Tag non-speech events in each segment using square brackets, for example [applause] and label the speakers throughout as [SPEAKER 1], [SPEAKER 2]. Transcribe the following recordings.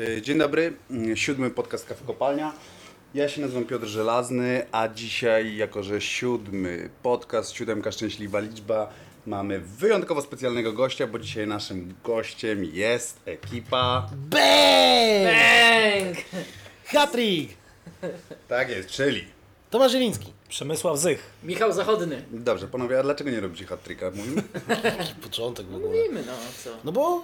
[SPEAKER 1] E, Dzień dobry, Mm, siódmy podcast Kawy Kopalnia. Ja się nazywam Piotr Żelazny, a dzisiaj, jako że siódmy podcast, siódemka szczęśliwa liczba, mamy wyjątkowo specjalnego gościa, bo dzisiaj naszym gościem jest ekipa.
[SPEAKER 2] Bang!
[SPEAKER 3] Bęk!
[SPEAKER 2] Hattrick!
[SPEAKER 1] Tak jest, czyli.
[SPEAKER 2] Tomasz Zieliński.
[SPEAKER 4] Przemysław Zych.
[SPEAKER 3] Michał Zachodny.
[SPEAKER 1] Dobrze, panowie, a dlaczego nie robicie hat-tricka? Mówimy?
[SPEAKER 2] Początek w ogóle.
[SPEAKER 3] Mówimy no, co?
[SPEAKER 2] No bo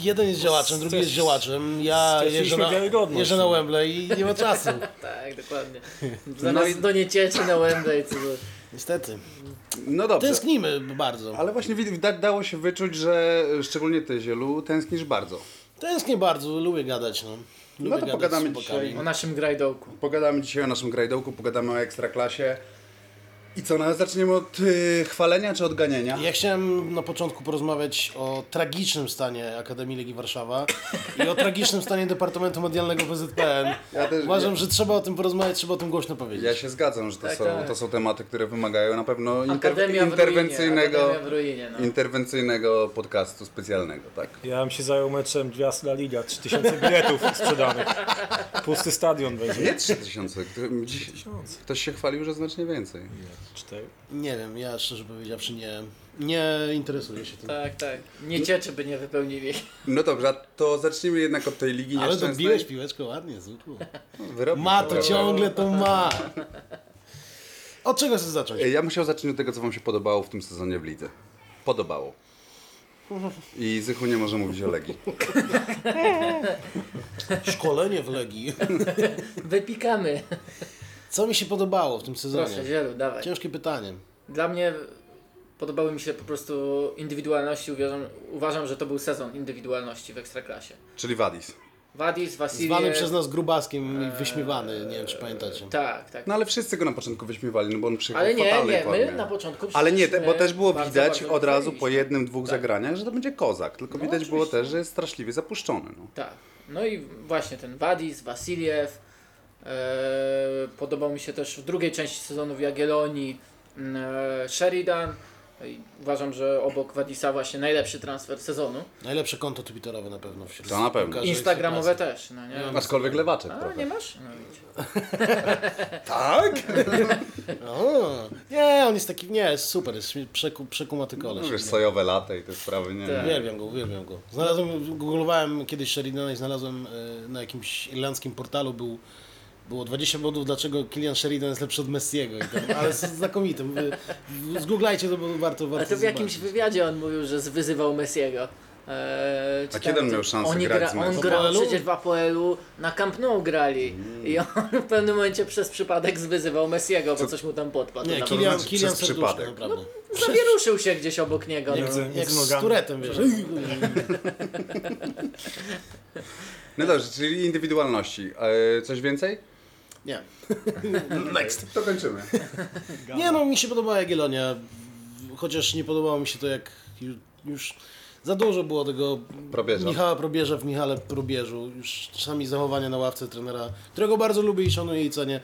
[SPEAKER 2] jeden jest działaczem, drugi jest działaczem. Ja
[SPEAKER 4] straciliśmy
[SPEAKER 2] jeżdżę na,
[SPEAKER 4] wiarygodność. no.
[SPEAKER 2] jeżdżę na Wembley i nie ma
[SPEAKER 4] [laughs]
[SPEAKER 2] czasu.
[SPEAKER 3] Tak,
[SPEAKER 1] [laughs]
[SPEAKER 3] dokładnie. Zaraz
[SPEAKER 1] No i-
[SPEAKER 3] do niecieczy na Wembley, co za-
[SPEAKER 2] Niestety.
[SPEAKER 1] No dobrze.
[SPEAKER 2] Tęsknimy bardzo.
[SPEAKER 1] Ale właśnie widać, da- dało się wyczuć, że szczególnie ty, Zielu, tęsknisz bardzo.
[SPEAKER 2] Tęsknię bardzo, lubię gadać. No, lubię
[SPEAKER 1] No to
[SPEAKER 2] gadać
[SPEAKER 1] pogadamy
[SPEAKER 2] z chłopakami.
[SPEAKER 1] dzisiaj.
[SPEAKER 3] o naszym grajdołku.
[SPEAKER 1] Pogadamy dzisiaj o naszym grajdołku, pogadamy o Ekstraklasie. I co, no, zaczniemy od y, chwalenia czy odganienia?
[SPEAKER 2] Ja chciałem na początku porozmawiać o tragicznym stanie Akademii Legii Warszawa i o tragicznym stanie Departamentu Medialnego PZPN.
[SPEAKER 1] Ja też-
[SPEAKER 2] Uważam,
[SPEAKER 1] ja-
[SPEAKER 2] że trzeba o tym porozmawiać, trzeba o tym głośno powiedzieć.
[SPEAKER 1] Ja się zgadzam, że to,
[SPEAKER 3] Tak,
[SPEAKER 1] są,
[SPEAKER 3] tak.
[SPEAKER 1] to są tematy, które wymagają na pewno inter,
[SPEAKER 3] Akademia
[SPEAKER 1] interwencyjnego,
[SPEAKER 3] w ruinie, Akademia w ruinie, no.
[SPEAKER 1] interwencyjego podcastu specjalnego, tak?
[SPEAKER 4] Ja bym się zajął meczem Gwiazd La Liga. 3000 biletów sprzedanych. Pusty stadion będzie.
[SPEAKER 1] Nie 3000, który- dziś-
[SPEAKER 4] Tysiąc.
[SPEAKER 1] ktoś się chwalił, że znacznie więcej.
[SPEAKER 4] Cztery.
[SPEAKER 2] Nie wiem, ja szczerze powiedziawszy nie, nie interesuję się tym.
[SPEAKER 3] Tak, tak. Niecieczy by nie wypełnili.
[SPEAKER 1] No dobrze, a to zacznijmy jednak od tej ligi
[SPEAKER 2] Ale
[SPEAKER 1] nieszczęsnej. No,
[SPEAKER 2] dobiłeś piłeczkę ładnie, zwykło.
[SPEAKER 1] Wyrobił
[SPEAKER 2] Ma
[SPEAKER 1] to.
[SPEAKER 2] to ciągle, to ma. Od czego chcesz zacząć?
[SPEAKER 1] E, Ja musiał zacząć od tego, co wam się podobało w tym sezonie w lidze. Podobało. I Zychu nie może mówić o Legii.
[SPEAKER 2] Szkolenie w Legii.
[SPEAKER 3] [laughs] Wypikamy.
[SPEAKER 2] Co mi się podobało w tym sezonie?
[SPEAKER 1] No.
[SPEAKER 3] Proszę, Zielu, dawaj.
[SPEAKER 2] Ciężkie pytanie.
[SPEAKER 3] Dla mnie podobały mi się po prostu indywidualności. Uważam, uważam że to był sezon indywidualności w Ekstraklasie.
[SPEAKER 1] Czyli Wadis.
[SPEAKER 3] Wadis,
[SPEAKER 2] Zwany
[SPEAKER 3] Wasiliew...
[SPEAKER 2] przez nas grubaskiem i wyśmiewany, nie wiem czy pamiętacie.
[SPEAKER 3] Tak, tak.
[SPEAKER 1] No ale wszyscy go na początku wyśmiewali, no bo on przyjechał
[SPEAKER 3] Ale
[SPEAKER 1] w
[SPEAKER 3] nie,
[SPEAKER 1] fatalnej
[SPEAKER 3] nie,
[SPEAKER 1] formie.
[SPEAKER 3] my na początku
[SPEAKER 1] Ale nie, te,
[SPEAKER 3] przyszliśmy
[SPEAKER 1] bo też było
[SPEAKER 3] bardzo,
[SPEAKER 1] widać
[SPEAKER 3] bardzo
[SPEAKER 1] od razu po
[SPEAKER 3] wychyliśmy.
[SPEAKER 1] jednym, dwóch
[SPEAKER 3] Tak. No,
[SPEAKER 1] zagraniach, że to będzie kozak. Tylko widać było
[SPEAKER 3] oczywiście.
[SPEAKER 1] też, że jest straszliwie zapuszczony. No.
[SPEAKER 3] Tak. No i właśnie ten Wadis, Wasiliew. E, podobał mi się też w drugiej części sezonu w Jagiellonii m, e, Sheridan. No I Uważam, że obok Wadisa właśnie najlepszy transfer sezonu.
[SPEAKER 2] Najlepsze konto twitterowe na pewno wśród
[SPEAKER 1] To na pewno.
[SPEAKER 2] piłkarzy
[SPEAKER 3] Instagramowe
[SPEAKER 2] Ekstraklasy.
[SPEAKER 3] też, no nie?
[SPEAKER 1] Aczkolwiek lewaczek
[SPEAKER 3] A,
[SPEAKER 1] trochę.
[SPEAKER 3] nie masz? No, widzisz. [laughs]
[SPEAKER 1] Tak?
[SPEAKER 2] O, Nie, on jest taki, nie, jest super, jest śmie- przeku, przekumaty
[SPEAKER 1] No,
[SPEAKER 2] koleś.
[SPEAKER 1] wiesz, sojowe lata i te sprawy, nie
[SPEAKER 3] Tak.
[SPEAKER 1] nie.
[SPEAKER 2] Uwielbiam go, uwielbiam go. Znalazłem, googlowałem kiedyś Sheridana i znalazłem e, na jakimś irlandzkim portalu był, było 20 powodów, dlaczego Kilian Sheridan jest lepszy od Messiego. I tam, ale jest znakomity. Mówię, w- Zgooglajcie to, bo warto, warto
[SPEAKER 3] Ale to w jakimś
[SPEAKER 2] zobaczyć.
[SPEAKER 3] wywiadzie on mówił, że wyzywał Messiego. E, czytałem,
[SPEAKER 1] kiedy on
[SPEAKER 3] że
[SPEAKER 1] miał szansę
[SPEAKER 3] oni
[SPEAKER 1] grać z
[SPEAKER 3] On
[SPEAKER 1] Messiego?
[SPEAKER 3] grał
[SPEAKER 2] Apoelu?
[SPEAKER 3] przecież w Apoelu, na Camp Nou grali
[SPEAKER 1] Mm.
[SPEAKER 3] i on w pewnym momencie przez przypadek zwyzywał Messiego, bo coś mu tam podpadł.
[SPEAKER 2] Nie,
[SPEAKER 3] Tam
[SPEAKER 2] Kilian,
[SPEAKER 1] znaczy
[SPEAKER 2] Kilian
[SPEAKER 1] przez
[SPEAKER 2] serduszko,
[SPEAKER 1] przypadek.
[SPEAKER 2] naprawdę.
[SPEAKER 3] Zawieruszył się gdzieś obok niego.
[SPEAKER 4] Nie
[SPEAKER 3] No.
[SPEAKER 4] widzę.
[SPEAKER 2] Jak
[SPEAKER 4] z
[SPEAKER 2] z
[SPEAKER 4] nogami.
[SPEAKER 2] Turetem, wiesz.
[SPEAKER 1] No dobrze, czyli indywidualności. E, coś więcej?
[SPEAKER 2] Nie.
[SPEAKER 1] Next. To kończymy.
[SPEAKER 2] Nie no, mi się podobała Jagiellonia, chociaż nie podobało mi się to jak ju- już za dużo było tego
[SPEAKER 1] Probierza.
[SPEAKER 2] Michała Probierza w Michale Probierzu, już czasami zachowania na ławce trenera, którego bardzo lubię i szanuję i cenię.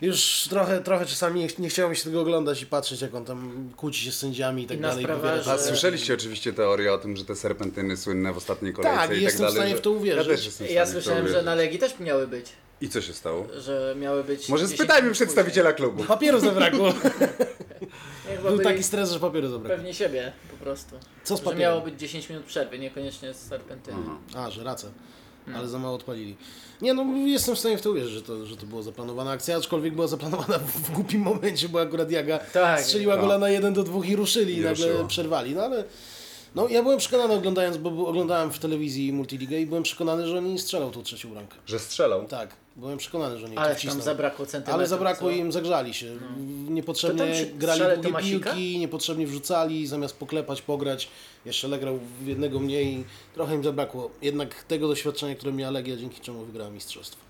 [SPEAKER 2] Już trochę, trochę czasami nie, ch- nie chciało mi się tego oglądać i patrzeć jak on tam kłóci się z sędziami i tak
[SPEAKER 3] Inna
[SPEAKER 2] dalej. i
[SPEAKER 3] sprawa,
[SPEAKER 2] powiada
[SPEAKER 3] że-
[SPEAKER 1] A
[SPEAKER 2] rzeczy.
[SPEAKER 1] słyszeliście oczywiście teorię o tym, że te serpentyny słynne w ostatniej kolejce
[SPEAKER 2] Tak,
[SPEAKER 1] i
[SPEAKER 2] i
[SPEAKER 1] tak
[SPEAKER 2] jestem
[SPEAKER 1] dalej.
[SPEAKER 2] w stanie
[SPEAKER 1] że-
[SPEAKER 2] w to uwierzyć.
[SPEAKER 1] Ja, też jestem w stanie
[SPEAKER 3] Ja
[SPEAKER 1] w to
[SPEAKER 3] słyszałem, że
[SPEAKER 1] uwierzyć.
[SPEAKER 3] na Legii też miały być,
[SPEAKER 1] I co się stało?
[SPEAKER 3] że miały być...
[SPEAKER 1] Może
[SPEAKER 3] 10
[SPEAKER 1] spytajmy
[SPEAKER 3] minut
[SPEAKER 1] przedstawiciela klubu.
[SPEAKER 2] Papieru zabrakło.
[SPEAKER 3] później. Nie, chyba
[SPEAKER 2] Był
[SPEAKER 3] byli
[SPEAKER 2] taki stres, że papieru zabrakło.
[SPEAKER 3] Pewnie siebie po prostu.
[SPEAKER 2] Co z
[SPEAKER 3] Że miało
[SPEAKER 2] papierem?
[SPEAKER 3] być 10 minut przerwy, niekoniecznie z serpentyny.
[SPEAKER 1] Aha.
[SPEAKER 2] A, że racja.
[SPEAKER 3] No.
[SPEAKER 2] Ale za mało odpalili. Nie no, jestem w stanie w to uwierzyć, że to, że to była zaplanowana akcja, aczkolwiek była zaplanowana w, w głupim momencie, bo akurat Jaga
[SPEAKER 3] Tak.
[SPEAKER 2] strzeliła
[SPEAKER 1] No.
[SPEAKER 2] gola na 1 do 2 i ruszyli
[SPEAKER 1] I
[SPEAKER 2] i nagle
[SPEAKER 1] ruszyło.
[SPEAKER 2] przerwali, no ale... No ja byłem przekonany oglądając, bo bo oglądałem w telewizji Multiligę i byłem przekonany, że on nie strzelał tą trzecią bramkę.
[SPEAKER 1] Że strzelał.
[SPEAKER 2] Tak, byłem przekonany, że nie
[SPEAKER 3] Ale
[SPEAKER 2] to
[SPEAKER 3] tam
[SPEAKER 2] wcisnął.
[SPEAKER 3] zabrakło centymetrów.
[SPEAKER 2] Ale zabrakło
[SPEAKER 3] co?
[SPEAKER 2] im, zagrzali się.
[SPEAKER 3] To
[SPEAKER 2] Niepotrzebnie
[SPEAKER 3] tam przy-
[SPEAKER 2] grali
[SPEAKER 3] strzele
[SPEAKER 2] długie
[SPEAKER 3] Tomasika?
[SPEAKER 2] piłki, niepotrzebnie wrzucali, zamiast poklepać, pograć. Jeszcze legrał w jednego mniej. Trochę im zabrakło jednak tego doświadczenia, które miała Legia, dzięki czemu wygrała mistrzostwo.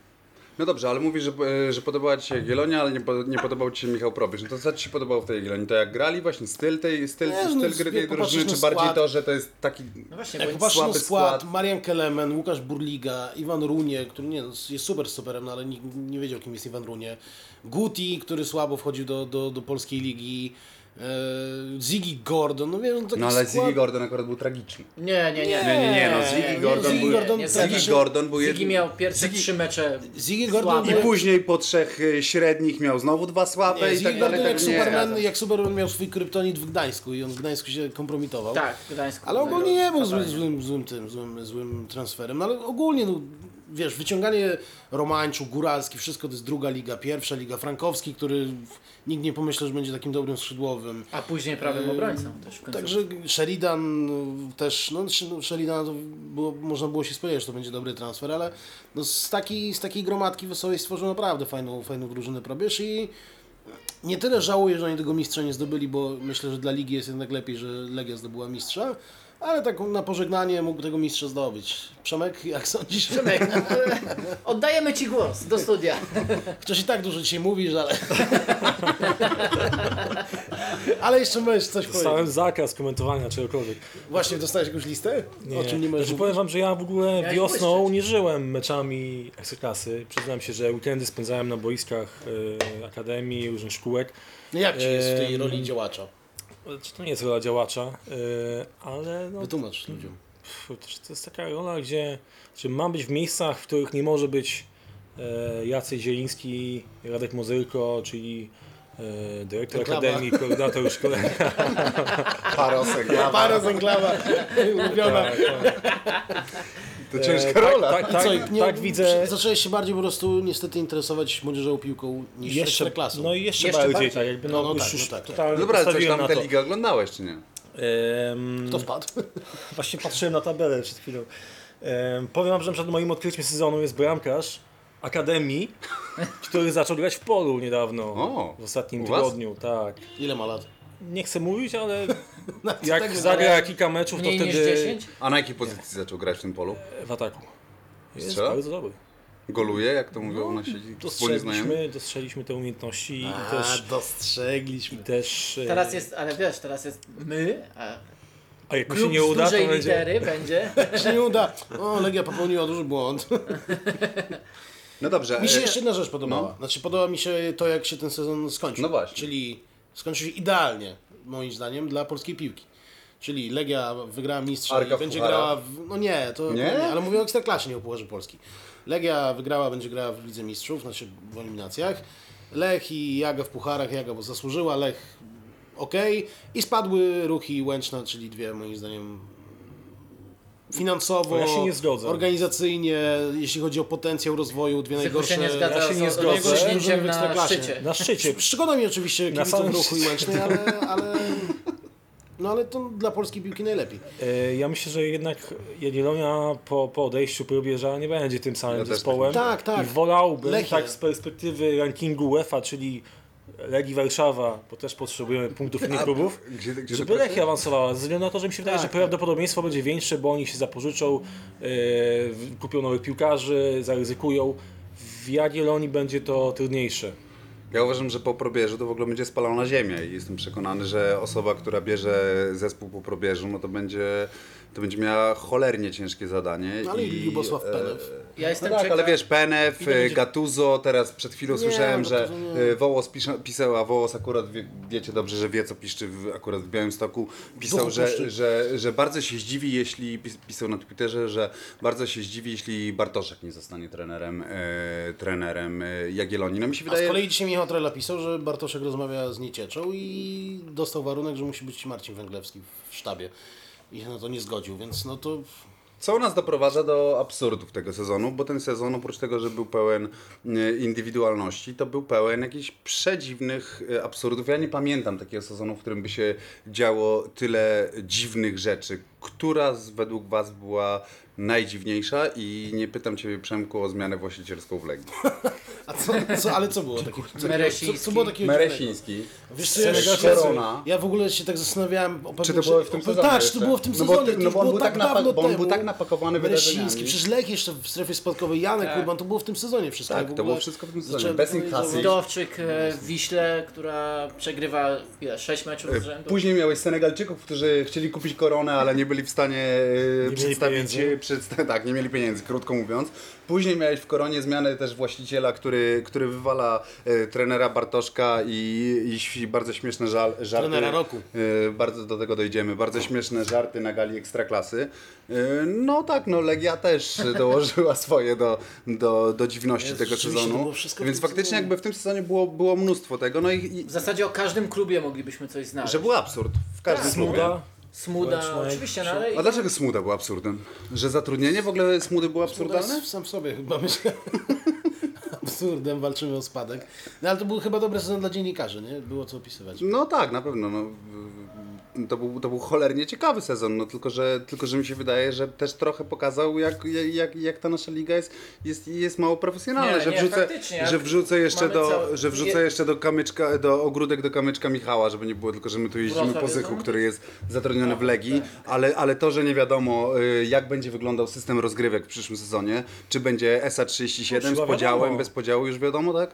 [SPEAKER 1] No dobrze, ale mówisz, że, e, że podobała Ci się Jagiellonia, ale nie, po, nie podobał Ci się Michał Probierz. No to co Ci się podobało w tej Jagiellonii? To jak grali? Właśnie styl, tej, styl,
[SPEAKER 2] Nie, no,
[SPEAKER 1] styl
[SPEAKER 2] jak
[SPEAKER 1] gry tej
[SPEAKER 2] popatrzysz
[SPEAKER 1] drużyny,
[SPEAKER 2] na
[SPEAKER 1] czy bardziej
[SPEAKER 2] skład-
[SPEAKER 1] to, że to jest taki...
[SPEAKER 3] No właśnie,
[SPEAKER 2] Jak
[SPEAKER 3] bo
[SPEAKER 2] popatrzysz na
[SPEAKER 1] słaby
[SPEAKER 2] skład,
[SPEAKER 1] skład.
[SPEAKER 2] Marian Kelemen, Łukasz Burliga, Iwan Runie, który nie, no, jest super stoperem, no, ale nikt nie wiedział kim jest Iwan Runie. Guti, który słabo wchodził do, do, do polskiej ligi. e, Ziggy Gordon, no wiesz, no taki
[SPEAKER 1] No ale
[SPEAKER 2] skład...
[SPEAKER 1] Ziggy Gordon akurat był tragiczny.
[SPEAKER 3] Nie, nie, nie.
[SPEAKER 1] Nie, nie, nie, no
[SPEAKER 3] Nie, nie,
[SPEAKER 1] Ziggy Gordon
[SPEAKER 2] Ziggy
[SPEAKER 1] był...
[SPEAKER 2] Gordon
[SPEAKER 3] nie,
[SPEAKER 2] tragiczny.
[SPEAKER 1] Ziggy Gordon był...
[SPEAKER 3] Ziggy
[SPEAKER 1] jed-
[SPEAKER 3] miał pierwsze
[SPEAKER 1] Ziggy-
[SPEAKER 3] trzy mecze.
[SPEAKER 2] Ziggy Gordon
[SPEAKER 3] Słaby.
[SPEAKER 1] I
[SPEAKER 2] był-
[SPEAKER 1] później po trzech y, średnich miał znowu dwa słabe
[SPEAKER 2] Nie,
[SPEAKER 1] i tak
[SPEAKER 2] Ziggy
[SPEAKER 1] dalej.
[SPEAKER 2] Gordon
[SPEAKER 1] tak
[SPEAKER 2] jak
[SPEAKER 1] nie.
[SPEAKER 2] Superman, jak Superman miał swój kryptonit w Gdańsku i on w Gdańsku się kompromitował.
[SPEAKER 3] Tak, w Gdańsku.
[SPEAKER 2] Ale ogólnie nie był złym, złym, złym tym, złym, złym transferem, no ale ogólnie, no, wiesz, wyciąganie Romańczu, Góralski, wszystko to jest druga liga, pierwsza liga, Frankowski, który nikt nie pomyślał, że będzie takim dobrym skrzydłowym.
[SPEAKER 3] A później prawym obrońcą też w końcu.
[SPEAKER 2] Yy, Także Sheridan y, też, no sz- no, Sheridana to było, można było się spodziewać, że to będzie dobry transfer, ale no, z, takiej, z takiej gromadki Wesołej stworzył naprawdę fajną, fajną drużynę probierz i nie tyle żałuję, że oni tego mistrza nie zdobyli, bo myślę, że dla ligi jest jednak lepiej, że Legia zdobyła mistrza, ale tak na pożegnanie mógł tego mistrza zdobyć. Przemek, jak sądzisz?
[SPEAKER 3] Przemek, no, oddajemy Ci głos do studia.
[SPEAKER 2] Chociaż i tak dużo dzisiaj mówisz, ale... ale jeszcze możesz coś
[SPEAKER 4] Dostałem
[SPEAKER 2] powiedzieć.
[SPEAKER 4] zakaz komentowania czegokolwiek.
[SPEAKER 2] Właśnie, dostałeś jakąś listę? O czym nie możesz
[SPEAKER 4] znaczy, powiem wam, że ja w ogóle
[SPEAKER 3] Miałeś
[SPEAKER 4] wiosną
[SPEAKER 3] błyszczeć.
[SPEAKER 4] nie żyłem meczami Ekstraklasy. Przyznam się, że weekendy spędzałem na boiskach y, akademii, różnych szkółek.
[SPEAKER 2] No jak ci jest w tej
[SPEAKER 4] Em,
[SPEAKER 2] roli działacza?
[SPEAKER 4] Znaczy, to nie jest rola działacza, y, ale no,
[SPEAKER 2] Wytłumacz ludziom.
[SPEAKER 4] pff, to jest taka rola, gdzie czy mam być w miejscach, w których nie może być e, Jacek Zieliński, Radek Mozyrko, czyli e, dyrektor
[SPEAKER 2] Reklama.
[SPEAKER 4] akademii, koordynator
[SPEAKER 1] [laughs]
[SPEAKER 4] szkolenia.
[SPEAKER 1] Znaczy,
[SPEAKER 2] [laughs]
[SPEAKER 1] Parosek, ja,
[SPEAKER 2] Para zęglawa, ulubiona.
[SPEAKER 4] Tak, tak.
[SPEAKER 1] to
[SPEAKER 4] E,
[SPEAKER 1] ciężka
[SPEAKER 4] tak,
[SPEAKER 1] rola.
[SPEAKER 4] Tak, tak, tak,
[SPEAKER 2] nie-
[SPEAKER 4] widzę.
[SPEAKER 2] Zacząłeś się bardziej po prostu niestety interesować młodzieżową piłką niż jeszcze klasą.
[SPEAKER 4] No i jeszcze,
[SPEAKER 3] Jeszcze
[SPEAKER 4] bardziej,
[SPEAKER 3] bardziej.
[SPEAKER 4] tak jakby no,
[SPEAKER 2] No, no
[SPEAKER 4] już,
[SPEAKER 2] tak,
[SPEAKER 4] już
[SPEAKER 2] no tak, tak.
[SPEAKER 4] totalnie
[SPEAKER 1] Dobra, ale coś
[SPEAKER 4] postawiłem
[SPEAKER 1] tam tę
[SPEAKER 4] na to.
[SPEAKER 1] ligę oglądałeś, czy nie?
[SPEAKER 4] Ehm,
[SPEAKER 2] Kto wpadł?
[SPEAKER 4] Właśnie patrzyłem na tabelę przed chwilą. Ehm, powiem wam, że na przykład moim odkryciem sezonu jest bramkarz Akademii, który zaczął grać w polu niedawno,
[SPEAKER 1] O,
[SPEAKER 4] w ostatnim
[SPEAKER 1] u was?
[SPEAKER 4] tygodniu, tak.
[SPEAKER 2] Ile ma lat?
[SPEAKER 4] Nie chcę
[SPEAKER 2] [laughs]
[SPEAKER 4] mówić, ale jak
[SPEAKER 2] tak
[SPEAKER 4] zagra kilka meczów, to
[SPEAKER 3] Mniej
[SPEAKER 4] wtedy
[SPEAKER 3] niż 10?
[SPEAKER 1] A na jakiej pozycji zaczął grać w tym polu?
[SPEAKER 4] w ataku. Jest
[SPEAKER 1] Strzela?
[SPEAKER 4] bardzo dobry.
[SPEAKER 1] Goluje, jak to mówią
[SPEAKER 4] No,
[SPEAKER 1] nasi wspólni znajomi?
[SPEAKER 4] Dostrzeliśmy, dostrzeliśmy te umiejętności i
[SPEAKER 2] A,
[SPEAKER 4] też...
[SPEAKER 2] dostrzegliśmy.
[SPEAKER 4] I też e,
[SPEAKER 3] Teraz jest, ale wiesz, teraz jest my, a
[SPEAKER 4] A jak mu się
[SPEAKER 3] klub
[SPEAKER 4] nie uda,
[SPEAKER 3] z
[SPEAKER 4] to
[SPEAKER 3] dużej
[SPEAKER 4] będzie...
[SPEAKER 3] litery
[SPEAKER 1] [laughs]
[SPEAKER 3] będzie.
[SPEAKER 2] Się nie uda. O, Legia popełniła duży błąd.
[SPEAKER 1] No dobrze.
[SPEAKER 2] Mi się
[SPEAKER 1] e,
[SPEAKER 2] jeszcze jedna rzecz podobała. Znaczy podoba mi się to, jak się ten sezon skończył.
[SPEAKER 1] No właśnie.
[SPEAKER 2] Czyli skończył się idealnie, moim zdaniem, dla polskiej piłki. Czyli Legia wygrała mistrza
[SPEAKER 1] Arka
[SPEAKER 2] i będzie
[SPEAKER 1] Puchara.
[SPEAKER 2] grała... W... No nie, to
[SPEAKER 1] Nie?
[SPEAKER 2] ale mówię o Ekstraklasie, nie o Pucharze Polski. Legia wygrała, będzie grała w Lidze Mistrzów, znaczy w eliminacjach. Lech i Jaga w pucharach, Jaga bo zasłużyła, Lech ok. I spadły Ruch i Łęczna, czyli dwie moim zdaniem finansowo,
[SPEAKER 4] Ja się nie zgodzę.
[SPEAKER 2] organizacyjnie, jeśli chodzi o potencjał rozwoju, dwie
[SPEAKER 3] Tylko
[SPEAKER 2] najgorsze...
[SPEAKER 3] się nie zgadza
[SPEAKER 4] ja się nie
[SPEAKER 3] z
[SPEAKER 4] zgodzę.
[SPEAKER 3] rozstrzygnięciem na
[SPEAKER 2] Ekstraklasie.
[SPEAKER 1] No.
[SPEAKER 3] szczycie.
[SPEAKER 4] Na szczycie.
[SPEAKER 2] Szkoda mi oczywiście
[SPEAKER 4] Na
[SPEAKER 2] kibiców
[SPEAKER 4] samym
[SPEAKER 2] ruchu i łącznej, ale, ale... No ale to dla polskiej piłki najlepiej.
[SPEAKER 4] E, Ja myślę, że jednak Jagiellonia po, po odejściu Probierza nie będzie tym samym
[SPEAKER 1] Ja też
[SPEAKER 4] zespołem.
[SPEAKER 2] tak myślę. Tak, tak.
[SPEAKER 4] I wolałbym
[SPEAKER 2] Lechia.
[SPEAKER 4] tak z perspektywy rankingu UEFA, czyli Legii Warszawa, bo też potrzebujemy punktów innych klubów,
[SPEAKER 1] Gdzie, gdzie
[SPEAKER 4] żeby Lechia awansowała. Ze względu na to, że mi się wydaje,
[SPEAKER 2] Tak,
[SPEAKER 4] że
[SPEAKER 2] tak.
[SPEAKER 4] prawdopodobieństwo będzie większe, bo oni się zapożyczą, e, w- kupią nowych piłkarzy, zaryzykują. W Jagiellonii będzie to trudniejsze.
[SPEAKER 1] Ja uważam, że po probierzu to w ogóle będzie spalona ziemia i jestem przekonany, że osoba, która bierze zespół po probierzu, no to będzie, to będzie miała cholernie ciężkie zadanie.
[SPEAKER 2] No ale i Lubosław
[SPEAKER 1] e,
[SPEAKER 2] Penew.
[SPEAKER 3] Ja jestem
[SPEAKER 1] no tak,
[SPEAKER 3] ciekaw-
[SPEAKER 1] ale wiesz, Penew,
[SPEAKER 2] Ile będzie-
[SPEAKER 1] Gatuzo, teraz przed chwilą słyszałem, że
[SPEAKER 2] Gattuso no nie.
[SPEAKER 1] e, Wołos pisza, pisał, a Wołos akurat, wie, wiecie dobrze, że wie co piszczy w, akurat w Białymstoku, pisał,
[SPEAKER 2] Duchu
[SPEAKER 1] że,
[SPEAKER 2] puszczy.
[SPEAKER 1] że, że bardzo się zdziwi, jeśli, pis- pisał na Twitterze, że bardzo się zdziwi, jeśli Bartoszek nie zostanie trenerem, e, trenerem e, Jagiellonii. No mi się
[SPEAKER 2] A z
[SPEAKER 1] wydaje,
[SPEAKER 2] kolei dzisiaj Michał Trela pisał, że Bartoszek rozmawia z Niecieczą i dostał warunek, że musi być Marcin Węglewski w sztabie. I się na to nie zgodził, więc no to...
[SPEAKER 1] Co nas doprowadza do absurdów tego sezonu, bo ten sezon oprócz tego, że był pełen e, indywidualności, to był pełen jakichś przedziwnych e, absurdów. Ja nie pamiętam takiego sezonu, w którym by się działo tyle dziwnych rzeczy. Która z, według Was była najdziwniejsza i nie pytam Ciebie Przemku o zmianę właścicielską w Legii.
[SPEAKER 2] A co, co, ale co było takiego? Co, co,
[SPEAKER 3] Meresiński.
[SPEAKER 2] co było takiego dziwnego?
[SPEAKER 1] Meresiński.
[SPEAKER 2] Wiesz co, ja,
[SPEAKER 1] Senegal-
[SPEAKER 2] szczerze-
[SPEAKER 1] Corona.
[SPEAKER 2] ja w ogóle się tak zastanawiałem... O pewnym,
[SPEAKER 1] Czy to było w tym
[SPEAKER 2] o-
[SPEAKER 1] sezonie
[SPEAKER 2] Tak, czy
[SPEAKER 1] jeszcze?
[SPEAKER 2] to było w tym
[SPEAKER 1] No bo
[SPEAKER 2] sezonie,
[SPEAKER 1] ty-
[SPEAKER 2] to
[SPEAKER 1] no
[SPEAKER 2] już
[SPEAKER 1] bo on
[SPEAKER 2] było
[SPEAKER 1] był
[SPEAKER 2] tak
[SPEAKER 1] tak napa-
[SPEAKER 2] dawno
[SPEAKER 1] bo on był
[SPEAKER 2] temu.
[SPEAKER 1] tak napakowany
[SPEAKER 2] Meresiński,
[SPEAKER 1] wydarzeniami.
[SPEAKER 2] przecież Lech jeszcze w strefie spadkowej, Janek
[SPEAKER 3] Tak.
[SPEAKER 2] Urban, to było w tym sezonie wszystko.
[SPEAKER 1] Tak,
[SPEAKER 2] Ja w
[SPEAKER 1] to
[SPEAKER 2] ogóle
[SPEAKER 1] było wszystko w tym sezonie.
[SPEAKER 2] zacząłem
[SPEAKER 1] Bez
[SPEAKER 2] to
[SPEAKER 1] inkasy.
[SPEAKER 2] analizować.
[SPEAKER 3] Dowczyk e, w Wiśle, która przegrywa ile, 6 meczów z rzędu.
[SPEAKER 1] E, Później miałeś Senegalczyków, którzy chcieli kupić koronę, ale nie byli w stanie e,
[SPEAKER 4] mieli
[SPEAKER 1] przedstawić.
[SPEAKER 4] pieniędzy.
[SPEAKER 1] Przedsta- [laughs] tak, nie mieli pieniędzy, krótko mówiąc. Później miałeś w koronie zmianę też właściciela, który, który wywala e, trenera Bartoszka i, i, i bardzo śmieszne żal, żarty.
[SPEAKER 2] Trenera roku.
[SPEAKER 1] E, bardzo do tego dojdziemy. Bardzo śmieszne żarty na gali ekstraklasy. E, no tak, no Legia też dołożyła [laughs] swoje do, do, do dziwności
[SPEAKER 2] Jezu,
[SPEAKER 1] tego
[SPEAKER 2] rzeczywiście, to
[SPEAKER 1] sezonu.
[SPEAKER 2] było wszystko w
[SPEAKER 1] Więc
[SPEAKER 2] tym
[SPEAKER 1] faktycznie
[SPEAKER 2] sezonie.
[SPEAKER 1] jakby w tym sezonie było, było mnóstwo tego. No i, i
[SPEAKER 3] W zasadzie o każdym klubie moglibyśmy coś znaleźć.
[SPEAKER 1] że był absurd. W każdym klubie.
[SPEAKER 4] Tak. Smuda.
[SPEAKER 3] Smuda,
[SPEAKER 4] Kłeczmaj,
[SPEAKER 3] oczywiście, no ale...
[SPEAKER 1] A dlaczego Smuda był absurdem? Że zatrudnienie w ogóle Smudy było absurdalne?
[SPEAKER 2] No, Sam w sobie chyba myślę. [laughs] Absurdem walczymy o spadek. No ale to był chyba dobry sezon dla dziennikarzy, nie? Było co opisywać.
[SPEAKER 1] No tak, na pewno. No. To, był, to był cholernie ciekawy sezon, no tylko że, tylko że mi się wydaje, że też trochę pokazał, jak, jak, jak ta nasza liga jest, jest, jest mało profesjonalna,
[SPEAKER 3] Nie,
[SPEAKER 1] że,
[SPEAKER 3] nie,
[SPEAKER 1] wrzucę,
[SPEAKER 3] faktycznie, jak
[SPEAKER 1] że wrzucę jeszcze
[SPEAKER 3] mamy
[SPEAKER 1] do,
[SPEAKER 3] cały-
[SPEAKER 1] że wrzucę
[SPEAKER 3] je-
[SPEAKER 1] jeszcze do kamyczka, do ogródek do kamyczka Michała, żeby nie było tylko, że my tu jeździmy
[SPEAKER 3] Wrocław
[SPEAKER 1] po
[SPEAKER 3] jest Tak,
[SPEAKER 1] Zychu,
[SPEAKER 3] on?
[SPEAKER 1] który jest zatrudniony w Legii, ale, ale to, że nie wiadomo y, jak będzie wyglądał system rozgrywek w przyszłym sezonie, czy będzie SA37 z
[SPEAKER 4] Chyba
[SPEAKER 1] podziałem,
[SPEAKER 4] wiadomo.
[SPEAKER 1] bez podziału już wiadomo, tak?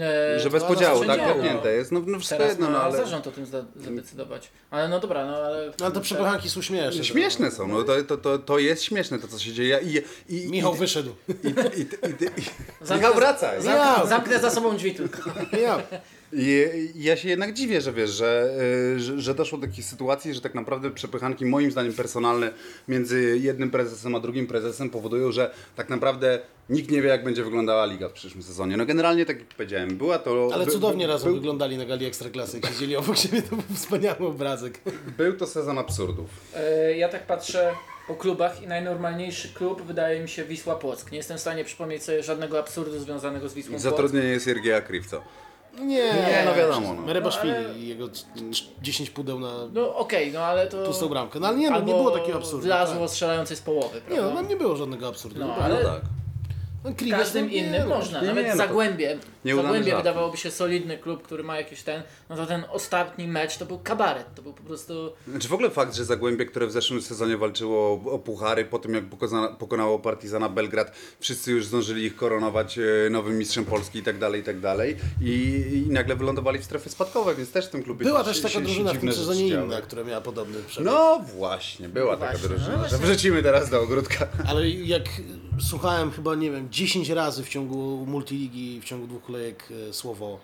[SPEAKER 3] e,
[SPEAKER 1] Że bez
[SPEAKER 3] to
[SPEAKER 1] podziału,
[SPEAKER 3] zawsze
[SPEAKER 1] tak?
[SPEAKER 3] działo.
[SPEAKER 1] Kopnięte jest, no, no wszystko
[SPEAKER 3] Teraz
[SPEAKER 1] jedno,
[SPEAKER 3] ma
[SPEAKER 1] no ale...
[SPEAKER 3] zarząd o tym zda- zadecydować. Ale no dobra, no ale...
[SPEAKER 2] No ale to przepychanki są śmieszne.
[SPEAKER 1] Śmieszne są, no to, to, to, to jest śmieszne to, co się dzieje. I, i, i,
[SPEAKER 2] Michał wyszedł.
[SPEAKER 1] I, i, i, i,
[SPEAKER 2] [laughs]
[SPEAKER 1] i,
[SPEAKER 3] Zamknę-
[SPEAKER 1] Michał, wracaj!
[SPEAKER 3] Zamknę, zamknę za sobą drzwi tylko.
[SPEAKER 2] Ja.
[SPEAKER 1] I, i ja się jednak dziwię, że wiesz, że, y, że, że doszło do takiej sytuacji, że tak naprawdę przepychanki, moim zdaniem personalne, między jednym prezesem a drugim prezesem powodują, że tak naprawdę nikt nie wie, jak będzie wyglądała liga w przyszłym sezonie. No generalnie, tak jak powiedziałem, była to...
[SPEAKER 2] Ale
[SPEAKER 1] by-
[SPEAKER 2] cudownie
[SPEAKER 1] by-
[SPEAKER 2] razem
[SPEAKER 1] był,
[SPEAKER 2] wyglądali na gali Ekstraklasy. Jak siedzieli obok siebie, to był wspaniały obrazek.
[SPEAKER 1] był to sezon absurdów.
[SPEAKER 3] E, Ja tak patrzę po klubach i najnormalniejszy klub wydaje mi się Wisła Płock. Nie jestem w stanie przypomnieć sobie żadnego absurdu związanego z Wisłą
[SPEAKER 1] I
[SPEAKER 2] No
[SPEAKER 3] Płock.
[SPEAKER 1] zatrudnienie Siergieja Krywca.
[SPEAKER 2] Nie,
[SPEAKER 1] Nie, no wiadomo, no.
[SPEAKER 2] Mereba i jego c- c- 10 pudeł na
[SPEAKER 3] No okej, no ale to...
[SPEAKER 2] pustą bramkę. No ale nie, no, nie
[SPEAKER 3] Albo
[SPEAKER 2] było takiego absurdu.
[SPEAKER 3] Wlazło
[SPEAKER 2] Tak.
[SPEAKER 3] strzelającej z połowy, prawda?
[SPEAKER 2] Nie, no tam nie było żadnego absurdu.
[SPEAKER 3] No,
[SPEAKER 2] No,
[SPEAKER 3] ale
[SPEAKER 1] tak.
[SPEAKER 2] no, Krigas,
[SPEAKER 3] każdym
[SPEAKER 2] no, nie,
[SPEAKER 3] innym
[SPEAKER 2] no,
[SPEAKER 3] można.
[SPEAKER 1] nie,
[SPEAKER 3] Nawet
[SPEAKER 1] no to
[SPEAKER 3] Zagłębie.
[SPEAKER 1] nieudany
[SPEAKER 3] Zagłębie
[SPEAKER 1] żart.
[SPEAKER 3] wydawałoby się solidny klub, który ma jakiś ten, no to ten ostatni mecz to był kabaret. To był po prostu...
[SPEAKER 1] Znaczy w ogóle fakt, że Zagłębie, które w zeszłym sezonie walczyło o, o puchary, po tym jak pokona- pokonało Partizana Belgrad, wszyscy już zdążyli ich koronować e, nowym mistrzem Polski i tak dalej, i tak dalej. I, i nagle wylądowali w strefy spadkowej, więc też w tym klubie
[SPEAKER 2] Była
[SPEAKER 1] się-
[SPEAKER 2] też taka
[SPEAKER 1] się- się
[SPEAKER 2] drużyna w tym
[SPEAKER 1] dziwne rzeczy
[SPEAKER 2] sezonie
[SPEAKER 1] działy.
[SPEAKER 2] inna, która miała podobny przebieg.
[SPEAKER 1] No właśnie, była taka
[SPEAKER 3] Właśnie, no
[SPEAKER 1] drużyna.
[SPEAKER 3] właśnie.
[SPEAKER 1] że wrzucimy teraz do ogródka.
[SPEAKER 2] Ale jak e, słuchałem chyba, nie wiem, 10 razy w ciągu multiligi, w ciągu dwóch kolejek e, słowo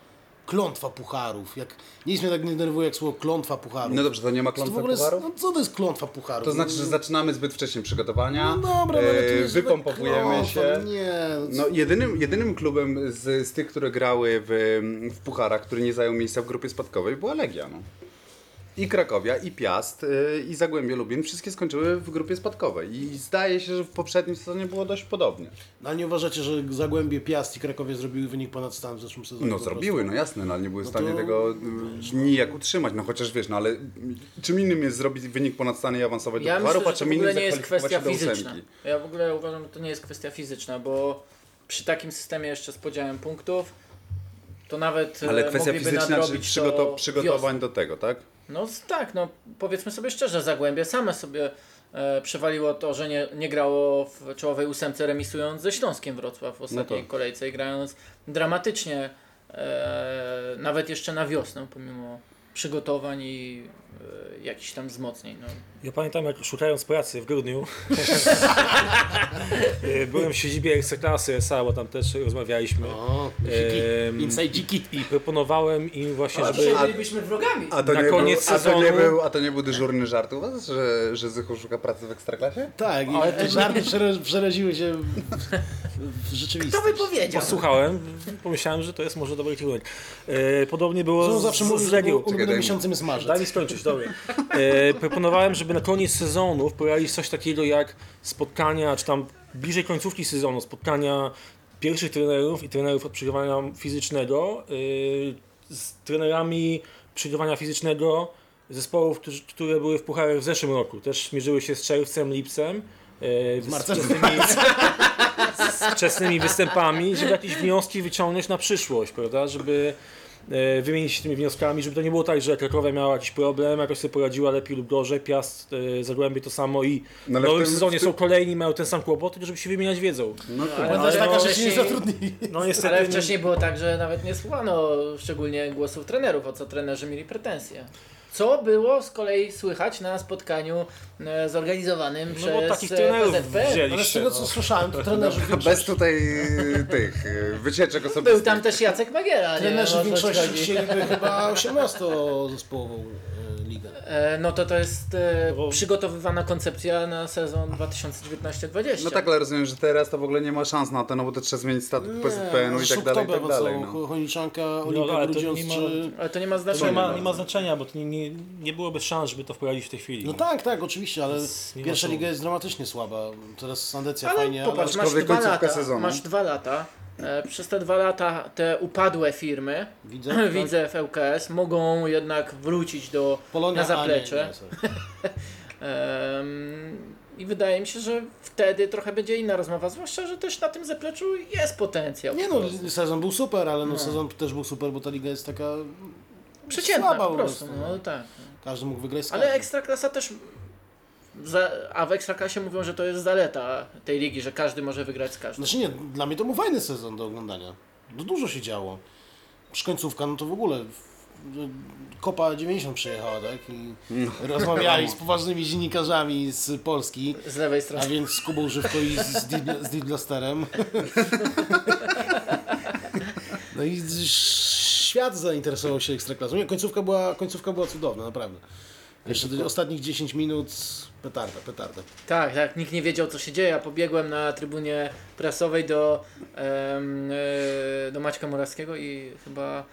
[SPEAKER 2] klątwa pucharów. Jak, nic mnie tak nie denerwuje jak słowo klątwa pucharów.
[SPEAKER 1] No dobrze, to nie ma
[SPEAKER 2] to w
[SPEAKER 1] klątwa
[SPEAKER 2] ogóle jest,
[SPEAKER 1] pucharów?
[SPEAKER 2] no, co to jest klątwa pucharów?
[SPEAKER 1] To znaczy, że zaczynamy zbyt wcześnie przygotowania,
[SPEAKER 2] No dobra, no, ale to
[SPEAKER 1] e,
[SPEAKER 2] jest
[SPEAKER 1] wypompowujemy
[SPEAKER 2] klątwa,
[SPEAKER 1] się.
[SPEAKER 2] Nie,
[SPEAKER 1] No, jedynym, jedynym klubem z, z tych, które grały w, w pucharach, który nie zajął miejsca w grupie spadkowej, była Legia. No. I Krakowia, i Piast, y, i Zagłębie Lubin, wszystkie skończyły w grupie spadkowej. I zdaje się, że w poprzednim sezonie było dość podobnie.
[SPEAKER 2] No, ale nie uważacie, że Zagłębie, Piast i Krakowie zrobiły wynik ponad stan w zeszłym sezonie?
[SPEAKER 1] No
[SPEAKER 2] po prostu?
[SPEAKER 1] zrobiły, no jasne, no, ale nie były w
[SPEAKER 2] No to-
[SPEAKER 1] stanie tego y, nijak utrzymać. No chociaż wiesz, no ale mm, czym innym jest zrobić wynik ponad stan i awansować
[SPEAKER 3] Ja
[SPEAKER 1] do
[SPEAKER 3] myślę,
[SPEAKER 1] pucharu,
[SPEAKER 3] że
[SPEAKER 1] a
[SPEAKER 3] to
[SPEAKER 1] czym
[SPEAKER 3] w
[SPEAKER 1] innym
[SPEAKER 3] ogóle nie jest
[SPEAKER 1] zakwalifikować
[SPEAKER 3] kwestia
[SPEAKER 1] się do
[SPEAKER 3] fizyczna.
[SPEAKER 1] ósemki.
[SPEAKER 3] Ja w ogóle uważam, że to nie jest kwestia fizyczna, bo przy takim systemie jeszcze z podziałem punktów to nawet e,
[SPEAKER 1] Ale kwestia
[SPEAKER 3] mogliby
[SPEAKER 1] fizyczna, czy
[SPEAKER 3] nadrobić to
[SPEAKER 1] przygoto- przygotowań
[SPEAKER 3] wiosną.
[SPEAKER 1] do tego, tak?
[SPEAKER 3] No z- tak, no powiedzmy sobie szczerze, Zagłębie same sobie e, przewaliło to, że nie, nie grało w czołowej ósemce remisując ze Śląskiem Wrocław w ostatniej
[SPEAKER 1] tak.
[SPEAKER 3] kolejce i grając dramatycznie e, nawet jeszcze na wiosnę pomimo przygotowań i e, jakichś tam wzmocnień. No.
[SPEAKER 4] Ja pamiętam, jak szukając pracy w grudniu, [laughs] e, byłem w siedzibie Ekstraklasy SA, bo tam też rozmawialiśmy.
[SPEAKER 2] O, dziki.
[SPEAKER 4] Em,
[SPEAKER 2] Inside dziki.
[SPEAKER 4] I proponowałem im właśnie,
[SPEAKER 3] A
[SPEAKER 4] żeby...
[SPEAKER 3] dzisiaj byliśmy wrogami.
[SPEAKER 1] A to,
[SPEAKER 4] Na
[SPEAKER 1] nie
[SPEAKER 4] koniec
[SPEAKER 1] był, a to nie
[SPEAKER 4] sezonu-
[SPEAKER 1] był, a to nie był dyżurny żart u was, że, że Zychu szuka pracy w Ekstraklasie?
[SPEAKER 2] Tak, i te żarty przera- przeraziły się w- w rzeczywistość.
[SPEAKER 3] powiedział?
[SPEAKER 4] Posłuchałem, pomyślałem, że to jest może dobry kierunek. E, podobnie było
[SPEAKER 2] Zresztą
[SPEAKER 4] z,
[SPEAKER 2] zawsze mówił,
[SPEAKER 4] z
[SPEAKER 2] że
[SPEAKER 4] Legią.
[SPEAKER 1] daj
[SPEAKER 2] ulubionym
[SPEAKER 1] mi-
[SPEAKER 2] miesiącem jest
[SPEAKER 4] Daj mi
[SPEAKER 2] marzec.
[SPEAKER 4] skończyć, dobra. E, proponowałem, żeby na koniec sezonu wprowadzić coś takiego jak spotkania, czy tam bliżej końcówki sezonu, spotkania pierwszych trenerów i trenerów od przygotowania fizycznego e, z trenerami przygotowania fizycznego zespołów, którzy, które były w pucharach w zeszłym roku. Też mierzyły się z czerwcem, lipcem. e, Z
[SPEAKER 2] marcem.
[SPEAKER 4] z wczesnymi występami, żeby jakieś wnioski wyciągnąć na przyszłość, prawda? Żeby e, wymienić się tymi wnioskami, żeby to nie było tak, że Krakowa miała jakiś problem, jakoś sobie poradziła lepiej lub gorzej, Piast, e, Zagłębie to samo i
[SPEAKER 1] No ale
[SPEAKER 4] w nowym
[SPEAKER 1] w tym-
[SPEAKER 4] sezonie
[SPEAKER 1] w tym-
[SPEAKER 4] są kolejni, mają ten sam kłopot, tylko żeby się wymieniać wiedzą.
[SPEAKER 1] No
[SPEAKER 3] Ale
[SPEAKER 2] Ale taka, że się nie
[SPEAKER 3] wcześniej-
[SPEAKER 2] zatrudnili.
[SPEAKER 4] No niestety...
[SPEAKER 3] Ale wcześniej było tak, że nawet nie słuchano szczególnie głosów trenerów, o co trenerzy mieli pretensje. Co było z kolei słychać na spotkaniu e, zorganizowanym
[SPEAKER 4] No
[SPEAKER 3] przez
[SPEAKER 4] bo takich
[SPEAKER 3] e,
[SPEAKER 4] trenerów
[SPEAKER 3] PZP?
[SPEAKER 2] Ale z
[SPEAKER 4] wzięliście.
[SPEAKER 2] tego co
[SPEAKER 4] no.
[SPEAKER 2] słyszałem, to trenerzy
[SPEAKER 1] No Bez
[SPEAKER 2] większości,
[SPEAKER 1] tutaj e, tych e, wycieczek osobistych. No
[SPEAKER 3] Był tam też Jacek Magiera. nie?
[SPEAKER 2] trenerzy
[SPEAKER 3] Można
[SPEAKER 2] większości
[SPEAKER 3] zgodzić.
[SPEAKER 2] chcieliby chyba 18-zespołową e, ligę.
[SPEAKER 3] E, No to to jest e,
[SPEAKER 4] Bo-
[SPEAKER 3] przygotowywana koncepcja na sezon 2019-2020.
[SPEAKER 1] No tak, ale rozumiem, że teraz to w ogóle nie ma szans na to, no bo to trzeba zmienić statut PZPN-u i tak dalej, i tak dalej. No.
[SPEAKER 2] Honiczanka,
[SPEAKER 4] No,
[SPEAKER 2] Olimpia,
[SPEAKER 4] ale to
[SPEAKER 2] Grudziądz
[SPEAKER 4] nie ma-
[SPEAKER 2] czy...
[SPEAKER 3] Ale to nie ma
[SPEAKER 4] To nie
[SPEAKER 3] znaczenia.
[SPEAKER 4] ma, nie ma znaczenia, bo to nie, nie, nie byłoby szans, żeby to wprowadzić w tej chwili.
[SPEAKER 2] No tak, tak, oczywiście, ale
[SPEAKER 4] Więc nie ma
[SPEAKER 2] pierwsza
[SPEAKER 4] co.
[SPEAKER 2] liga jest dramatycznie słaba. Teraz Sandecja
[SPEAKER 3] Ale
[SPEAKER 2] fajnie,
[SPEAKER 3] popatrz,
[SPEAKER 1] ale-
[SPEAKER 3] masz
[SPEAKER 1] Aczkolwiek
[SPEAKER 3] dwa,
[SPEAKER 1] końcówka
[SPEAKER 3] lata,
[SPEAKER 1] sezonu.
[SPEAKER 3] masz dwa lata. E, Przez te dwa lata te upadłe firmy,
[SPEAKER 2] ale
[SPEAKER 3] [clears throat]
[SPEAKER 2] widzę, tak?
[SPEAKER 3] widzę w LKS, mogą jednak wrócić do
[SPEAKER 2] Polonia,
[SPEAKER 3] na zaplecze.
[SPEAKER 2] A, nie, nie, sorry.
[SPEAKER 3] Em, I wydaje mi się, że wtedy trochę będzie inna rozmowa, zwłaszcza, że też na tym zapleczu jest potencjał.
[SPEAKER 2] nie
[SPEAKER 3] po prostu.
[SPEAKER 2] no, sezon był super, ale no, sezon też był super, bo ta liga jest taka...
[SPEAKER 3] Przeciętna
[SPEAKER 2] słaba
[SPEAKER 3] po prostu. No,
[SPEAKER 2] no.
[SPEAKER 3] tak.
[SPEAKER 2] Każdy mógł wygrać z
[SPEAKER 3] Ale
[SPEAKER 2] każdym.
[SPEAKER 3] Ekstraklasa też... Za, a w Ekstraklasie mówią, że to jest zaleta tej ligi, że każdy może wygrać z każdym.
[SPEAKER 2] Znaczy nie, dla mnie to był fajny sezon do oglądania. No dużo się działo. Przy końcówka, no to w ogóle... w- Kopa 90 przyjechała, tak? I rozmawiali z poważnymi dziennikarzami z Polski.
[SPEAKER 3] Z lewej
[SPEAKER 2] A
[SPEAKER 3] strony.
[SPEAKER 2] więc z Kubą Żywko i z, z, Dib- z Diblasterem. No i z- świat zainteresował się Ekstraklasą. Nie, końcówka była, końcówka była cudowna, naprawdę. Jeszcze do ostatnich 10 minut petarda, petarda.
[SPEAKER 3] Tak, tak, nikt nie wiedział co się dzieje. Ja pobiegłem na trybunie prasowej do, em, e, do Maćka Morawskiego i chyba...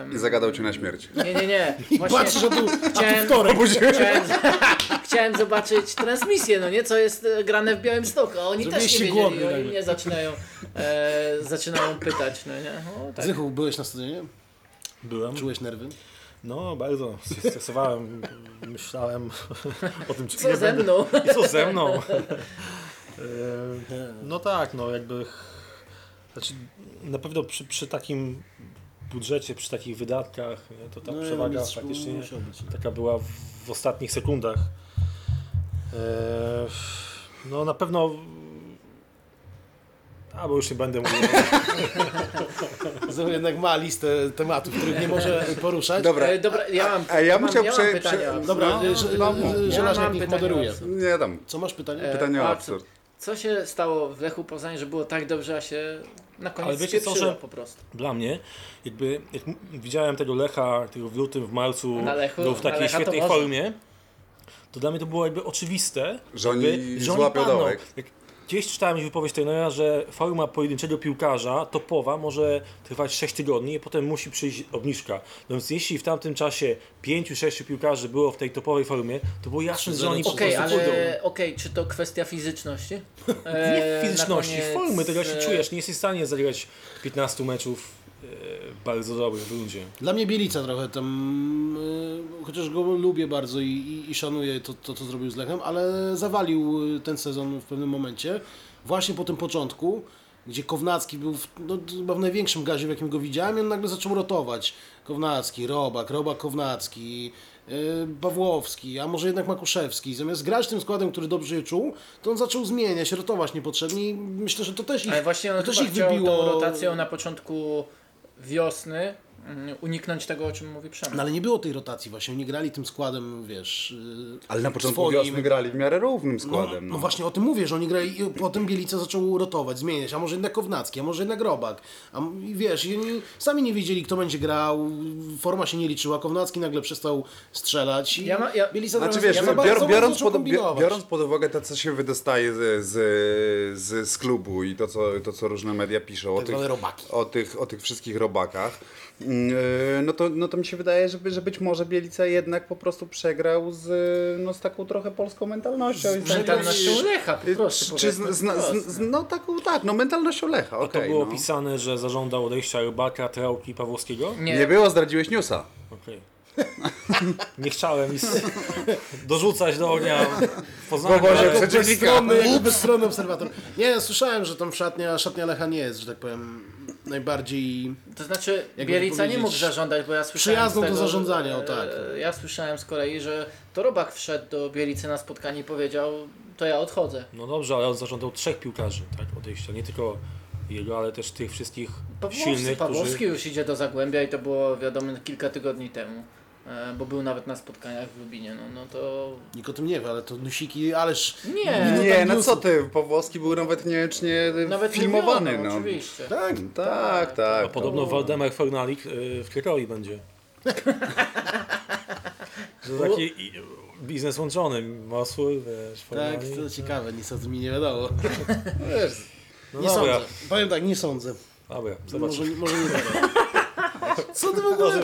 [SPEAKER 3] em,
[SPEAKER 1] I zagadał cię na śmierć.
[SPEAKER 3] Nie, nie, nie.
[SPEAKER 2] I
[SPEAKER 3] Właśnie-
[SPEAKER 2] patrzysz, a
[SPEAKER 3] [laughs]
[SPEAKER 2] tu, a tu
[SPEAKER 3] Chciałem-
[SPEAKER 2] wtorek.
[SPEAKER 3] Chciałem, [laughs] chciałem zobaczyć transmisję, no nie, co jest e, grane w Białym Stoku, a oni
[SPEAKER 2] Zrobiłeś
[SPEAKER 3] też
[SPEAKER 2] się
[SPEAKER 3] nie wiedzieli,
[SPEAKER 2] głodny
[SPEAKER 3] oni
[SPEAKER 2] nagle.
[SPEAKER 3] mnie zaczynają, e, zaczynają pytać, no nie, o, tak.
[SPEAKER 2] Zychu, byłeś na stadionie?
[SPEAKER 4] Byłem.
[SPEAKER 2] Czułeś nerwy?
[SPEAKER 4] No, bardzo się stresowałem. Myślałem [laughs] o tym, czy
[SPEAKER 3] Co
[SPEAKER 4] ile
[SPEAKER 3] ze
[SPEAKER 4] będę-
[SPEAKER 3] mną?
[SPEAKER 4] I co ze
[SPEAKER 3] [laughs]
[SPEAKER 4] mną? E, no tak, no jakby. Znaczy, na pewno przy, przy takim budżecie, przy takich wydatkach, nie, to ta
[SPEAKER 2] No,
[SPEAKER 4] przewaga
[SPEAKER 2] mistrz
[SPEAKER 4] faktycznie
[SPEAKER 2] musiał być.
[SPEAKER 4] taka była w, w ostatnich sekundach. E, no na pewno. A bo już nie będę [laughs] mówił.
[SPEAKER 2] Zychu jednak ma listę tematów, których nie może poruszać.
[SPEAKER 4] No.
[SPEAKER 1] Dobra,
[SPEAKER 3] E, dobra, ja mam,
[SPEAKER 1] A ja musiał
[SPEAKER 3] mam,
[SPEAKER 1] prze-
[SPEAKER 3] mam pytania.
[SPEAKER 1] prze-
[SPEAKER 2] Dobra,
[SPEAKER 1] No,
[SPEAKER 2] no, że,
[SPEAKER 1] no,
[SPEAKER 2] no,
[SPEAKER 1] mów, mów.
[SPEAKER 3] Ja mam
[SPEAKER 2] niech
[SPEAKER 3] pytanie
[SPEAKER 2] moderuje.
[SPEAKER 3] o co.
[SPEAKER 1] nie tam,
[SPEAKER 2] Co masz pytanie?
[SPEAKER 3] E,
[SPEAKER 1] pytanie o
[SPEAKER 3] a
[SPEAKER 1] absurd.
[SPEAKER 3] Co się stało w Lechu Poznań, że było tak dobrze, a się na
[SPEAKER 4] Ale
[SPEAKER 3] koniec
[SPEAKER 4] wiecie co,
[SPEAKER 3] spieprzyło
[SPEAKER 4] że-
[SPEAKER 3] po prostu?
[SPEAKER 4] Dla mnie, jakby jak m- widziałem tego Lecha tego w lutym, w marcu,
[SPEAKER 3] Na Lechu-
[SPEAKER 4] był w
[SPEAKER 3] na
[SPEAKER 4] takiej
[SPEAKER 3] Lecha to
[SPEAKER 4] świetnej
[SPEAKER 3] może.
[SPEAKER 4] formie, to dla mnie to było jakby oczywiste,
[SPEAKER 1] Że oni
[SPEAKER 4] jakby,
[SPEAKER 1] złapią
[SPEAKER 4] padną.
[SPEAKER 1] dołek.
[SPEAKER 4] Jak Gdzieś czytałem już wypowiedź trenera, że forma pojedynczego piłkarza topowa może trwać 6 tygodni i potem musi przyjść obniżka. No więc jeśli w tamtym czasie 5-6 piłkarzy było w tej topowej formie, to było jasne, że oni po
[SPEAKER 3] Okej,
[SPEAKER 4] prostu pójdą.
[SPEAKER 3] ale okej, czy to kwestia fizyczności? E,
[SPEAKER 4] Nie
[SPEAKER 3] na
[SPEAKER 4] fizyczności,
[SPEAKER 3] koniec,
[SPEAKER 4] formy, tego jak się
[SPEAKER 3] e,
[SPEAKER 4] czujesz, nie jesteś w stanie zagrać 15 meczów e, bardzo dobrych w rundzie.
[SPEAKER 2] Dla mnie Bielica trochę tam, y, chociaż go lubię bardzo i, i, i szanuję to, to, co zrobił z Lechem, ale zawalił y, ten sezon w pewnym momencie, właśnie po tym początku, gdzie Kownacki był w, no, chyba w największym gazie, w jakim go widziałem i on nagle zaczął rotować. Kownacki, Robak, Robak Kownacki, y, Pawłowski, a może jednak Makuszewski. Zamiast grać tym składem, który dobrze je czuł, to on zaczął zmieniać, rotować niepotrzebnie i myślę, że to też ich,
[SPEAKER 3] Ale właśnie on
[SPEAKER 2] No to też
[SPEAKER 3] chyba
[SPEAKER 2] ich
[SPEAKER 3] chciał
[SPEAKER 2] wybiło.
[SPEAKER 3] tą rotacją na początku wiosny mm, uniknąć tego, o czym mówi Przemek.
[SPEAKER 2] No ale nie było tej rotacji właśnie, oni grali tym składem, wiesz... yy,
[SPEAKER 1] Ale na początku
[SPEAKER 2] swoim.
[SPEAKER 1] wiosny grali w miarę równym
[SPEAKER 2] No,
[SPEAKER 1] składem.
[SPEAKER 2] no właśnie o tym mówię, że oni grali i potem Bielica zaczął rotować, zmieniać, a może jednak Kownacki, a może jednak Robak. A m- i wiesz, i oni sami nie wiedzieli kto będzie grał, forma się nie liczyła, Kownacki nagle przestał strzelać i
[SPEAKER 3] Ja ma- ja-
[SPEAKER 2] Bielica
[SPEAKER 1] Znaczy
[SPEAKER 2] trochę-
[SPEAKER 1] wiesz,
[SPEAKER 2] za bardzo-
[SPEAKER 1] bior,
[SPEAKER 2] za bardzo
[SPEAKER 1] biorąc,
[SPEAKER 2] zaczął
[SPEAKER 1] pod, bie-
[SPEAKER 2] kombinować.
[SPEAKER 1] biorąc pod uwagę to, co się wydostaje z, z, z, z klubu i to co, to, co różne media piszą o
[SPEAKER 2] Tak
[SPEAKER 1] tych,
[SPEAKER 2] zwane robaki.
[SPEAKER 1] o, tych, o tych wszystkich robakach, mm, no to, no to mi się wydaje, że, by- że być może Bielica jednak po prostu przegrał z, no, z taką trochę polską mentalnością. I z taką-
[SPEAKER 3] Mentalnością Lecha po prostu.
[SPEAKER 1] y, Czy, czy z,
[SPEAKER 3] powiedzmy
[SPEAKER 1] z, z,
[SPEAKER 3] wprost.
[SPEAKER 1] z, no taką, tak, no mentalnością Lecha,
[SPEAKER 4] A to
[SPEAKER 1] okej.
[SPEAKER 4] było
[SPEAKER 1] no.
[SPEAKER 4] pisane, że zażądał odejścia Rybaka, Trałki i Pawłowskiego?
[SPEAKER 3] Nie,
[SPEAKER 1] Nie było, zdradziłeś newsa.
[SPEAKER 4] Okej. Nie chciałem nic dorzucać do ognia.
[SPEAKER 1] Bo
[SPEAKER 4] Poznałem
[SPEAKER 1] Boże,
[SPEAKER 4] ale-
[SPEAKER 1] przeciwnika.
[SPEAKER 2] Bezstronny, [laughs] jakby bezstronny obserwator. Nie, ja słyszałem, że tam szatnia, szatnia Lecha nie jest, że tak powiem, najbardziej...
[SPEAKER 3] to znaczy
[SPEAKER 2] to
[SPEAKER 3] Bielica nie mógł
[SPEAKER 2] powiedzieć,
[SPEAKER 3] zażądać, bo ja słyszałem
[SPEAKER 2] przyjazną
[SPEAKER 3] z
[SPEAKER 2] do
[SPEAKER 3] tego,
[SPEAKER 2] zarządzania, o
[SPEAKER 3] e,
[SPEAKER 2] tak.
[SPEAKER 3] Ja słyszałem z kolei, że to Robak wszedł do Bielicy na spotkanie i powiedział, to ja odchodzę.
[SPEAKER 4] No dobrze, ale on zażądał trzech piłkarzy tak, odejścia. Nie tylko jego, ale też tych wszystkich
[SPEAKER 3] Pawłowski,
[SPEAKER 4] silnych,
[SPEAKER 3] Pawłowski
[SPEAKER 4] którzy...
[SPEAKER 3] już idzie do Zagłębia i to było wiadomo kilka tygodni temu. e, bo był nawet na spotkaniach w Lubinie, no, no to...
[SPEAKER 2] Nikt o tym nie wie, ale to nusiki, ależ...
[SPEAKER 3] Nie,
[SPEAKER 2] no
[SPEAKER 1] Nie,
[SPEAKER 2] tak
[SPEAKER 1] no
[SPEAKER 2] newsów.
[SPEAKER 1] co ty, Powłoski był nawet niecznie
[SPEAKER 3] nawet
[SPEAKER 1] filmowany.
[SPEAKER 3] nie wiadomo,
[SPEAKER 1] no.
[SPEAKER 3] Oczywiście.
[SPEAKER 1] Tak, tak, tak.
[SPEAKER 4] A podobno Waldemar Fornalik y, w Krakowie będzie. to taki i- biznes łączony, masło, wiesz,
[SPEAKER 2] Tak,
[SPEAKER 4] Fornalik.
[SPEAKER 2] to ciekawe, nic o tym mi nie wiadomo.
[SPEAKER 1] Wiesz,
[SPEAKER 4] No
[SPEAKER 2] Nie
[SPEAKER 4] dobra,
[SPEAKER 2] sądzę. Powiem tak, nie sądzę.
[SPEAKER 4] dobra,
[SPEAKER 2] Może,
[SPEAKER 4] zobaczymy.
[SPEAKER 2] może nie wiadomo. Co ty w ogóle?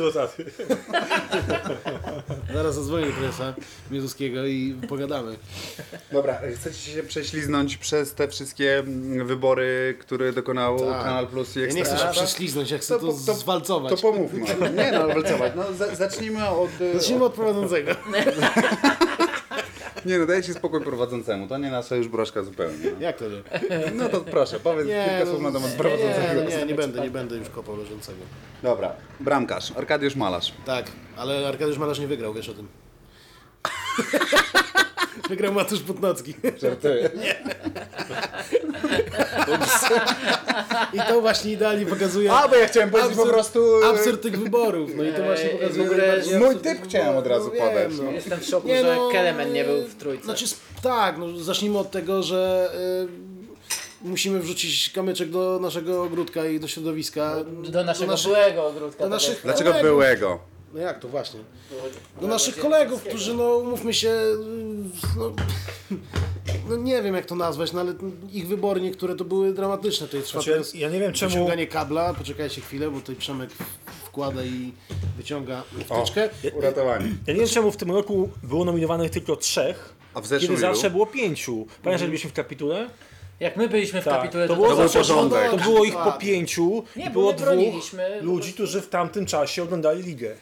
[SPEAKER 2] Zaraz zadzwonię do prezesa Mieduskiego i pogadamy.
[SPEAKER 1] Dobra, chcecie się prześliznąć przez te wszystkie mm, wybory, które dokonało
[SPEAKER 2] Tak.
[SPEAKER 1] Kanal Plus i
[SPEAKER 2] Ja nie chcę się
[SPEAKER 1] Ekstraklasa?
[SPEAKER 2] prześliznąć, ja chcę to,
[SPEAKER 1] To- to-
[SPEAKER 2] zwalcować.
[SPEAKER 1] To pomówmy. o tym. Nie no, walcować. No, za- zacznijmy od... e,
[SPEAKER 2] Zacznijmy od prowadzącego.
[SPEAKER 1] od- Nie no, dajcie spokój prowadzącemu, to nie nasza już broszka zupełnie. no.
[SPEAKER 2] Jak to nie?
[SPEAKER 1] No to proszę, powiedz
[SPEAKER 2] Nie,
[SPEAKER 1] kilka
[SPEAKER 2] no,
[SPEAKER 1] słów na temat
[SPEAKER 2] Nie,
[SPEAKER 1] prowadzącego.
[SPEAKER 2] no nie, nie będę, nie będę już kopał leżącego.
[SPEAKER 1] Dobra, bramkarz, Arkadiusz Malarz.
[SPEAKER 2] Tak, ale Arkadiusz Malarz nie wygrał, wiesz o tym. Wygrał Matusz Putnocki.
[SPEAKER 1] Żartuję.
[SPEAKER 2] I to właśnie idealnie pokazuje
[SPEAKER 1] A, bo ja chciałem powiedzieć po
[SPEAKER 2] Absurd.
[SPEAKER 1] prostu... e,
[SPEAKER 2] absurd tych wyborów. No i to właśnie
[SPEAKER 3] Ej,
[SPEAKER 2] pokazuje...
[SPEAKER 3] w ogóle-
[SPEAKER 2] najbardziej
[SPEAKER 1] Mój
[SPEAKER 2] absurd
[SPEAKER 1] typ
[SPEAKER 2] tych
[SPEAKER 1] chciałem
[SPEAKER 2] wyborów.
[SPEAKER 1] od razu
[SPEAKER 2] No wiem,
[SPEAKER 1] podać, no.
[SPEAKER 3] Jestem w szoku, że Kelemen nie był w trójce.
[SPEAKER 2] Znaczy, sp- tak, no, zacznijmy od tego, że y, musimy wrzucić kamyczek do naszego ogródka i do środowiska.
[SPEAKER 3] do naszego
[SPEAKER 2] do naszych,
[SPEAKER 3] byłego ogródka.
[SPEAKER 2] do
[SPEAKER 3] tak
[SPEAKER 2] naszych
[SPEAKER 1] Dlaczego byłego?
[SPEAKER 2] No jak to właśnie?
[SPEAKER 3] jak-
[SPEAKER 2] Do naszych kolegów, którzy, no umówmy się, y, no, [laughs] no nie wiem jak to nazwać, no ale ich wybory niektóre to były dramatyczne. Tutaj trwa
[SPEAKER 4] Znaczy,
[SPEAKER 2] teraz
[SPEAKER 4] ja nie wiem czemu...
[SPEAKER 2] wyciąganie kabla, poczekajcie chwilę, bo tutaj Przemek wkłada i wyciąga wtyczkę.
[SPEAKER 1] Uratowani.
[SPEAKER 4] Ja nie wiem czemu w tym roku było nominowanych tylko trzech,
[SPEAKER 1] A w zeszłym
[SPEAKER 4] kiedy
[SPEAKER 1] ilu?
[SPEAKER 4] zawsze było pięciu. Pamiętasz, że byliśmy w kapitule?
[SPEAKER 3] Jak my byliśmy Mhm. w
[SPEAKER 4] Tak,
[SPEAKER 3] kapitule, to,
[SPEAKER 4] to było
[SPEAKER 3] było
[SPEAKER 1] To był
[SPEAKER 4] zawsze-
[SPEAKER 1] porządek.
[SPEAKER 4] To było ich po pięciu
[SPEAKER 3] Nie,
[SPEAKER 4] i
[SPEAKER 3] bo
[SPEAKER 4] było
[SPEAKER 3] my
[SPEAKER 4] dwóch
[SPEAKER 3] broniliśmy.
[SPEAKER 4] ludzi, którzy w tamtym czasie oglądali ligę.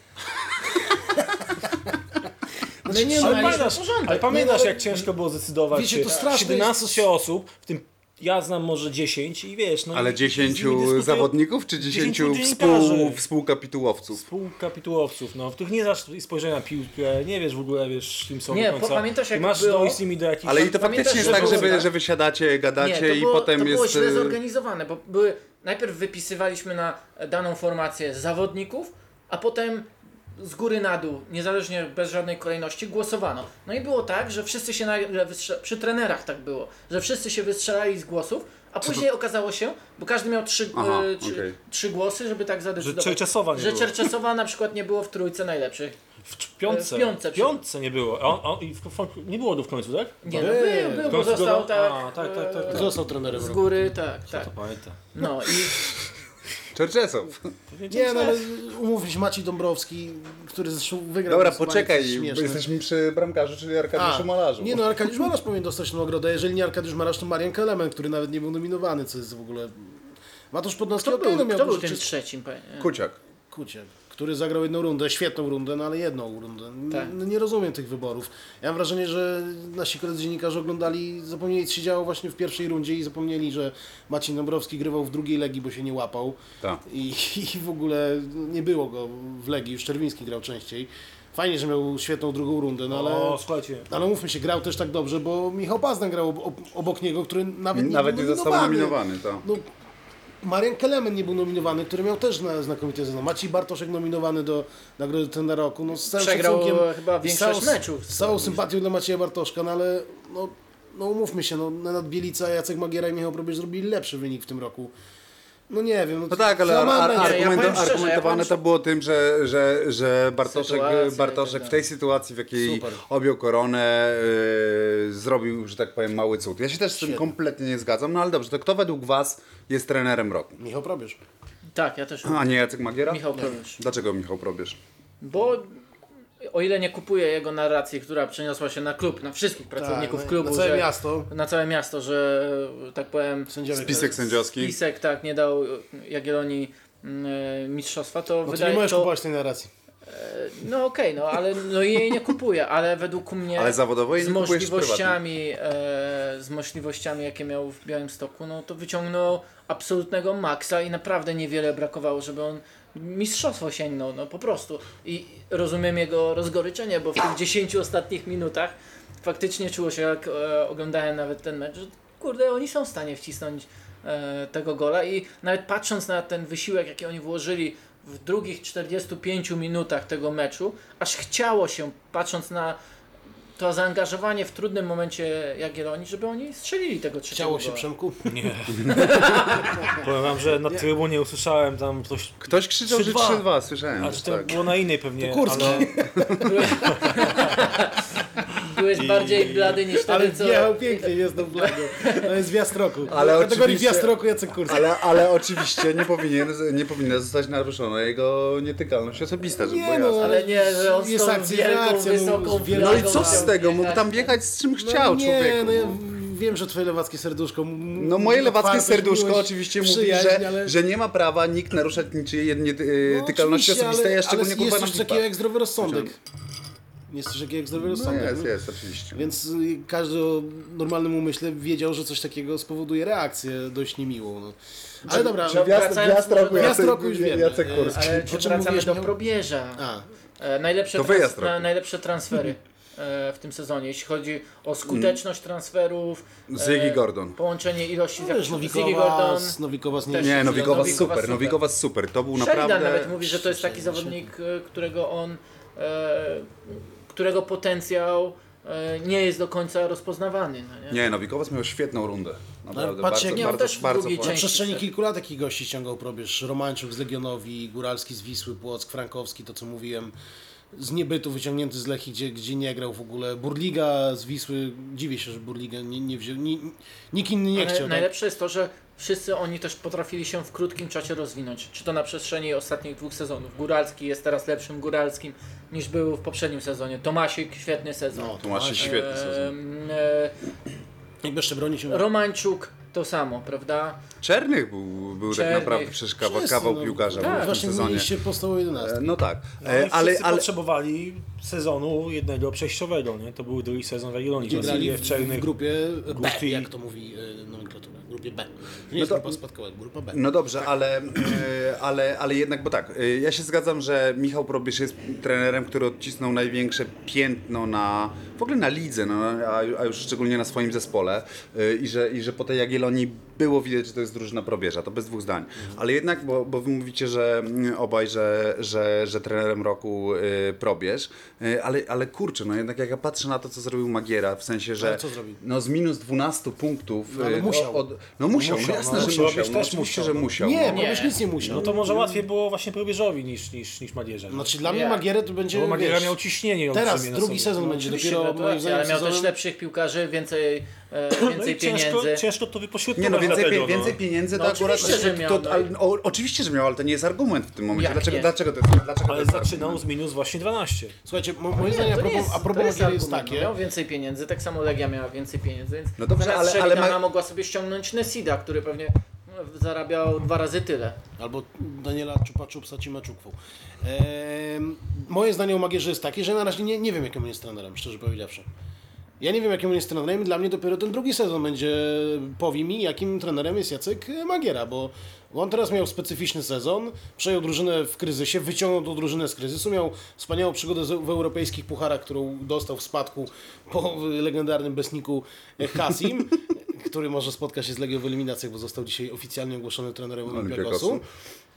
[SPEAKER 2] Znaczy, nie, no,
[SPEAKER 3] Ale mieliśmy porządek.
[SPEAKER 4] ale pamiętasz
[SPEAKER 2] Nie, no,
[SPEAKER 4] jak ciężko było zdecydować
[SPEAKER 2] wiecie,
[SPEAKER 4] się.
[SPEAKER 2] to straszne
[SPEAKER 4] 17 się osób, w tym ja znam może 10 i wiesz, no
[SPEAKER 1] Ale
[SPEAKER 4] i- i z nimi
[SPEAKER 1] 10
[SPEAKER 4] dyskutuję-
[SPEAKER 1] zawodników czy 10
[SPEAKER 4] dziesięciu
[SPEAKER 1] współ,
[SPEAKER 4] dziennikarzy.
[SPEAKER 1] współkapitułowców?
[SPEAKER 4] Współkapitułowców, no, w których nie znasz spojrzenia na piłkę, nie wiesz w ogóle, wiesz, kim są
[SPEAKER 3] Nie,
[SPEAKER 4] do końca.
[SPEAKER 3] pamiętasz, jak
[SPEAKER 4] I masz
[SPEAKER 3] było?
[SPEAKER 4] dojść z nimi do jakichś...
[SPEAKER 1] Ale i to
[SPEAKER 3] Pamiętasz,
[SPEAKER 1] faktycznie jest
[SPEAKER 3] że
[SPEAKER 1] tak,
[SPEAKER 3] było,
[SPEAKER 1] że wy,
[SPEAKER 3] tak?
[SPEAKER 1] że wy siadacie, gadacie
[SPEAKER 3] to
[SPEAKER 1] i
[SPEAKER 3] było,
[SPEAKER 1] potem
[SPEAKER 3] to
[SPEAKER 1] jest...
[SPEAKER 3] było źle
[SPEAKER 1] e,
[SPEAKER 3] zorganizowane, bo były, najpierw wypisywaliśmy na daną formację zawodników, a potem z góry na dół, niezależnie bez żadnej kolejności, głosowano. No i było tak, że wszyscy się nagle wystrze- przy trenerach tak było, że wszyscy się wystrzelali z głosów, a później okazało się, bo każdy miał trzy,
[SPEAKER 1] Aha,
[SPEAKER 3] e, trzy,
[SPEAKER 1] okej.
[SPEAKER 3] trzy głosy, żeby tak zadecydować.
[SPEAKER 4] Czerczesowa nie
[SPEAKER 3] Że
[SPEAKER 4] było.
[SPEAKER 3] Czerczesowa na przykład nie było w trójce najlepszych.
[SPEAKER 4] W cz- piątce.
[SPEAKER 3] W piątce,
[SPEAKER 4] W piątce nie było. A, on- a, i w, w, nie było go w końcu, tak?
[SPEAKER 3] Nie, no
[SPEAKER 2] Eee,
[SPEAKER 3] był, był,
[SPEAKER 4] to
[SPEAKER 3] bo został
[SPEAKER 4] zgoda-
[SPEAKER 3] tak,
[SPEAKER 4] a, tak, tak, tak,
[SPEAKER 3] e,
[SPEAKER 4] tak.
[SPEAKER 2] Został trenerem.
[SPEAKER 3] z
[SPEAKER 2] roku.
[SPEAKER 3] góry, tak, tak.
[SPEAKER 4] pamiętam.
[SPEAKER 3] No i
[SPEAKER 1] Czerczesow.
[SPEAKER 2] Nie, no ale umówmy się, Maciej Dąbrowski, który zresztą wygrał.
[SPEAKER 1] Dobra,
[SPEAKER 2] głosowanie, to
[SPEAKER 1] poczekaj,
[SPEAKER 2] jest
[SPEAKER 1] bo
[SPEAKER 2] śmieszne.
[SPEAKER 1] jesteśmy przy bramkarzu, czyli Arkadiuszu
[SPEAKER 2] A,
[SPEAKER 1] Malarzu.
[SPEAKER 2] Nie no, Arkadiusz Malarz powinien dostać tą nagrodę, a jeżeli nie Arkadiusz Malarz, to Marian Kelemen, który nawet nie był nominowany, co jest w ogóle... Matusz Podnowski
[SPEAKER 3] Kto
[SPEAKER 2] okej, no
[SPEAKER 3] był,
[SPEAKER 2] miał
[SPEAKER 3] kto był
[SPEAKER 2] dużo
[SPEAKER 3] tym
[SPEAKER 2] czystych-
[SPEAKER 3] trzecim? pa- e,
[SPEAKER 1] Kuciak.
[SPEAKER 2] Kucie, który zagrał jedną rundę, świetną rundę, no ale jedną rundę. N-
[SPEAKER 3] Tak.
[SPEAKER 2] n- Nie rozumiem tych wyborów. Ja mam wrażenie, że nasi koledzy dziennikarze oglądali, zapomnieli, co się działo właśnie w pierwszej rundzie i zapomnieli, że Maciej Dąbrowski grywał w drugiej Legii, bo się nie łapał.
[SPEAKER 1] Tak.
[SPEAKER 2] I, [laughs] I w ogóle nie było go w Legii, już Czerwiński grał częściej. Fajnie, że miał świetną drugą rundę, no ale...
[SPEAKER 4] O, słuchajcie.
[SPEAKER 2] Ale mówmy się, grał też tak dobrze, bo Michał Pazdan grał ob- ob- obok niego, który nawet nie,
[SPEAKER 1] Nawet
[SPEAKER 2] był
[SPEAKER 1] nie został nominowany, to.
[SPEAKER 2] No, Marian Kelemen nie był nominowany, który miał też na, znakomite zezno. Maciej Bartoszek nominowany do nagrody ten na roku. No, z całym
[SPEAKER 3] Przegrał
[SPEAKER 2] szacunkiem,
[SPEAKER 3] e, chyba
[SPEAKER 2] z
[SPEAKER 3] większość
[SPEAKER 2] całą-
[SPEAKER 3] meczów.
[SPEAKER 2] Z całą sympatią dla Macieja Bartoszka, no ale no, no umówmy się, no, Nenad Bielica, Jacek Magiera i Michał Probierz zrobili lepszy wynik w tym roku. No nie wiem.
[SPEAKER 1] No tak, ale ar,
[SPEAKER 2] załamane
[SPEAKER 1] ar,
[SPEAKER 2] jest.
[SPEAKER 3] ja powiem
[SPEAKER 1] argumento-
[SPEAKER 3] szczerze, ja
[SPEAKER 1] argumentowane
[SPEAKER 3] powiem
[SPEAKER 1] to było tym, że, że, że Bartoszek,
[SPEAKER 3] Sytuacja i tak
[SPEAKER 1] Bartoszek
[SPEAKER 3] dalej.
[SPEAKER 1] w tej sytuacji, w jakiej
[SPEAKER 2] Super.
[SPEAKER 1] objął koronę, yy, zrobił, że tak powiem, mały cud. Ja się też z tym kompletnie nie zgadzam, no ale dobrze, to kto według Was jest trenerem roku?
[SPEAKER 2] Michał Probierz.
[SPEAKER 3] Tak, ja też.
[SPEAKER 1] A nie Jacek Magiera?
[SPEAKER 3] Michał Probierz.
[SPEAKER 1] Dlaczego Michał Probierz?
[SPEAKER 3] Bo o ile nie kupuję jego narracji, która przeniosła się na klub, na wszystkich pracowników
[SPEAKER 2] no i
[SPEAKER 3] klubu,
[SPEAKER 2] Na całe
[SPEAKER 3] że,
[SPEAKER 2] miasto.
[SPEAKER 3] na całe miasto, że e, tak powiem
[SPEAKER 2] Sędziowie
[SPEAKER 1] Spisek sędziowski?
[SPEAKER 3] Pisek tak nie dał e, Jagiellonii mm, e, mistrzostwa, to
[SPEAKER 2] No to nie
[SPEAKER 3] wydaje
[SPEAKER 2] możesz
[SPEAKER 3] to,
[SPEAKER 2] kupować tej narracji.
[SPEAKER 3] No okej, no ale no i jej nie kupuję, ale według mnie
[SPEAKER 1] Ale zawodowo jej
[SPEAKER 3] z
[SPEAKER 1] nie kupujesz prywatnie.
[SPEAKER 3] możliwościami, e, z możliwościami jakie miał w Białymstoku, no to wyciągnął absolutnego maksa i naprawdę niewiele brakowało, żeby on mistrzostwo sięgnął, no po prostu. I rozumiem jego rozgoryczenie, bo w tych 10 ostatnich minutach faktycznie czuło się, jak e, oglądałem nawet ten mecz, że kurde, oni są w stanie wcisnąć e, tego gola i nawet patrząc na ten wysiłek, jaki oni włożyli w drugich 45 minutach tego meczu, aż chciało się, patrząc na to zaangażowanie w trudnym momencie Jagiellonii, żeby oni strzelili tego trzeciego
[SPEAKER 2] Chciało się
[SPEAKER 3] gola.
[SPEAKER 2] Przemku?
[SPEAKER 3] [laughs]
[SPEAKER 4] Nie. Powiem wam, że na trybunie usłyszałem tam ktoś...
[SPEAKER 1] Ktoś krzyczał, że
[SPEAKER 4] 3-2.
[SPEAKER 1] 3-2, słyszałem.
[SPEAKER 4] A czy to
[SPEAKER 1] tak.
[SPEAKER 4] było na innej pewnie,
[SPEAKER 2] To Kurski.
[SPEAKER 4] ale...
[SPEAKER 3] Byłeś, byłeś bardziej blady niż
[SPEAKER 2] Ale
[SPEAKER 3] wtedy, co...
[SPEAKER 2] wjechał pięknie, jest do bladu. To jest wjazd roku.
[SPEAKER 1] Ale
[SPEAKER 2] Ale w kategorii
[SPEAKER 1] oczywiście-
[SPEAKER 2] wjazd roku Jacek Kurski.
[SPEAKER 1] Ale, ale oczywiście nie, powinien, nie powinna zostać naruszona jego nietykalność osobista, żeby
[SPEAKER 2] Nie
[SPEAKER 1] było
[SPEAKER 2] no,
[SPEAKER 1] jasne.
[SPEAKER 3] Ale nie, że on
[SPEAKER 2] Jest
[SPEAKER 3] z tą
[SPEAKER 2] akcja,
[SPEAKER 3] wielką,
[SPEAKER 2] reakcja, no,
[SPEAKER 3] wysoką
[SPEAKER 2] wiele-
[SPEAKER 1] No i
[SPEAKER 3] flagą
[SPEAKER 1] co z
[SPEAKER 3] tam
[SPEAKER 1] tego? Mógł
[SPEAKER 3] jechać.
[SPEAKER 1] tam wjechać z czym chciał,
[SPEAKER 2] nie,
[SPEAKER 1] człowieku.
[SPEAKER 2] no ja w- wiem, że twoje lewackie serduszko. m-
[SPEAKER 1] No moje
[SPEAKER 2] m-
[SPEAKER 1] lewackie
[SPEAKER 2] otwartość,
[SPEAKER 1] serduszko
[SPEAKER 2] miłość,
[SPEAKER 1] oczywiście
[SPEAKER 2] przyjaźń,
[SPEAKER 1] mówi, że,
[SPEAKER 2] ale-
[SPEAKER 1] że nie ma prawa nikt naruszać niczyjej
[SPEAKER 2] No,
[SPEAKER 1] nietykalności
[SPEAKER 2] oczywiście,
[SPEAKER 1] osobistej, a
[SPEAKER 2] ale-
[SPEAKER 1] szczególnie
[SPEAKER 2] ale
[SPEAKER 1] kurwa
[SPEAKER 2] jest
[SPEAKER 1] na
[SPEAKER 2] coś takiego jak zdrowy rozsądek. Jest coś takiego jak zdrowy
[SPEAKER 1] No
[SPEAKER 2] rozsądek.
[SPEAKER 1] jest,
[SPEAKER 2] no.
[SPEAKER 1] jest, oczywiście.
[SPEAKER 2] Więc y, każdy o normalnym umyśle wiedział, że coś takiego spowoduje reakcję dość niemiłą. No. Ale dobra,
[SPEAKER 3] czy wjazd- wracając wjazd może- roku
[SPEAKER 2] Jacek- wjazd roku już E, wiemy. Jacek
[SPEAKER 1] Kurski.
[SPEAKER 3] Ale
[SPEAKER 2] czym
[SPEAKER 3] czy wracamy
[SPEAKER 2] mówiłeś,
[SPEAKER 3] do
[SPEAKER 2] Michał?
[SPEAKER 3] probierza?
[SPEAKER 2] a,
[SPEAKER 3] E, najlepsze,
[SPEAKER 1] To wyjazd
[SPEAKER 3] trans-
[SPEAKER 1] roku.
[SPEAKER 3] na, najlepsze transfery e, w tym sezonie, jeśli chodzi o skuteczność transferów. e,
[SPEAKER 1] Ziggy Gordon.
[SPEAKER 3] Połączenie ilości
[SPEAKER 2] no wiesz,
[SPEAKER 3] Ziggy
[SPEAKER 2] Nowikowa, z- Nowikowa z nie, tak
[SPEAKER 3] Też
[SPEAKER 1] Nie,
[SPEAKER 3] jest
[SPEAKER 1] Nowikowa
[SPEAKER 3] Nowikowa
[SPEAKER 1] super,
[SPEAKER 3] super.
[SPEAKER 1] Nowikowa super. To był
[SPEAKER 3] Sheridan
[SPEAKER 1] naprawdę...
[SPEAKER 3] nawet mówi, że to jest taki
[SPEAKER 2] Sheridan,
[SPEAKER 3] zawodnik, e, którego on, e, którego potencjał e, nie jest do końca rozpoznawany. No nie?
[SPEAKER 1] Nie, Nowikowas miał świetną rundę. Naprawdę,
[SPEAKER 2] patrz, jak
[SPEAKER 1] bardzo,
[SPEAKER 2] miał
[SPEAKER 1] bardzo,
[SPEAKER 3] też w
[SPEAKER 1] bardzo
[SPEAKER 3] drugiej
[SPEAKER 1] fajnie.
[SPEAKER 2] Na
[SPEAKER 3] części.
[SPEAKER 2] przestrzeni kilku lat takich gości ściągał probierz. Romańczuk z Legionowi, Góralski z Wisły, Płock, Frankowski, to co mówiłem. Z niebytu wyciągnięty z Lechii, gdzie, gdzie nie grał w ogóle. Burliga z Wisły, dziwię się, że Burliga nie, nie wziął. Ni, nikt inny nie
[SPEAKER 3] Ale
[SPEAKER 2] chciał. tak?
[SPEAKER 3] najlepsze jest to, że wszyscy oni też potrafili się w krótkim czasie rozwinąć. Czy to na przestrzeni ostatnich dwóch sezonów. Góralski jest teraz lepszym góralskim niż był w poprzednim sezonie. Tomasik świetny sezon.
[SPEAKER 2] No,
[SPEAKER 1] Tomasz jest świetny sezon.
[SPEAKER 3] Em, e,
[SPEAKER 2] Jakby jeszcze bronić się.
[SPEAKER 3] Romańczuk to samo, prawda?
[SPEAKER 1] Czernych był, był tak
[SPEAKER 3] Czernych.
[SPEAKER 1] naprawdę przecież kawał,
[SPEAKER 2] Wszyscy,
[SPEAKER 1] kawał
[SPEAKER 2] no.
[SPEAKER 1] piłkarza
[SPEAKER 3] Tak.
[SPEAKER 1] był w tym
[SPEAKER 2] Właśnie
[SPEAKER 1] sezonie.
[SPEAKER 2] mieliście postał 11.
[SPEAKER 1] E, No tak,
[SPEAKER 4] No,
[SPEAKER 1] E,
[SPEAKER 4] ale,
[SPEAKER 1] ale, ale
[SPEAKER 4] potrzebowali sezonu jednego przejściowego, nie? To był drugi sezon w Jagiellonii.
[SPEAKER 2] Gdzie grali
[SPEAKER 4] Wasiliew,
[SPEAKER 2] w, w
[SPEAKER 4] Czernych,
[SPEAKER 2] grupie B,
[SPEAKER 4] Guti.
[SPEAKER 2] jak to mówi y, nomenklatura. W grupie B. To nie
[SPEAKER 1] No
[SPEAKER 2] jest
[SPEAKER 1] to-
[SPEAKER 2] grupa spadkowa, grupa B.
[SPEAKER 1] No dobrze, ale, e, ale, ale jednak, bo tak, e, ja się zgadzam, że Michał Probysz jest trenerem, który odcisnął największe piętno na, w ogóle na lidze, no, a, a już szczególnie na swoim zespole e, i, że, i że po tej Jagiellonii było widać, że to jest drużyna Probierza, to bez dwóch zdań.
[SPEAKER 2] Mhm.
[SPEAKER 1] Ale jednak, bo, bo wy mówicie, że mm, obaj, że, że, że trenerem roku e, Probierz, e, ale, ale kurczę, no jednak jak ja patrzę na to, co zrobił Magiera, w sensie, że
[SPEAKER 2] Ale co zrobił?
[SPEAKER 1] no z minus 12 punktów...
[SPEAKER 2] No, ale
[SPEAKER 1] e,
[SPEAKER 2] musiał.
[SPEAKER 1] Od, no musiał,
[SPEAKER 4] Musiał,
[SPEAKER 1] no,
[SPEAKER 4] no.
[SPEAKER 1] jasne, że
[SPEAKER 4] Musiał,
[SPEAKER 1] musiał,
[SPEAKER 4] też
[SPEAKER 1] no, oczywiście,
[SPEAKER 4] musiał,
[SPEAKER 1] że
[SPEAKER 4] no.
[SPEAKER 1] musiał.
[SPEAKER 2] Nie,
[SPEAKER 1] no.
[SPEAKER 2] bo już nic nie musiał.
[SPEAKER 4] No to może łatwiej było właśnie probierzowi niż, niż, niż Madierze. No.
[SPEAKER 2] Znaczy dla mnie
[SPEAKER 3] Nie.
[SPEAKER 2] Magierę to będzie.
[SPEAKER 4] Bo Magiera
[SPEAKER 2] wiesz,
[SPEAKER 4] miał ciśnienie.
[SPEAKER 2] Teraz
[SPEAKER 4] olbrzymie na
[SPEAKER 2] drugi
[SPEAKER 4] sobie. No,
[SPEAKER 2] sezon będzie
[SPEAKER 3] Oczywiście,
[SPEAKER 2] dopiero moim
[SPEAKER 3] gratulacje,
[SPEAKER 2] zdaniem
[SPEAKER 3] ale miał też
[SPEAKER 2] sezonem-
[SPEAKER 3] lepszych piłkarzy,
[SPEAKER 2] [coughs]
[SPEAKER 3] więcej, e,
[SPEAKER 4] No
[SPEAKER 3] więcej
[SPEAKER 4] i ciężko,
[SPEAKER 3] pieniędzy.
[SPEAKER 4] ciężko to wypośrodkować
[SPEAKER 1] Nie no, więcej,
[SPEAKER 4] dlatego,
[SPEAKER 1] pie- więcej pieniędzy
[SPEAKER 3] No
[SPEAKER 1] to akurat...
[SPEAKER 3] oczywiście, że miał,
[SPEAKER 1] to,
[SPEAKER 3] no.
[SPEAKER 1] ale- o, oczywiście, że miał, ale to nie jest argument w tym momencie.
[SPEAKER 3] Jak
[SPEAKER 1] Dlaczego,
[SPEAKER 3] nie?
[SPEAKER 1] dlaczego to jest... Dlaczego
[SPEAKER 4] No.
[SPEAKER 1] to
[SPEAKER 4] Ale
[SPEAKER 1] jest
[SPEAKER 4] zaczynał z minus właśnie 12.
[SPEAKER 2] Słuchajcie, mo- moim
[SPEAKER 3] No Nie,
[SPEAKER 2] zdaniem a
[SPEAKER 3] to nie
[SPEAKER 2] propos, a propos
[SPEAKER 3] to jest
[SPEAKER 2] Magiery jest
[SPEAKER 3] argument. no,
[SPEAKER 2] takie.
[SPEAKER 3] Miał więcej pieniędzy, tak samo Legia miała więcej pieniędzy, więc
[SPEAKER 1] No dobrze,
[SPEAKER 3] zamiast
[SPEAKER 1] ale- ale
[SPEAKER 3] Sheridana
[SPEAKER 1] ma-
[SPEAKER 3] mogła sobie ściągnąć Nesida, który pewnie no, zarabiał dwa razy tyle.
[SPEAKER 2] Albo Daniela Czupa-Czupsa Cimaczukwą. Ehm, moje zdanie o Magierze jest takie, że na razie nie, nie wiem, jakim on jest trenerem, szczerze powiedziawszy. Ja nie wiem, jakim on jest trenerem. Dla mnie dopiero ten drugi sezon będzie powie mi, jakim trenerem jest Jacek Magiera, bo on teraz miał specyficzny sezon, przejął drużynę w kryzysie, wyciągnął tą drużynę z kryzysu, miał wspaniałą przygodę z- w europejskich pucharach, którą dostał w spadku po legendarnym besniku Kasim, [laughs] który może spotka się z Legią w eliminacjach, bo został dzisiaj oficjalnie ogłoszony trenerem Olympiakosu.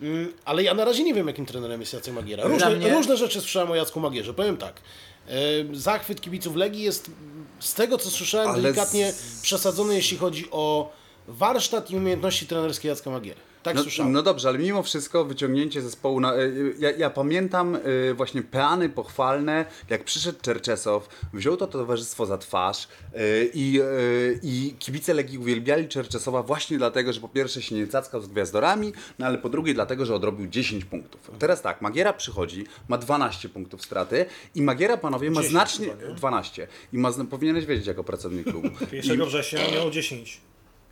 [SPEAKER 2] Mm, Ale ja na razie nie wiem, jakim trenerem jest Jacek Magiera. Różne,
[SPEAKER 3] mnie-
[SPEAKER 2] różne rzeczy słyszałem o Jacku Magierze, powiem tak. E, Zachwyt kibiców Legii jest, z tego co słyszałem,
[SPEAKER 1] Ale
[SPEAKER 2] delikatnie
[SPEAKER 1] z-
[SPEAKER 2] przesadzony, jeśli chodzi o warsztat i umiejętności trenerskie Jacka Magiery. Tak
[SPEAKER 1] No,
[SPEAKER 2] słyszałem.
[SPEAKER 1] no dobrze, ale mimo wszystko wyciągnięcie zespołu na... y, y, Ja, ja pamiętam y, właśnie peany pochwalne, jak przyszedł Czerczesow, wziął to towarzystwo za twarz y, i y, i kibice Legii uwielbiali Czerczesowa właśnie dlatego, że po pierwsze się nie cackał z gwiazdorami, no ale po drugie dlatego, że odrobił 10 punktów. Teraz tak, Magiera przychodzi, ma 12 punktów straty i Magiera, panowie, ma
[SPEAKER 4] 10
[SPEAKER 1] znacznie...
[SPEAKER 4] chyba, nie?
[SPEAKER 1] 12. I ma, zna- powinieneś wiedzieć jako pracownik klubu.
[SPEAKER 4] 1 września miał 10,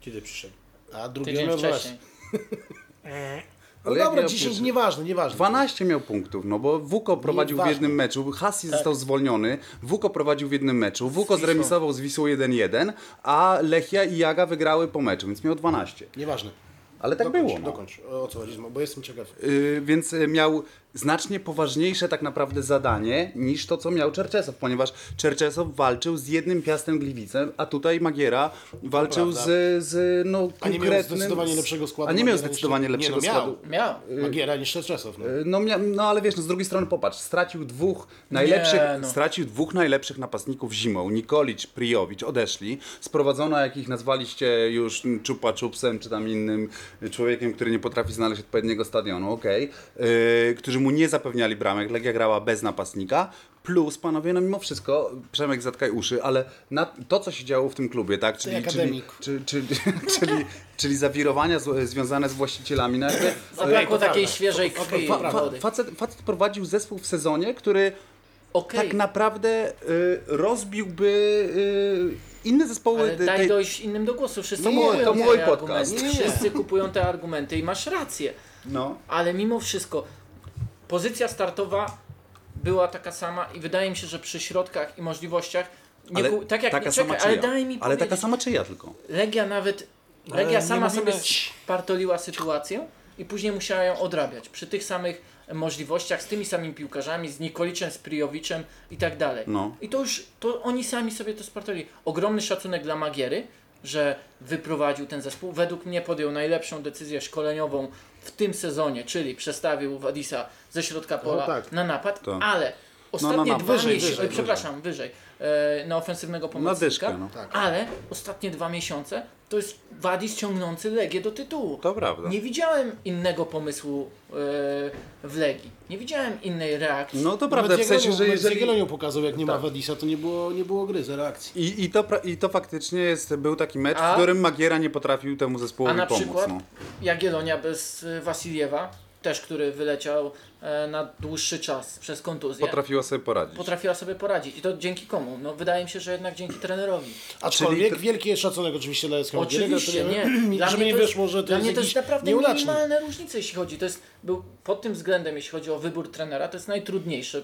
[SPEAKER 4] kiedy przyszedł.
[SPEAKER 2] A
[SPEAKER 3] Tydzień
[SPEAKER 2] drugiego miał 12.
[SPEAKER 3] wcześniej. E,
[SPEAKER 2] No
[SPEAKER 1] jak
[SPEAKER 2] dobra,
[SPEAKER 1] miał
[SPEAKER 2] 10,
[SPEAKER 1] pierwszy-
[SPEAKER 2] nieważne, nieważne.
[SPEAKER 1] 12 miał punktów, no bo Wuko prowadził w
[SPEAKER 2] ważne.
[SPEAKER 1] jednym meczu, Hasi
[SPEAKER 2] Tak.
[SPEAKER 1] został zwolniony, Wuko prowadził w jednym meczu, Wuko zremisował z Wisłą 1-1, a Lechia i Jaga wygrały po meczu, więc miał 12.
[SPEAKER 2] Nieważne.
[SPEAKER 1] Ale tak
[SPEAKER 2] dokończ,
[SPEAKER 1] było. No.
[SPEAKER 2] Dokończ, o co chodzi, bo jestem ciekaw.
[SPEAKER 1] Yy, więc y, miał znacznie poważniejsze tak naprawdę zadanie niż to, co miał Czerczesow, ponieważ Czerczesow walczył z jednym piastem Gliwicem, a tutaj Magiera walczył
[SPEAKER 2] prawda.
[SPEAKER 1] z, z no,
[SPEAKER 2] A nie
[SPEAKER 1] konkretnym...
[SPEAKER 2] miał zdecydowanie lepszego składu
[SPEAKER 1] A nie miał
[SPEAKER 2] Magiera niż-
[SPEAKER 1] zdecydowanie
[SPEAKER 2] nie, no,
[SPEAKER 1] lepszego
[SPEAKER 2] miał.
[SPEAKER 1] składu.
[SPEAKER 3] Miał.
[SPEAKER 1] Y-
[SPEAKER 2] Magiera niż Szczerczesow, no.
[SPEAKER 1] Yy, No, mia- no ale wiesz, no, z drugiej strony popatrz, stracił dwóch najlepszych,
[SPEAKER 3] Nie, no.
[SPEAKER 1] stracił dwóch najlepszych napastników zimą. Nikolic, Prijowicz odeszli. Sprowadzono, jak ich nazwaliście już mm, Czupa Czupsem, czy tam innym y, człowiekiem, który nie potrafi znaleźć odpowiedniego stadionu, okej, yy, którzy mu nie zapewniali bramek. Legia grała bez napastnika. Plus, panowie, no mimo wszystko, Przemek zatkaj uszy, ale na to, co się działo w tym klubie, tak? Czyli, czyli,
[SPEAKER 2] akademik.
[SPEAKER 1] czy, czy, [laughs] czyli, czyli zawirowania z, związane z właścicielami. No jakby,
[SPEAKER 3] Zabrakło
[SPEAKER 2] Ej, to
[SPEAKER 3] takiej
[SPEAKER 2] prawda.
[SPEAKER 3] świeżej
[SPEAKER 2] To- to
[SPEAKER 3] krwi.
[SPEAKER 2] prawda.
[SPEAKER 1] Fa-
[SPEAKER 3] młodych.
[SPEAKER 1] facet, facet prowadził zespół w sezonie, który
[SPEAKER 3] Okej,
[SPEAKER 1] tak naprawdę y, rozbiłby y, inne zespoły.
[SPEAKER 3] ale
[SPEAKER 1] te-
[SPEAKER 3] daj
[SPEAKER 1] tej-
[SPEAKER 3] dojść innym do głosu. Wszyscy
[SPEAKER 1] To mój-
[SPEAKER 3] kupują
[SPEAKER 1] No to
[SPEAKER 3] te
[SPEAKER 1] mój
[SPEAKER 3] argumenty.
[SPEAKER 1] podcast. Nie, nie.
[SPEAKER 3] Wszyscy kupują te argumenty i masz rację.
[SPEAKER 1] No.
[SPEAKER 3] Ale mimo wszystko pozycja startowa była taka sama i wydaje mi się, że przy środkach i możliwościach nie
[SPEAKER 1] Ale
[SPEAKER 3] ku, tak jak
[SPEAKER 1] taka
[SPEAKER 3] nie,
[SPEAKER 1] sama
[SPEAKER 3] czekaj,
[SPEAKER 1] czyja.
[SPEAKER 3] ale daj mi
[SPEAKER 1] ale
[SPEAKER 3] powiedzieć.
[SPEAKER 1] taka sama czyja tylko.
[SPEAKER 3] Legia nawet
[SPEAKER 2] Ale
[SPEAKER 3] Legia
[SPEAKER 2] nie
[SPEAKER 3] sama
[SPEAKER 2] mówimy-
[SPEAKER 3] sobie spartoliła sytuację i później musiała ją odrabiać przy tych samych możliwościach, z tymi samymi piłkarzami, z Nikoliczem, z Prijowiczem i tak dalej.
[SPEAKER 1] No.
[SPEAKER 3] I to już, to oni sami sobie to spartolili. Ogromny szacunek dla Magiery, że wyprowadził ten zespół. Według mnie podjął najlepszą decyzję szkoleniową w tym sezonie, czyli przestawił Wadisa ze środka pola
[SPEAKER 2] tak.
[SPEAKER 3] na napad,
[SPEAKER 1] To.
[SPEAKER 3] ale ostatnie
[SPEAKER 1] napad.
[SPEAKER 3] dwa
[SPEAKER 2] Wyżej,
[SPEAKER 3] miesiące,
[SPEAKER 2] wyżej,
[SPEAKER 3] oj,
[SPEAKER 2] wyżej.
[SPEAKER 3] przepraszam, wyżej, e, na ofensywnego
[SPEAKER 1] Na
[SPEAKER 3] pomocnika,
[SPEAKER 1] dyszkę. No.
[SPEAKER 3] ale ostatnie dwa miesiące to jest Wadis ciągnący Legię do tytułu.
[SPEAKER 1] To prawda.
[SPEAKER 3] Nie widziałem innego pomysłu e, w Legii. Nie widziałem innej reakcji.
[SPEAKER 1] No to prawda, w sensie, że jeżeli... Tak.
[SPEAKER 2] Zielonią pokazał, jak nie ma Wadisa, to nie było, nie było gry, zero akcji.
[SPEAKER 1] I, i, to, pra- I to faktycznie jest, był taki mecz,
[SPEAKER 3] A?
[SPEAKER 1] w którym Magiera nie potrafił temu
[SPEAKER 3] A
[SPEAKER 1] zespołowi
[SPEAKER 3] na
[SPEAKER 1] pomóc.
[SPEAKER 3] przykład
[SPEAKER 1] No.
[SPEAKER 3] Jagiellonia bez e, Wasiliewa, też który wyleciał e, na dłuższy czas przez kontuzję,
[SPEAKER 1] Potrafiła sobie poradzić.
[SPEAKER 3] potrafiła sobie poradzić. I to dzięki komu? No wydaje mi się, że jednak dzięki trenerowi.
[SPEAKER 2] Aczkolwiek
[SPEAKER 1] Czyli-
[SPEAKER 2] wielki szacunek oczywiście dla SKM.
[SPEAKER 3] Oczywiście, nie. Dla
[SPEAKER 2] Żeby
[SPEAKER 3] mnie
[SPEAKER 2] nie
[SPEAKER 3] to jest-
[SPEAKER 2] wyszło, że to
[SPEAKER 3] Dla
[SPEAKER 2] jest
[SPEAKER 3] mnie to
[SPEAKER 2] jakiś
[SPEAKER 3] jest naprawdę
[SPEAKER 2] nieudacznik.
[SPEAKER 3] minimalne różnice, jeśli chodzi. To jest, był, pod tym względem, jeśli chodzi o wybór trenera, to jest najtrudniejszy,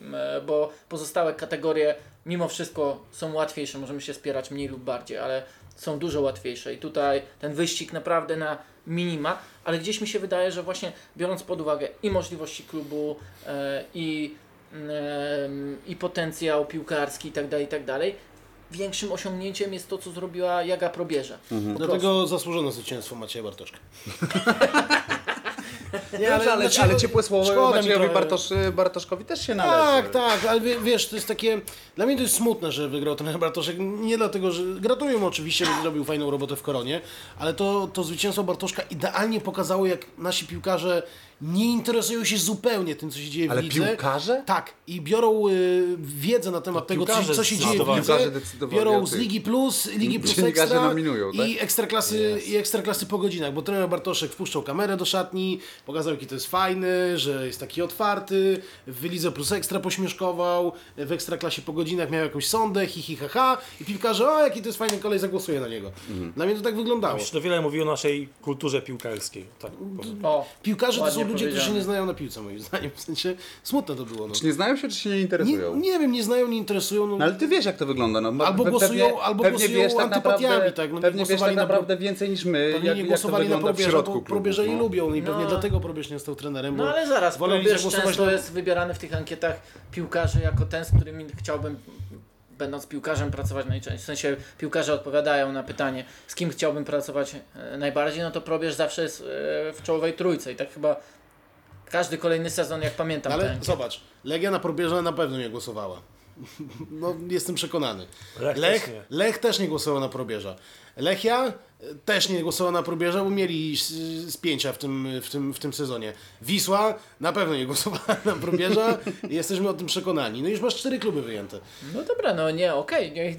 [SPEAKER 3] m, bo pozostałe kategorie mimo wszystko są łatwiejsze. Możemy się spierać mniej lub bardziej, ale są dużo łatwiejsze. I tutaj ten wyścig naprawdę na minima, ale gdzieś mi się wydaje, że właśnie biorąc pod uwagę i możliwości klubu, e, i, mm, i potencjał piłkarski i tak dalej, i tak dalej, większym osiągnięciem jest to, co zrobiła Jaga Probierza.
[SPEAKER 2] Mhm. Dlatego zasłużone zwycięstwo Macieja Bartoszka.
[SPEAKER 1] Nie, ale, ale,
[SPEAKER 2] dlaczego-
[SPEAKER 1] ale ciepłe
[SPEAKER 2] szkoda
[SPEAKER 1] słowo
[SPEAKER 2] mi
[SPEAKER 1] Maciejowi
[SPEAKER 2] trochę.
[SPEAKER 1] Bartosz, Bartoszkowi też się należy.
[SPEAKER 2] Tak, tak, ale wie- wiesz, to jest takie. Dla mnie to jest smutne, że wygrał ten Bartoszek. Nie dlatego, że. Gratuluję mu oczywiście, że zrobił fajną robotę w koronie, ale to, to zwycięstwo Bartoszka idealnie pokazało, jak nasi piłkarze nie interesują się zupełnie tym, co się dzieje
[SPEAKER 1] Ale
[SPEAKER 2] w lidze.
[SPEAKER 1] piłkarze?
[SPEAKER 2] Tak, i biorą y, wiedzę na temat tego, co,
[SPEAKER 4] piłkarze
[SPEAKER 2] co się dzieje w
[SPEAKER 4] zdecydowanie.
[SPEAKER 2] lidze.
[SPEAKER 1] Piłkarze decydowanie o
[SPEAKER 2] Biorą z
[SPEAKER 1] tych-
[SPEAKER 2] Ligi Plus, Ligi Plus
[SPEAKER 1] Dziennikarze
[SPEAKER 2] Ekstra
[SPEAKER 1] nominują, tak?
[SPEAKER 2] i ekstraklasy, i ekstraklasy po godzinach, bo trener Bartoszek wpuszczał kamerę do szatni, pokazał jaki to jest fajny, że jest taki otwarty, w Lidze Plus Ekstra pośmieszkował, w Ekstraklasie po godzinach miał jakąś sondę, hi, hi ha, ha i piłkarze, o jaki to jest fajny kolej, zagłosuje na niego.
[SPEAKER 1] Mhm.
[SPEAKER 2] Dla mnie to tak wyglądało.
[SPEAKER 4] Myślę, że wiele mówi o naszej kulturze piłkarskiej. Tak, powiem.
[SPEAKER 3] O,
[SPEAKER 2] Piłkarze to są
[SPEAKER 3] ładnie
[SPEAKER 2] ludzie, którzy się
[SPEAKER 3] powiedziane.
[SPEAKER 2] nie znają na piłce moim zdaniem, w sensie smutne to było. No.
[SPEAKER 1] Czy nie znają się, czy się nie
[SPEAKER 2] Nie,
[SPEAKER 1] interesują?
[SPEAKER 2] nie wiem, nie znają, nie interesują. No.
[SPEAKER 1] No ale ty wiesz jak to wygląda. No,
[SPEAKER 2] Albo
[SPEAKER 1] Pe-
[SPEAKER 2] głosują- albo głosują antypatiami, tak, no nie
[SPEAKER 1] pewnie wiesz tak
[SPEAKER 2] głosowali na
[SPEAKER 1] naprawdę więcej niż my,
[SPEAKER 2] Pewnie
[SPEAKER 1] jak,
[SPEAKER 2] nie
[SPEAKER 1] jak to
[SPEAKER 2] głosowali na
[SPEAKER 1] wygląda w
[SPEAKER 2] probierza,
[SPEAKER 1] środku
[SPEAKER 2] bo
[SPEAKER 1] klubów,
[SPEAKER 2] probierza nie
[SPEAKER 1] no.
[SPEAKER 2] lubią i pewnie
[SPEAKER 3] No.
[SPEAKER 2] dlatego probierz nie został trenerem, bo
[SPEAKER 3] No ale zaraz,
[SPEAKER 2] woleli
[SPEAKER 3] probierz
[SPEAKER 2] zagłosować
[SPEAKER 3] często
[SPEAKER 2] na-
[SPEAKER 3] jest wybierany w tych ankietach piłkarzy jako ten, z którym chciałbym, będąc piłkarzem, pracować najczęściej. W sensie piłkarze odpowiadają na pytanie, z kim chciałbym pracować e, najbardziej, no to probierz zawsze jest e, w czołowej trójce i tak chyba każdy kolejny sezon, jak pamiętam.
[SPEAKER 2] Ale
[SPEAKER 3] ten.
[SPEAKER 2] zobacz, Legia na probierza na pewno nie głosowała. [laughs] No, jestem przekonany.
[SPEAKER 4] Lech
[SPEAKER 2] Lech,
[SPEAKER 4] też nie.
[SPEAKER 2] Lech też nie głosował na probierza. Lechia e, też nie głosowała na probierza, bo mieli s- spięcia w tym, w, tym, w tym sezonie. Wisła na pewno nie [laughs] głosowała na probierza. Jesteśmy o tym przekonani. No i już masz cztery kluby wyjęte.
[SPEAKER 3] No dobra, no nie, okej. nie-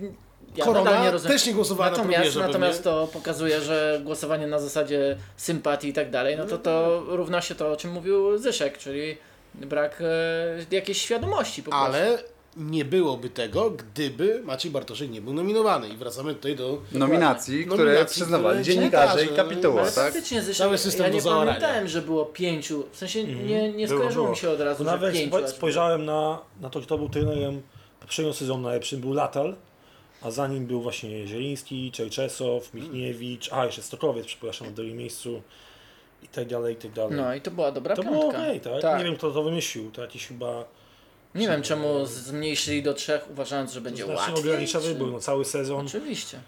[SPEAKER 3] Ja
[SPEAKER 2] Korona
[SPEAKER 3] nadal nie rozumiem.
[SPEAKER 2] też nie głosowała na
[SPEAKER 3] natomiast,
[SPEAKER 2] probierza
[SPEAKER 3] natomiast
[SPEAKER 2] pewnie.
[SPEAKER 3] to pokazuje, że głosowanie na zasadzie sympatii i tak dalej, no to to równa się to, o czym mówił Zyszek, czyli brak e, jakiejś świadomości po prostu.
[SPEAKER 2] Ale nie byłoby tego, gdyby Maciej Bartoszek nie był nominowany. I wracamy tutaj do...
[SPEAKER 3] No,
[SPEAKER 1] Nominacji, które
[SPEAKER 2] no. Nominacji,
[SPEAKER 1] przyznawali
[SPEAKER 2] które
[SPEAKER 1] dziennikarze i
[SPEAKER 2] dziennikarze,
[SPEAKER 1] kapituła,
[SPEAKER 2] no.
[SPEAKER 1] tak?
[SPEAKER 3] Faktycznie, zresztą
[SPEAKER 2] Cały system
[SPEAKER 3] ja nie
[SPEAKER 2] do zaorania.
[SPEAKER 3] pamiętałem, że było pięciu, w sensie nie, nie
[SPEAKER 4] Mhm. Było,
[SPEAKER 3] skojarzyło
[SPEAKER 4] było.
[SPEAKER 3] mi się od razu, że
[SPEAKER 4] Nawet
[SPEAKER 3] pięciu.
[SPEAKER 4] spo- spojrzałem na, na to, kto był trenerem poprzedniego sezonu najlepszym, był Latal. a za nim był właśnie Zieliński, Czajczesow, Michniewicz, a jeszcze Stokowiec, przepraszam, na drugim miejscu i tak dalej, i tak dalej.
[SPEAKER 3] No i to była dobra
[SPEAKER 4] to było
[SPEAKER 3] piątka.
[SPEAKER 4] okej, tak? Nie wiem, kto to wymyślił, to jakiś chyba...
[SPEAKER 3] Nie wiem czemu z- zmniejszyli do trzech, uważając, że będzie
[SPEAKER 4] Znacznie
[SPEAKER 3] łatwiej.
[SPEAKER 4] znaczy ogranicza
[SPEAKER 3] czy-
[SPEAKER 4] wybór, no cały sezon.
[SPEAKER 3] Oczywiście.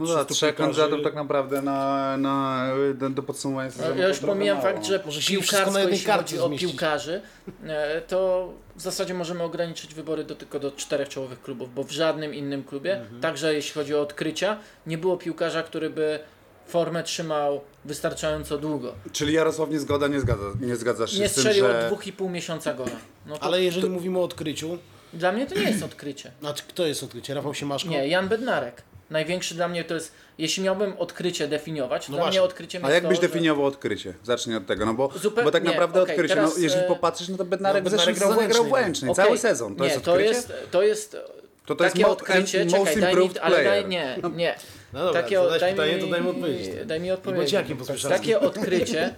[SPEAKER 1] No za
[SPEAKER 4] Wszyscy
[SPEAKER 1] trzech
[SPEAKER 4] piłkarze-
[SPEAKER 1] kandydatów tak naprawdę na, na, do, do podsumowania sezonu.
[SPEAKER 3] Ja
[SPEAKER 1] to
[SPEAKER 3] już
[SPEAKER 1] trochę
[SPEAKER 3] pomijam
[SPEAKER 1] mało.
[SPEAKER 3] fakt, że
[SPEAKER 2] no. Może się
[SPEAKER 3] piłkarsko,
[SPEAKER 2] wszystko na jednej
[SPEAKER 3] jeśli
[SPEAKER 2] karcie
[SPEAKER 3] chodzi o
[SPEAKER 2] zmieścić.
[SPEAKER 3] piłkarzy, e, to w zasadzie możemy ograniczyć wybory do, tylko do czterech czołowych klubów, bo w żadnym innym klubie,
[SPEAKER 2] Mhm.
[SPEAKER 3] także jeśli chodzi o odkrycia, nie było piłkarza, który by formę trzymał wystarczająco długo.
[SPEAKER 1] Czyli Jarosław nie zgoda, nie, zgadza, nie zgadzasz się
[SPEAKER 3] Nie
[SPEAKER 1] z tym,
[SPEAKER 3] strzelił od
[SPEAKER 1] że...
[SPEAKER 3] dwóch i pół miesiąca gola. No to
[SPEAKER 2] Ale jeżeli mówimy o odkryciu,
[SPEAKER 3] Dla mnie to nie jest odkrycie.
[SPEAKER 2] znaczy kto jest odkrycie? Rafał Siemaszko?
[SPEAKER 3] Nie, Jan Bednarek. Największy dla mnie to jest, jeśli miałbym odkrycie definiować, to
[SPEAKER 2] No
[SPEAKER 3] dla
[SPEAKER 2] właśnie.
[SPEAKER 3] mnie odkryciem
[SPEAKER 1] A
[SPEAKER 3] jest
[SPEAKER 1] jak byś
[SPEAKER 3] to, że-
[SPEAKER 1] definiował odkrycie? Zacznij od tego, no bo,
[SPEAKER 3] Zupeł-
[SPEAKER 1] bo tak
[SPEAKER 3] nie,
[SPEAKER 1] naprawdę
[SPEAKER 3] okej,
[SPEAKER 1] odkrycie,
[SPEAKER 3] teraz,
[SPEAKER 1] no, jeżeli
[SPEAKER 3] e,
[SPEAKER 1] popatrzysz, no to Bednarek w
[SPEAKER 2] no,
[SPEAKER 1] zeszłym
[SPEAKER 2] Bednarek
[SPEAKER 1] sezonie
[SPEAKER 2] grał
[SPEAKER 1] grał
[SPEAKER 2] Łęcznej.
[SPEAKER 1] Łęcznej,
[SPEAKER 3] Okej,
[SPEAKER 1] cały sezon, to
[SPEAKER 3] nie,
[SPEAKER 1] jest odkrycie?
[SPEAKER 3] to jest, to jest,
[SPEAKER 1] To to jest
[SPEAKER 3] takie
[SPEAKER 1] mo-
[SPEAKER 3] odkrycie,
[SPEAKER 1] and-
[SPEAKER 3] czekaj,
[SPEAKER 1] most
[SPEAKER 3] daj mi,
[SPEAKER 1] improved
[SPEAKER 3] ale daj,
[SPEAKER 1] player.
[SPEAKER 3] nie, nie.
[SPEAKER 2] No dobra,
[SPEAKER 3] takie,
[SPEAKER 2] zadałeś
[SPEAKER 3] daj
[SPEAKER 2] pytanie,
[SPEAKER 3] mi,
[SPEAKER 2] to daj mi odpowiedź. tak.
[SPEAKER 3] Daj mi
[SPEAKER 2] I
[SPEAKER 3] odpowiedzieć.
[SPEAKER 2] bądź jakim posłyszałem.
[SPEAKER 3] Takie odkrycie,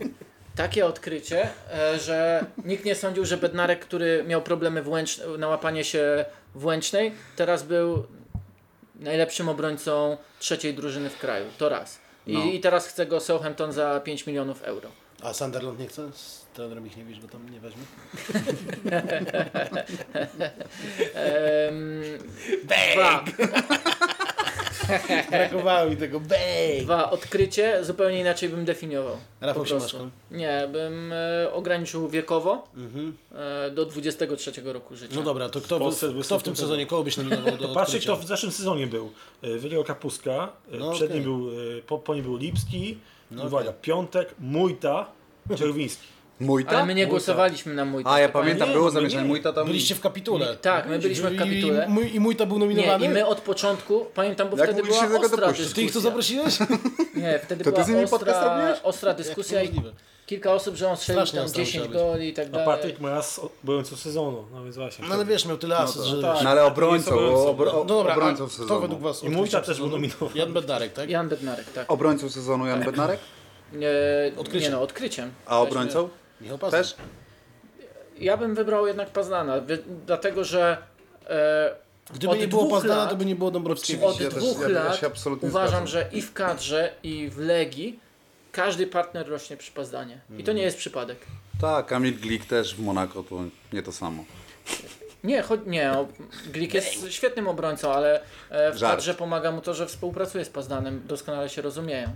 [SPEAKER 3] takie odkrycie, e, że nikt nie sądził, że Bednarek, który miał problemy w Łęcz- na łapanie się w Łęcznej, teraz był najlepszym obrońcą trzeciej drużyny w kraju. To raz. I,
[SPEAKER 1] No.
[SPEAKER 3] i teraz chce go Southampton za 5 milionów euro.
[SPEAKER 2] A Sunderland nie chce? Z trenerem ich nie wiesz, go tam nie
[SPEAKER 3] [laughs]
[SPEAKER 2] weźmie?
[SPEAKER 3] Ehm, dwa,
[SPEAKER 2] Brakowało mi tego, bej!
[SPEAKER 3] dwa. Odkrycie zupełnie inaczej bym definiował.
[SPEAKER 2] Rafał
[SPEAKER 3] Po prostu.
[SPEAKER 2] Siemaszko.
[SPEAKER 3] Nie, bym e, ograniczył wiekowo
[SPEAKER 2] Mhm.
[SPEAKER 3] e, do 23 roku życia.
[SPEAKER 2] No dobra, to kto,
[SPEAKER 4] W Polsce
[SPEAKER 2] w, kto w tym
[SPEAKER 4] wystąpił-
[SPEAKER 2] sezonie, kogo byś nominował
[SPEAKER 3] [laughs]
[SPEAKER 2] do
[SPEAKER 4] Patrzcie, kto
[SPEAKER 2] odkrycia?
[SPEAKER 4] w zeszłym sezonie był. E, Wygrał Kapuska, e,
[SPEAKER 2] No,
[SPEAKER 4] przed
[SPEAKER 2] okej.
[SPEAKER 4] nim był, e, po, po nim był Lipski,
[SPEAKER 2] No,
[SPEAKER 4] uwaga, Piątek, Mójta,
[SPEAKER 2] [laughs]
[SPEAKER 4] Czerwiński.
[SPEAKER 1] Mój
[SPEAKER 3] Ale
[SPEAKER 1] ta?
[SPEAKER 3] my nie głosowaliśmy na mój
[SPEAKER 1] tak? A ja
[SPEAKER 3] tak, panie.
[SPEAKER 1] pamiętam,
[SPEAKER 4] Nie,
[SPEAKER 1] było
[SPEAKER 4] no
[SPEAKER 1] zamieszanie
[SPEAKER 4] nie.
[SPEAKER 1] mój ta tam...
[SPEAKER 2] Byliście w kapitule.
[SPEAKER 3] Tak, my byliśmy w kapitule.
[SPEAKER 2] I, mój, I mój to był
[SPEAKER 3] Nie,
[SPEAKER 2] nominowany?
[SPEAKER 3] i my od początku, pamiętam, bo
[SPEAKER 1] Jak
[SPEAKER 3] wtedy
[SPEAKER 1] mogliście
[SPEAKER 3] była
[SPEAKER 1] tego
[SPEAKER 3] ostra
[SPEAKER 1] dopuścić?
[SPEAKER 3] dyskusja.
[SPEAKER 2] Ty ich tu zaprosiłeś?
[SPEAKER 3] Nie, wtedy
[SPEAKER 1] To ty
[SPEAKER 3] była
[SPEAKER 1] z nimi podcast
[SPEAKER 3] ostra,
[SPEAKER 1] robiłeś?
[SPEAKER 3] ostra [laughs] dyskusja
[SPEAKER 2] Jak to
[SPEAKER 3] i
[SPEAKER 2] możliwe?
[SPEAKER 3] kilka osób, że on strzelił
[SPEAKER 2] Strasznie
[SPEAKER 3] tam
[SPEAKER 2] ostro
[SPEAKER 3] 10
[SPEAKER 2] musiało
[SPEAKER 3] goli i tak
[SPEAKER 4] A
[SPEAKER 3] dalej.
[SPEAKER 4] Patryk ma raz obrońcą sezonu, no więc właśnie.
[SPEAKER 2] No ale wiesz, miał tyle asyst, że...
[SPEAKER 4] tak.
[SPEAKER 1] No ale
[SPEAKER 4] Jest
[SPEAKER 1] obrońcą,
[SPEAKER 4] obrońcą.
[SPEAKER 1] bo obro,
[SPEAKER 2] No dobra, a
[SPEAKER 1] obrońcą
[SPEAKER 2] kto
[SPEAKER 1] sezonu.
[SPEAKER 2] według was
[SPEAKER 4] I Mójta też był nominowany.
[SPEAKER 2] Jan Bednarek, tak?
[SPEAKER 3] Jan Bednarek, tak.
[SPEAKER 1] Obrońcą sezonu Jan Bednarek?
[SPEAKER 3] Nie,
[SPEAKER 2] Odkryciem.
[SPEAKER 3] Nie no, odkryciem.
[SPEAKER 1] A obrońcą?
[SPEAKER 2] Michał Pazda.
[SPEAKER 1] Też?
[SPEAKER 3] Ja bym wybrał jednak Paznana, wy- dlatego że e,
[SPEAKER 2] Gdyby
[SPEAKER 3] Od
[SPEAKER 2] nie było
[SPEAKER 3] dwóch
[SPEAKER 2] Pazdana,
[SPEAKER 3] lat-
[SPEAKER 2] to by nie było Dąbrowskiego.
[SPEAKER 3] od
[SPEAKER 1] Ja też-
[SPEAKER 3] dwóch
[SPEAKER 1] ja- ja
[SPEAKER 3] lat
[SPEAKER 1] się absolutnie
[SPEAKER 3] uważam,
[SPEAKER 1] zgadzam.
[SPEAKER 3] że i w kadrze, i w Legii każdy partner rośnie przy Pazdanie. I
[SPEAKER 1] Mm.
[SPEAKER 3] to nie jest przypadek.
[SPEAKER 1] Tak, Kamil Glik też w Monako, to nie to samo.
[SPEAKER 3] Nie, choć nie, o, Glik jest świetnym obrońcą, ale e, w
[SPEAKER 1] Żart.
[SPEAKER 3] kadrze pomaga mu to, że współpracuje z Pazdanem, doskonale się rozumieją.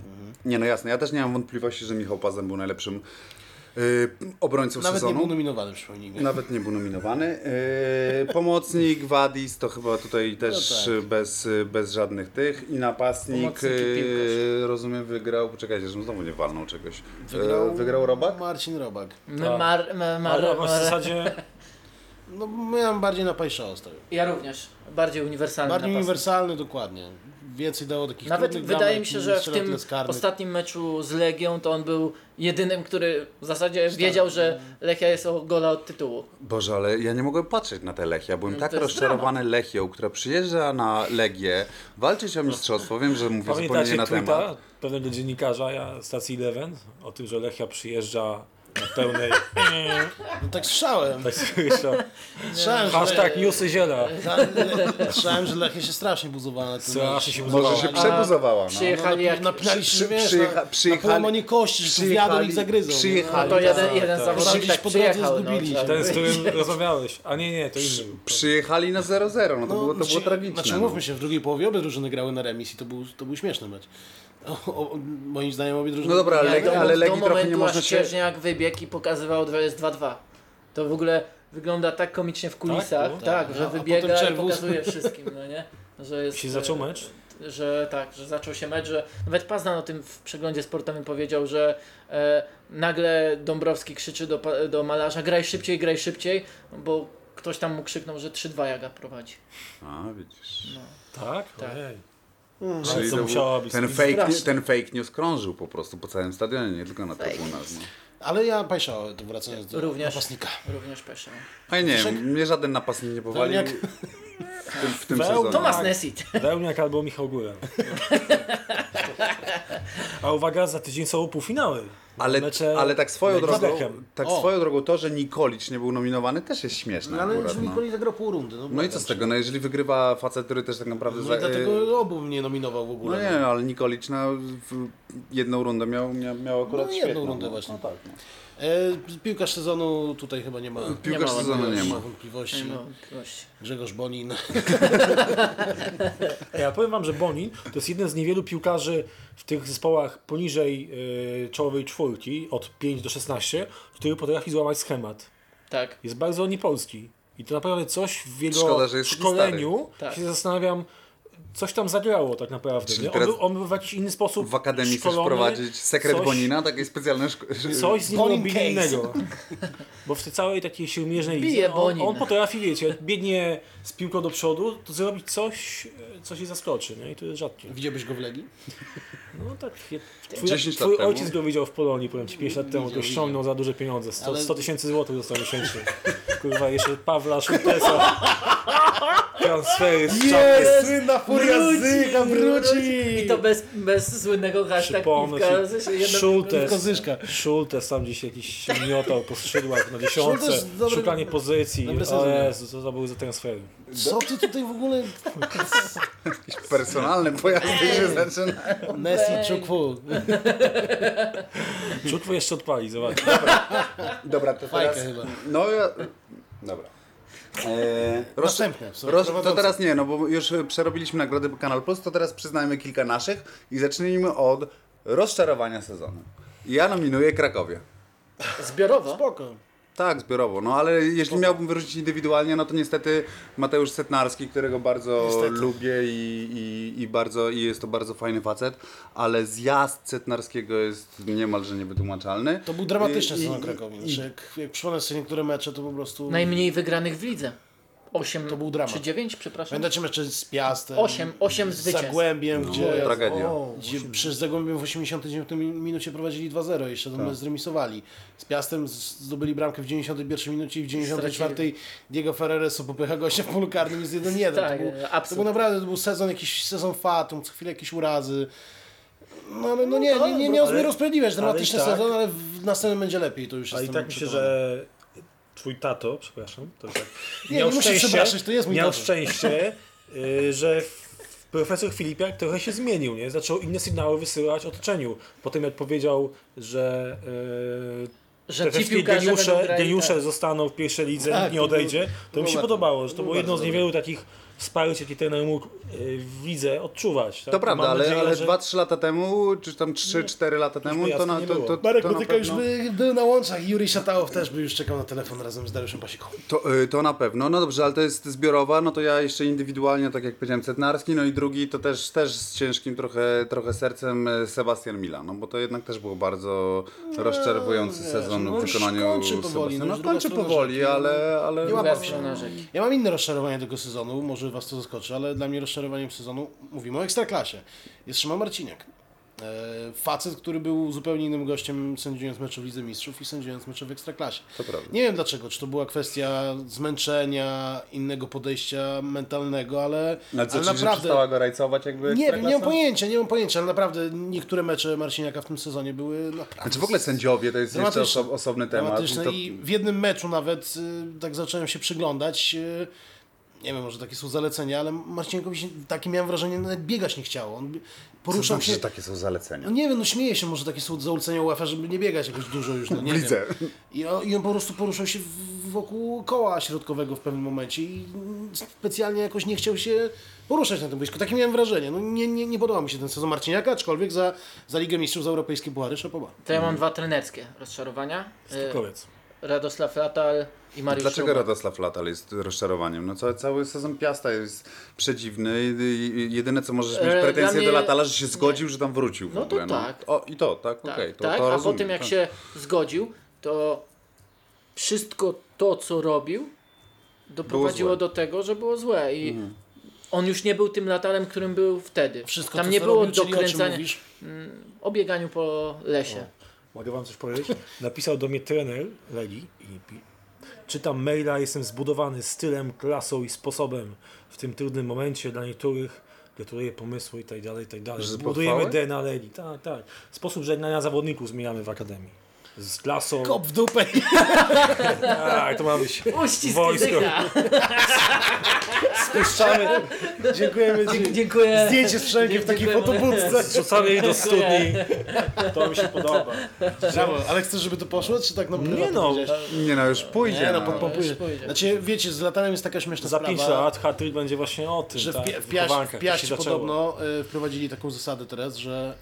[SPEAKER 1] Nie no jasne, ja też nie mam wątpliwości, że Michał Pazem był najlepszym yy, obrońcą
[SPEAKER 2] Nawet nie
[SPEAKER 1] sezonu.
[SPEAKER 2] był nominowany, przypomnijmy.
[SPEAKER 1] Nawet nie był nominowany. Yy, pomocnik Wadis to chyba tutaj też
[SPEAKER 2] No
[SPEAKER 1] yy, bez, yy, bez żadnych tych. I napastnik,
[SPEAKER 3] Pomocnik i piłkarz.
[SPEAKER 1] yy, rozumiem, wygrał. Poczekajcie, żebym znowu nie walnął czegoś.
[SPEAKER 2] Wygrał-
[SPEAKER 1] Wygrał, e, wygrał Robak?
[SPEAKER 2] Marcin Robak.
[SPEAKER 3] My
[SPEAKER 1] Mm.
[SPEAKER 4] Tak.
[SPEAKER 3] mar, my mar,
[SPEAKER 4] Ale w
[SPEAKER 3] mar,
[SPEAKER 2] [laughs]
[SPEAKER 4] zasadzie
[SPEAKER 2] No, miałem bardziej na Pajsza ostawił.
[SPEAKER 3] ja również, bardziej uniwersalny
[SPEAKER 2] Bardziej
[SPEAKER 3] napastnik.
[SPEAKER 2] uniwersalny, dokładnie. Więcej dało takich
[SPEAKER 3] Nawet
[SPEAKER 2] trudnych
[SPEAKER 3] wydaje
[SPEAKER 2] bramek,
[SPEAKER 3] mi się,
[SPEAKER 2] nie
[SPEAKER 3] że w
[SPEAKER 2] strzelał
[SPEAKER 3] tym
[SPEAKER 2] tyle z karnych.
[SPEAKER 3] ostatnim meczu z Legią to on był jedynym, który w zasadzie wiedział, że Lechia jest o gola od tytułu.
[SPEAKER 1] Boże, ale ja nie mogłem patrzeć na te Lechia. Byłem
[SPEAKER 3] No,
[SPEAKER 1] tak
[SPEAKER 3] to jest
[SPEAKER 1] rozczarowany Lechią, która przyjeżdża na Legię, walczyć o mistrzostwo. Wiem, że mówię zupełnie nie
[SPEAKER 4] Pamiętacie
[SPEAKER 1] na temat.
[SPEAKER 4] tweeta pewnego dziennikarza ja, stacji Eleven o tym, że Lechia przyjeżdża na pełnej...
[SPEAKER 2] No tak słyszałem.
[SPEAKER 4] tak słyszał.
[SPEAKER 2] Słyszałem, że,
[SPEAKER 4] Hashtag newsy ziela.
[SPEAKER 2] za- słyszałem, że Lechia się strasznie buzowała na tym
[SPEAKER 4] Strasznie się
[SPEAKER 1] Może się
[SPEAKER 4] budowało.
[SPEAKER 1] przebuzowała. No.
[SPEAKER 3] Przyjechali
[SPEAKER 2] no,
[SPEAKER 3] jak...
[SPEAKER 2] nap- napinali się,
[SPEAKER 1] Przy-
[SPEAKER 2] wiesz,
[SPEAKER 1] przyjecha-
[SPEAKER 2] na,
[SPEAKER 1] przyjechali-
[SPEAKER 2] na połamanie kości, że tu
[SPEAKER 1] przyjechali-
[SPEAKER 2] wjadą i ich zagryzą.
[SPEAKER 1] przyjechali-
[SPEAKER 2] No,
[SPEAKER 3] To jeden, jeden
[SPEAKER 1] Tak,
[SPEAKER 3] zawodnik
[SPEAKER 2] Gdzieś
[SPEAKER 3] tak
[SPEAKER 2] po drodze
[SPEAKER 3] przyjechał. No,
[SPEAKER 2] zgubili się.
[SPEAKER 3] tak.
[SPEAKER 4] Ten, z którym rozmawiałeś. A nie, nie, to inny. był.
[SPEAKER 1] Przyjechali na 0-0, no to było, to było
[SPEAKER 2] znaczy-
[SPEAKER 1] tragiczne.
[SPEAKER 2] Znaczy,
[SPEAKER 1] no.
[SPEAKER 2] mówmy się, w drugiej połowie obie drużyny grały na remis i to był, to był śmieszny mecz. O, o, moim zdaniem obie drużyny...
[SPEAKER 1] No dobra, ale
[SPEAKER 3] Ale,
[SPEAKER 1] Legi-
[SPEAKER 3] do,
[SPEAKER 1] ale
[SPEAKER 3] ale
[SPEAKER 1] Legii
[SPEAKER 3] do
[SPEAKER 1] trochę nie
[SPEAKER 3] momentu
[SPEAKER 1] można
[SPEAKER 3] aż
[SPEAKER 1] się-
[SPEAKER 3] Cieżniak wybiegł i pokazywał, że jest 2-2. To w ogóle wygląda tak komicznie w kulisach, tak,
[SPEAKER 4] Tak, no.
[SPEAKER 2] Tak,
[SPEAKER 3] że
[SPEAKER 2] a
[SPEAKER 3] wybiega
[SPEAKER 2] potem
[SPEAKER 3] i
[SPEAKER 2] Czerwus.
[SPEAKER 3] pokazuje wszystkim, no nie? Że jest,
[SPEAKER 4] Się zaczął
[SPEAKER 3] e,
[SPEAKER 4] mecz?
[SPEAKER 3] Że tak, że zaczął się mecz, że nawet Pazdan o tym w przeglądzie sportowym powiedział, że e, nagle Dąbrowski krzyczy do, pa- do malarza graj szybciej, graj szybciej, bo ktoś tam mu krzyknął, że 3-2 Jaga prowadzi.
[SPEAKER 1] A, widzisz.
[SPEAKER 4] Tak?
[SPEAKER 3] Tak.
[SPEAKER 4] Ojej.
[SPEAKER 1] Czyli
[SPEAKER 4] co
[SPEAKER 1] to
[SPEAKER 4] musiała
[SPEAKER 1] był,
[SPEAKER 4] być
[SPEAKER 1] ten,
[SPEAKER 4] spis-
[SPEAKER 1] fake,
[SPEAKER 3] Straszne.
[SPEAKER 1] ten fake news krążył po prostu po całym stadionie, nie tylko na trybunach. No.
[SPEAKER 2] Ale ja Pajsza, to wracając do
[SPEAKER 3] Również.
[SPEAKER 2] No, napastnika.
[SPEAKER 3] Również Pesza.
[SPEAKER 1] A nie, mnie żaden napastnik nie powalił
[SPEAKER 2] jak-
[SPEAKER 1] w tym, w tym
[SPEAKER 4] Weł-
[SPEAKER 1] sezonie.
[SPEAKER 4] Tomasz-
[SPEAKER 3] Tomas Nesit.
[SPEAKER 4] Wełniak albo Michał Góra. A uwaga, za tydzień są półfinały.
[SPEAKER 1] Ale,
[SPEAKER 4] Mecze
[SPEAKER 1] ale tak swoją
[SPEAKER 4] z
[SPEAKER 1] drogą,
[SPEAKER 4] Bechem.
[SPEAKER 1] tak
[SPEAKER 2] O.
[SPEAKER 1] swoją drogą to, że Nikolic nie był nominowany też jest śmieszne
[SPEAKER 2] No, ale
[SPEAKER 1] akurat,
[SPEAKER 2] już
[SPEAKER 1] no.
[SPEAKER 2] Nikoli zagrał pół rundy. No,
[SPEAKER 1] no i co z tego, no jeżeli wygrywa facet, który też tak naprawdę...
[SPEAKER 2] No
[SPEAKER 1] za-
[SPEAKER 2] i dlatego obu mnie nominował w ogóle.
[SPEAKER 1] No nie, ale Nikolic na w- jedną rundę miał, mia- miał akurat
[SPEAKER 2] No, jedną
[SPEAKER 1] świetną.
[SPEAKER 2] rundę
[SPEAKER 1] no.
[SPEAKER 2] właśnie.
[SPEAKER 1] No tak, no.
[SPEAKER 2] E, piłkarz sezonu tutaj chyba nie ma.
[SPEAKER 1] Piłkarz
[SPEAKER 2] nie ma
[SPEAKER 1] sezonu nie ma.
[SPEAKER 2] wątpliwości.
[SPEAKER 3] No, gość.
[SPEAKER 2] Grzegorz Bonin. [laughs]
[SPEAKER 4] A Ja powiem wam, że Bonin to jest jeden z niewielu piłkarzy w tych zespołach poniżej y, czołowej czwórki, od 5 do 16, który potrafi złamać schemat.
[SPEAKER 3] Tak.
[SPEAKER 4] Jest bardzo niepolski. I to naprawdę coś w jego
[SPEAKER 1] Szkoda, że jest taki
[SPEAKER 4] szkoleniu
[SPEAKER 3] stary.
[SPEAKER 4] się zastanawiam, coś tam zagrało tak naprawdę.
[SPEAKER 1] Czyli
[SPEAKER 4] Nie? On,
[SPEAKER 1] teraz
[SPEAKER 4] był, on był w jakiś inny sposób
[SPEAKER 1] W akademii chcesz
[SPEAKER 4] szkolony,
[SPEAKER 1] wprowadzić sekret
[SPEAKER 4] coś,
[SPEAKER 1] Bonina, takie specjalne szko-
[SPEAKER 4] Coś z nim
[SPEAKER 2] Bonin
[SPEAKER 4] robili
[SPEAKER 2] case.
[SPEAKER 4] innego. Bo w tej całej takiej siłmierznej
[SPEAKER 3] Bije
[SPEAKER 4] lidze on,
[SPEAKER 3] Bonin.
[SPEAKER 4] on potrafi, wiecie, jak biegnie z piłką do przodu, to zrobić coś, e, co się zaskoczy, nie? I to jest rzadkie.
[SPEAKER 2] Widziałbyś go w Legii?
[SPEAKER 4] No tak, je- twój,
[SPEAKER 1] 10 lat
[SPEAKER 4] twój
[SPEAKER 1] temu.
[SPEAKER 4] ojciec go widział w Polonii, powiem ci, 5 lat temu, to ściągnął za duże pieniądze, 100
[SPEAKER 2] Ale-
[SPEAKER 4] 100 tysięcy złotych dostał miesięcznie. Kurwa, jeszcze Pawla Szutesa. Transfery z czapy.
[SPEAKER 1] Słynna
[SPEAKER 3] I to bez, bez słynnego hashtag
[SPEAKER 4] Przypomnę
[SPEAKER 3] piwka.
[SPEAKER 4] ci,
[SPEAKER 3] z- jedno-
[SPEAKER 4] Schultes.
[SPEAKER 2] Kozyszka.
[SPEAKER 4] Schultes tam gdzieś jakiś miotał po skrzydłach na dziesiątce,
[SPEAKER 2] Schultes dobry-
[SPEAKER 4] szukanie pozycji,
[SPEAKER 2] dobry
[SPEAKER 4] o
[SPEAKER 2] sezon.
[SPEAKER 4] Jezu, co to były za transfery.
[SPEAKER 2] Co ty tutaj w ogóle?
[SPEAKER 1] Personalne pojazdy się zaczynają.
[SPEAKER 2] Messi, Chukwu.
[SPEAKER 4] Czutwo jeszcze odpali, zobacz.
[SPEAKER 1] Dobra, to teraz...
[SPEAKER 2] Fajkę chyba.
[SPEAKER 1] No ja... Dobra. Eee,
[SPEAKER 2] Następne są
[SPEAKER 1] roz, to
[SPEAKER 2] prowadzące.
[SPEAKER 1] teraz nie, no bo już przerobiliśmy nagrody Kanal Plus, to teraz przyznajmy kilka naszych i zacznijmy od rozczarowania sezonu. Ja nominuję Krakowie.
[SPEAKER 3] Zbiorowo.
[SPEAKER 2] Spoko.
[SPEAKER 1] Tak, zbiorowo, no ale jeśli miałbym wyróżnić indywidualnie, no to niestety Mateusz Setnarski, którego bardzo
[SPEAKER 2] Niestety.
[SPEAKER 1] lubię i, i, i bardzo i jest to bardzo fajny facet, ale zjazd Setnarskiego jest niemalże niewytłumaczalny.
[SPEAKER 2] To był dramatyczny
[SPEAKER 1] I- i-
[SPEAKER 2] sezon Krakowi. Znaczy, jak, jak przypomnę sobie niektóre mecze, to po prostu...
[SPEAKER 3] Najmniej wygranych w lidze. 8
[SPEAKER 2] To był dramat.
[SPEAKER 3] czy 9, przepraszam.
[SPEAKER 2] Pamiętacie mecze z Piastem?
[SPEAKER 3] Osiem- osiem
[SPEAKER 2] z
[SPEAKER 3] zwycięstw.
[SPEAKER 2] Zagłębiem, gdzie...
[SPEAKER 1] tragedia.
[SPEAKER 2] Gdzie przez Zagłębiem w 89 minucie prowadzili 2-0, jeszcze tam zremisowali. Z Piastem z- zdobyli bramkę w 91 minucie i w 94 Diego Ferreresu popycha gościa w polu karnym i z 1-1.
[SPEAKER 3] Tak,
[SPEAKER 2] to, był,
[SPEAKER 3] absurd.
[SPEAKER 2] to był naprawdę to był sezon, jakiś sezon fatum, co chwilę jakieś urazy. No ale no nie, nie, nie, nie,
[SPEAKER 4] ale-
[SPEAKER 2] nie rozprawiedliwiać, dramatyczny
[SPEAKER 4] ale i tak-
[SPEAKER 2] sezon, ale w następnym będzie lepiej, to już
[SPEAKER 4] A i
[SPEAKER 2] jestem
[SPEAKER 4] tak myślę,
[SPEAKER 2] przekonany.
[SPEAKER 4] że twój tato, przepraszam, to tak,
[SPEAKER 2] Nie, nie musisz przepraszać, to jest mój
[SPEAKER 4] miał
[SPEAKER 2] tato.
[SPEAKER 4] szczęście, y, że f- profesor Filipiak trochę się zmienił, nie? Zaczął inne sygnały wysyłać otoczeniu. Po tym jak powiedział, że y,
[SPEAKER 3] Że
[SPEAKER 4] te
[SPEAKER 3] ci
[SPEAKER 4] wszystkie
[SPEAKER 3] piłkarze będą
[SPEAKER 4] geniusze,
[SPEAKER 3] grali,
[SPEAKER 4] geniusze
[SPEAKER 3] tak.
[SPEAKER 4] zostaną w pierwszej lidze,
[SPEAKER 2] Tak,
[SPEAKER 4] nikt nie
[SPEAKER 2] to było-
[SPEAKER 4] odejdzie, to mi się
[SPEAKER 2] bardzo-
[SPEAKER 4] podobało, że to
[SPEAKER 2] było
[SPEAKER 4] było jedno z
[SPEAKER 2] bardzo
[SPEAKER 4] niewielu takich wsparć, jakie trener mógł y, w lidze odczuwać. Tak?
[SPEAKER 1] To prawda,
[SPEAKER 4] Mam
[SPEAKER 1] ale,
[SPEAKER 4] nadzieję,
[SPEAKER 1] ale
[SPEAKER 4] że-
[SPEAKER 1] 2-3 lata temu, czy tam 3-4 lata temu,
[SPEAKER 4] jasno
[SPEAKER 1] to na
[SPEAKER 4] nie
[SPEAKER 1] to,
[SPEAKER 4] było.
[SPEAKER 1] to, to,
[SPEAKER 2] Marek
[SPEAKER 1] to na
[SPEAKER 2] Motyka już
[SPEAKER 1] pewno-
[SPEAKER 2] by był na łączach i Jurij Szatałow też by już czekał na telefon razem z Dariuszem Pasiką.
[SPEAKER 1] To, y, to na pewno, no dobrze, ale to jest zbiorowa, no to ja jeszcze indywidualnie, tak jak powiedziałem, Cetnarski, no i drugi to też, też z ciężkim trochę, trochę sercem e, Sebastian Mila, no bo to jednak też był bardzo rozczarowujący
[SPEAKER 2] wiesz,
[SPEAKER 1] sezon
[SPEAKER 2] no
[SPEAKER 1] w
[SPEAKER 2] już
[SPEAKER 1] wykonaniu
[SPEAKER 2] kończy powoli,
[SPEAKER 1] Sebastiana.
[SPEAKER 2] no już
[SPEAKER 1] no
[SPEAKER 2] druga
[SPEAKER 1] kończy
[SPEAKER 2] strona
[SPEAKER 1] powoli,
[SPEAKER 2] rzeki,
[SPEAKER 1] ale, ale
[SPEAKER 2] Nie łapał się.
[SPEAKER 3] Wewnątrz rzeki.
[SPEAKER 2] Ja mam inne rozczarowanie tego sezonu, może was to zaskoczy, ale dla mnie rozczarowaniem sezonu, mówimy o Ekstraklasie, jest Szymon Marciniak. E, Facet, który był zupełnie innym gościem sędziując mecze w Lidze Mistrzów i sędziując mecze w Ekstraklasie.
[SPEAKER 1] to prawda.
[SPEAKER 2] Nie wiem dlaczego, czy to była kwestia zmęczenia, innego podejścia mentalnego, ale,
[SPEAKER 1] Ale co,
[SPEAKER 2] ale
[SPEAKER 1] czyli, znaczy, że przestała go rajcować jakby
[SPEAKER 2] Nie wiem, nie mam
[SPEAKER 1] Ekstraklasa?
[SPEAKER 2] pojęcia, nie mam pojęcia, ale naprawdę niektóre mecze Marciniaka w tym sezonie były naprawdę
[SPEAKER 1] Znaczy w ogóle sędziowie to jest jeszcze
[SPEAKER 2] Dramatyczne.
[SPEAKER 1] oso- osobny temat. no
[SPEAKER 2] dramatyczne
[SPEAKER 1] To-
[SPEAKER 2] i w jednym meczu nawet y, tak zacząłem się przyglądać. y, nie wiem, może takie są zalecenia, ale Marcinkowi się, takie miałem wrażenie, nawet biegać nie chciało. On
[SPEAKER 1] Co
[SPEAKER 2] poruszał
[SPEAKER 1] znaczy,
[SPEAKER 2] się...
[SPEAKER 1] że takie są zalecenia?
[SPEAKER 2] No nie wiem, no śmieje się, może takie są zalecenia UEFA, żeby nie biegać jakoś dużo
[SPEAKER 1] [laughs]
[SPEAKER 2] już, no nie
[SPEAKER 1] Widzę.
[SPEAKER 2] wiem. I on, I on po prostu poruszał się w- wokół koła środkowego w pewnym momencie i specjalnie jakoś nie chciał się poruszać na tym boisku. Takie miałem wrażenie. No nie, nie, nie podobał mi się ten sezon Marciniaka, aczkolwiek za, za Ligę Mistrzów, za Europejskie Puchary Szapoba.
[SPEAKER 3] To ja mam dwa trenerskie rozczarowania. Y,
[SPEAKER 4] E, Koniec.
[SPEAKER 3] Radosław Latal i Mariusz
[SPEAKER 1] Dlaczego
[SPEAKER 3] Szuman.
[SPEAKER 1] Radosław Latal jest rozczarowaniem? No cały, cały sezon Piasta jest przedziwny. i- i- Jedyne co możesz mieć
[SPEAKER 3] E,
[SPEAKER 1] pretensje
[SPEAKER 3] dla
[SPEAKER 1] do
[SPEAKER 3] mnie-
[SPEAKER 1] Latala, że się zgodził, że tam wrócił. w
[SPEAKER 3] No to
[SPEAKER 1] ogóle,
[SPEAKER 3] tak.
[SPEAKER 1] O, I to, tak, okej.
[SPEAKER 3] Tak,
[SPEAKER 1] to,
[SPEAKER 3] tak.
[SPEAKER 1] to
[SPEAKER 3] a
[SPEAKER 1] rozumiem,
[SPEAKER 3] po tym jak
[SPEAKER 1] tak.
[SPEAKER 3] się zgodził, to wszystko to, co robił, doprowadziło
[SPEAKER 1] złe. Mhm.
[SPEAKER 3] do tego, że było złe. I on już nie był tym latarem, którym był wtedy.
[SPEAKER 2] Wszystko
[SPEAKER 3] Tam
[SPEAKER 2] to,
[SPEAKER 3] nie
[SPEAKER 2] co
[SPEAKER 3] było
[SPEAKER 2] robił, czyli o czym
[SPEAKER 3] dokręcania
[SPEAKER 2] mówisz?
[SPEAKER 3] o bieganiu po lesie.
[SPEAKER 4] Mogę wam coś powiedzieć? Napisał do mnie trener Legi i pi- czytam maila, jestem zbudowany stylem, klasą i sposobem w tym trudnym momencie dla niektórych gratuluję pomysłu i tak dalej, i tak dalej.
[SPEAKER 1] Że
[SPEAKER 4] Budujemy
[SPEAKER 1] pochwały?
[SPEAKER 4] DNA Legi, tak, tak. Sposób żegnania zawodników zmieniamy w Akademii. Z klasą.
[SPEAKER 2] Kop w dupę.
[SPEAKER 4] Tak, to ma być.
[SPEAKER 3] Uścisk
[SPEAKER 4] Wojsko.
[SPEAKER 3] języka.
[SPEAKER 2] Spuszczamy. Dziękujemy
[SPEAKER 3] Dzie-
[SPEAKER 2] ci.
[SPEAKER 3] Dziękuję.
[SPEAKER 2] Zdjęcie z Szenkiem w takiej
[SPEAKER 3] Dziękujemy.
[SPEAKER 2] fotobudce.
[SPEAKER 4] Rzucamy jej do studni. To mi się podoba.
[SPEAKER 2] Brawo, ale chcesz, żeby to poszło, czy tak no
[SPEAKER 4] Nie no,
[SPEAKER 1] Nie no, już pójdzie.
[SPEAKER 2] Nie no,
[SPEAKER 1] no.
[SPEAKER 2] podpompujesz.
[SPEAKER 3] Już pójdzie.
[SPEAKER 2] Znaczy, wiecie, z latanem jest taka śmieszna
[SPEAKER 4] za
[SPEAKER 2] sprawa.
[SPEAKER 4] 5 lat hat-trick będzie właśnie o tym.
[SPEAKER 2] że w,
[SPEAKER 4] tak,
[SPEAKER 2] Pia- w,
[SPEAKER 4] wychowankach,
[SPEAKER 2] Piaś,
[SPEAKER 4] jak
[SPEAKER 2] w Piaście
[SPEAKER 4] się zaczęło.
[SPEAKER 2] podobno y, wprowadzili taką zasadę teraz, że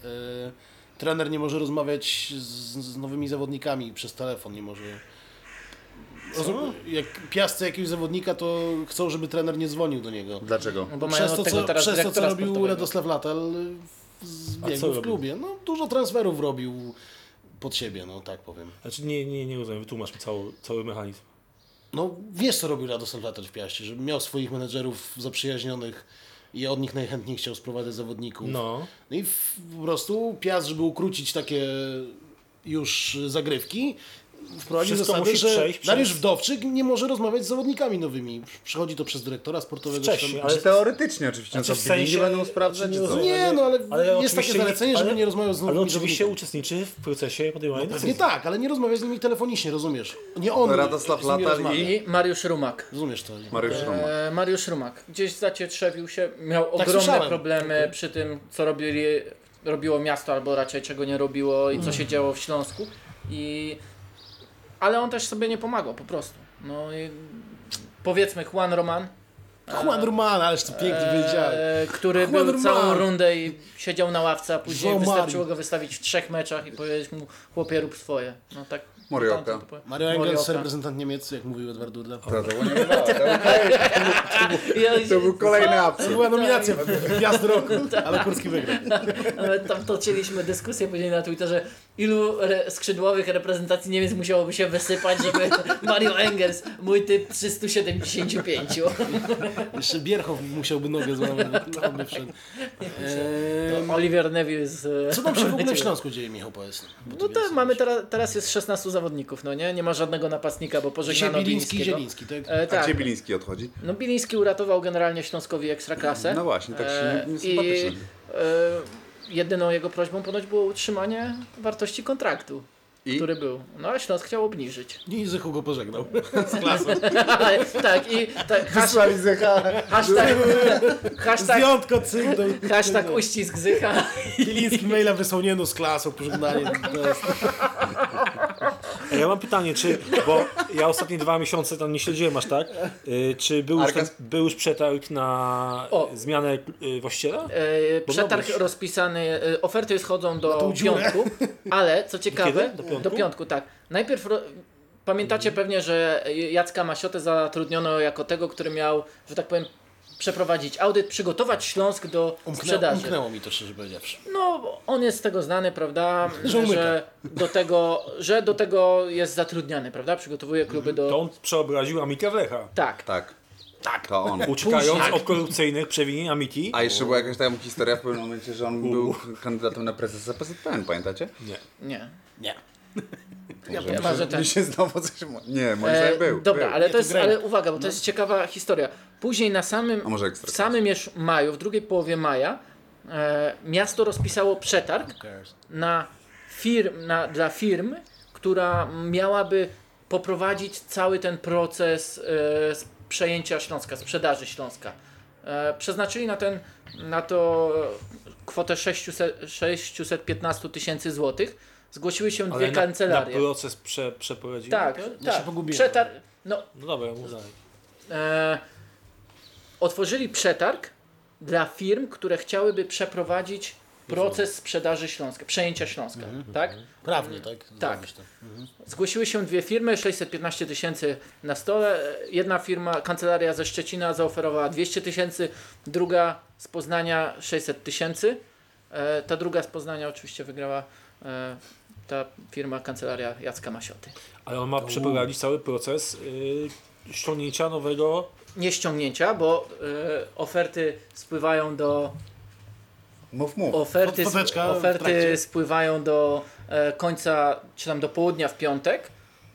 [SPEAKER 2] y, trener nie może rozmawiać z, z nowymi zawodnikami przez telefon, nie może. Rozum, jak piasce jakiegoś zawodnika, to chcą, żeby trener nie dzwonił do niego.
[SPEAKER 1] Dlaczego?
[SPEAKER 3] No bo mają
[SPEAKER 2] Przez
[SPEAKER 3] od
[SPEAKER 2] to,
[SPEAKER 3] tego
[SPEAKER 2] co,
[SPEAKER 3] teraz
[SPEAKER 2] przez to, co
[SPEAKER 3] dyrektora
[SPEAKER 2] robił
[SPEAKER 3] sportowego.
[SPEAKER 2] Radosław Latal y, w,
[SPEAKER 4] A
[SPEAKER 2] biegu
[SPEAKER 4] co
[SPEAKER 2] w
[SPEAKER 4] robił?
[SPEAKER 2] klubie. No, dużo transferów robił pod siebie, no tak powiem.
[SPEAKER 4] Znaczy nie, nie, nie rozumiem, wytłumacz mi cały, cały mechanizm.
[SPEAKER 2] No wiesz co robił Radosław Latel w Piaście, że miał swoich menedżerów zaprzyjaźnionych i od nich najchętniej chciał sprowadzać zawodników.
[SPEAKER 4] No.
[SPEAKER 2] No i w, po prostu Piast, żeby ukrócić takie już zagrywki, wprowadził
[SPEAKER 4] Wszystko
[SPEAKER 2] zasadę,
[SPEAKER 4] musi
[SPEAKER 2] że
[SPEAKER 4] przejść przez-
[SPEAKER 2] Dariusz Wdowczyk nie może rozmawiać z zawodnikami nowymi. Przechodzi to przez dyrektora sportowego.
[SPEAKER 4] Wcześniej,
[SPEAKER 2] czy tam-
[SPEAKER 4] ale-
[SPEAKER 1] Czy teoretycznie oczywiście,
[SPEAKER 4] Znaczy,
[SPEAKER 1] znaczy,
[SPEAKER 4] w
[SPEAKER 1] co, billingi
[SPEAKER 4] sensie-
[SPEAKER 1] będą sprawdzać,
[SPEAKER 4] nie
[SPEAKER 1] czy co?
[SPEAKER 4] rozumiem.
[SPEAKER 2] Nie, no ale,
[SPEAKER 4] Ale
[SPEAKER 2] jest takie
[SPEAKER 4] oczywiście-
[SPEAKER 2] zalecenie, żeby
[SPEAKER 4] ale-
[SPEAKER 2] nie rozmawiał z nowymi
[SPEAKER 4] Ale oczywiście
[SPEAKER 2] zawodnikami.
[SPEAKER 4] uczestniczy w procesie podejmowania
[SPEAKER 2] Nie
[SPEAKER 4] decyzji.
[SPEAKER 2] tak, ale nie rozmawiaj z nimi telefonicznie, rozumiesz? Nie on.
[SPEAKER 1] Radosław
[SPEAKER 2] z nimi
[SPEAKER 1] Latal
[SPEAKER 2] rozmawia.
[SPEAKER 1] i-
[SPEAKER 3] I Mariusz Rumak.
[SPEAKER 2] Rozumiesz to?
[SPEAKER 1] Mariusz Roman.
[SPEAKER 3] [laughs] E, Mariusz Rumak. Gdzieś zacietrzewił się, miał ogromne
[SPEAKER 2] słyszałem.
[SPEAKER 3] problemy przy tym, co robili, robiło miasto, albo raczej czego nie robiło
[SPEAKER 1] Mm.
[SPEAKER 3] i co się działo w Śląsku. I... Ale on też sobie nie pomagał, po prostu. No i powiedzmy Juan Roman,
[SPEAKER 2] Juan Roman, ależ to pięknie wiedziałeś.
[SPEAKER 3] e, który
[SPEAKER 2] Juan
[SPEAKER 3] był
[SPEAKER 2] Roman.
[SPEAKER 3] całą rundę i siedział na ławce, a później
[SPEAKER 2] João Mario.
[SPEAKER 3] wystarczyło go wystawić w trzech meczach i powiedzieć mu, chłopie rób swoje. No tak.
[SPEAKER 1] Morioka.
[SPEAKER 3] tak to powiem.
[SPEAKER 2] Mario Engels,
[SPEAKER 3] Morioka.
[SPEAKER 2] reprezentant Niemiec, jak mówił Edward Dudla.
[SPEAKER 1] To, [laughs] to, nie wydało. to, był-
[SPEAKER 3] Ja-
[SPEAKER 1] to był
[SPEAKER 3] Tak.
[SPEAKER 1] kolejny
[SPEAKER 2] To
[SPEAKER 1] absurd.
[SPEAKER 2] była nominacja
[SPEAKER 3] [laughs]
[SPEAKER 2] Gwiazd Roku, ale Kurski wygrał.
[SPEAKER 3] Nawet No, tam toczyliśmy dyskusję później na Twitterze, ilu re skrzydłowych reprezentacji Niemiec musiałoby się wysypać, żeby [laughs] Mario Engels, mój typ 375.
[SPEAKER 2] Jeszcze Bierchow musiałby nogę złamać, bo on by wszedł. Eee,
[SPEAKER 3] Oliver Neville z... e,
[SPEAKER 2] Co tam się w ogóle w Śląsku dzieje, Michał, powiedz? Bo ty
[SPEAKER 3] No
[SPEAKER 2] wiesz.
[SPEAKER 3] to mamy teraz, teraz jest 16 zawodników, no nie? Nie ma żadnego napastnika, bo
[SPEAKER 2] Dzisiaj
[SPEAKER 3] pożegnano
[SPEAKER 2] Biliński i
[SPEAKER 3] Bilińskiego.
[SPEAKER 2] Zieliński, tak?
[SPEAKER 3] E,
[SPEAKER 1] A
[SPEAKER 3] tak.
[SPEAKER 1] gdzie Biliński odchodzi?
[SPEAKER 3] No Biliński uratował generalnie Śląskowi Ekstraklasę.
[SPEAKER 1] No właśnie, tak się
[SPEAKER 3] E,
[SPEAKER 1] nie, nie
[SPEAKER 3] I
[SPEAKER 1] sympatyczny.
[SPEAKER 3] e, jedyną jego prośbą ponoć było utrzymanie wartości kontraktu,
[SPEAKER 1] I
[SPEAKER 3] który był. No a Śląsk chciał obniżyć.
[SPEAKER 2] Nie Izychu go
[SPEAKER 3] [laughs]
[SPEAKER 2] pożegnał.
[SPEAKER 3] tak, i tak, hasz,
[SPEAKER 1] wysłali Zecha.
[SPEAKER 4] [laughs]
[SPEAKER 3] hashtag, hashtag,
[SPEAKER 2] Zdjątko cygnął.
[SPEAKER 3] hashtag uścisk Zycha.
[SPEAKER 2] Biliński maila wysłał nie no z klasą, pożegnanie. to jest-
[SPEAKER 4] A Ja mam pytanie, czy, bo ja ostatnie dwa miesiące tam nie śledziłem aż tak, y, czy był już, ten,
[SPEAKER 1] Arkas-
[SPEAKER 4] był już przetarg na
[SPEAKER 3] O.
[SPEAKER 4] zmianę y, właściciela?
[SPEAKER 3] E, przetarg
[SPEAKER 4] Podobno.
[SPEAKER 3] rozpisany, e, oferty schodzą do
[SPEAKER 2] tą dziurę.
[SPEAKER 3] piątku, ale co ciekawe,
[SPEAKER 4] kiedy? Do piątku? Mhm.
[SPEAKER 3] do piątku, tak. Najpierw ro- pamiętacie pewnie, że Jacka Masiotę zatrudniono jako tego, który miał, że tak powiem, przeprowadzić audyt, przygotować Śląsk do
[SPEAKER 2] Umknęło,
[SPEAKER 3] sprzedaży.
[SPEAKER 2] umknęło mi to, szczerze powiedziawszy.
[SPEAKER 3] No, on jest z tego znany,
[SPEAKER 4] [laughs]
[SPEAKER 3] prawda?
[SPEAKER 2] Że umyka.
[SPEAKER 3] Że do tego, że do tego jest zatrudniany, prawda? Przygotowuje kluby
[SPEAKER 4] Mhm. To
[SPEAKER 3] do.
[SPEAKER 4] on przeobraził Amika w Lecha.
[SPEAKER 3] Tak.
[SPEAKER 1] Tak. Tak. To on.
[SPEAKER 4] Uciekając od korupcyjnych przewinień Amiki.
[SPEAKER 1] A jeszcze była jakaś tam historia w pewnym momencie, że on był kandydatem na prezesa PZPN, pamiętacie?
[SPEAKER 4] Nie.
[SPEAKER 3] Nie.
[SPEAKER 2] Nie.
[SPEAKER 1] Może
[SPEAKER 3] wiem,
[SPEAKER 1] mi się-
[SPEAKER 3] że ten-
[SPEAKER 1] mi się znowu coś... mo- Nie, moim
[SPEAKER 3] E,
[SPEAKER 1] zdaniem był.
[SPEAKER 3] dobra,
[SPEAKER 1] był.
[SPEAKER 3] ale
[SPEAKER 2] to
[SPEAKER 3] to jest,
[SPEAKER 2] grałem.
[SPEAKER 3] ale uwaga, bo to jest ciekawa historia. Później na samym,
[SPEAKER 1] A może
[SPEAKER 3] w
[SPEAKER 1] ekstra.
[SPEAKER 3] samym już maju, w drugiej połowie maja, e, miasto rozpisało przetarg na firm, na, dla firm, która miałaby poprowadzić cały ten proces e, z przejęcia Śląska, sprzedaży Śląska. E, przeznaczyli na, ten, na to kwotę 600, 615 tysięcy złotych. Zgłosiły się dwie
[SPEAKER 4] Ale na, na
[SPEAKER 3] kancelarie.
[SPEAKER 4] proces prze, przeprowadził.
[SPEAKER 3] tak,
[SPEAKER 2] Ja się
[SPEAKER 3] tak.
[SPEAKER 2] pogubiłem.
[SPEAKER 3] Przetarg, no,
[SPEAKER 4] No dobra, mów dalej.
[SPEAKER 3] e, otworzyli przetarg dla firm, które chciałyby przeprowadzić proces sprzedaży Śląska, przejęcia Śląska, tak?
[SPEAKER 2] Prawnie, tak? Zrobisz to.
[SPEAKER 3] Zgłosiły się dwie firmy, 615 tysięcy na stole. Jedna firma, kancelaria ze Szczecina zaoferowała 200 tysięcy, druga z Poznania 600 tysięcy. E, ta druga z Poznania oczywiście wygrała e, ta firma, kancelaria Jacka Masioty.
[SPEAKER 4] Ale on ma przeprowadzić cały proces y, ściągnięcia nowego.
[SPEAKER 3] Nie ściągnięcia, bo e, oferty spływają do
[SPEAKER 1] Mów, mów.
[SPEAKER 3] Oferty,
[SPEAKER 2] Pod foteczka w
[SPEAKER 3] oferty
[SPEAKER 2] trakcie.
[SPEAKER 3] spływają do e, końca, czy tam do południa w piątek,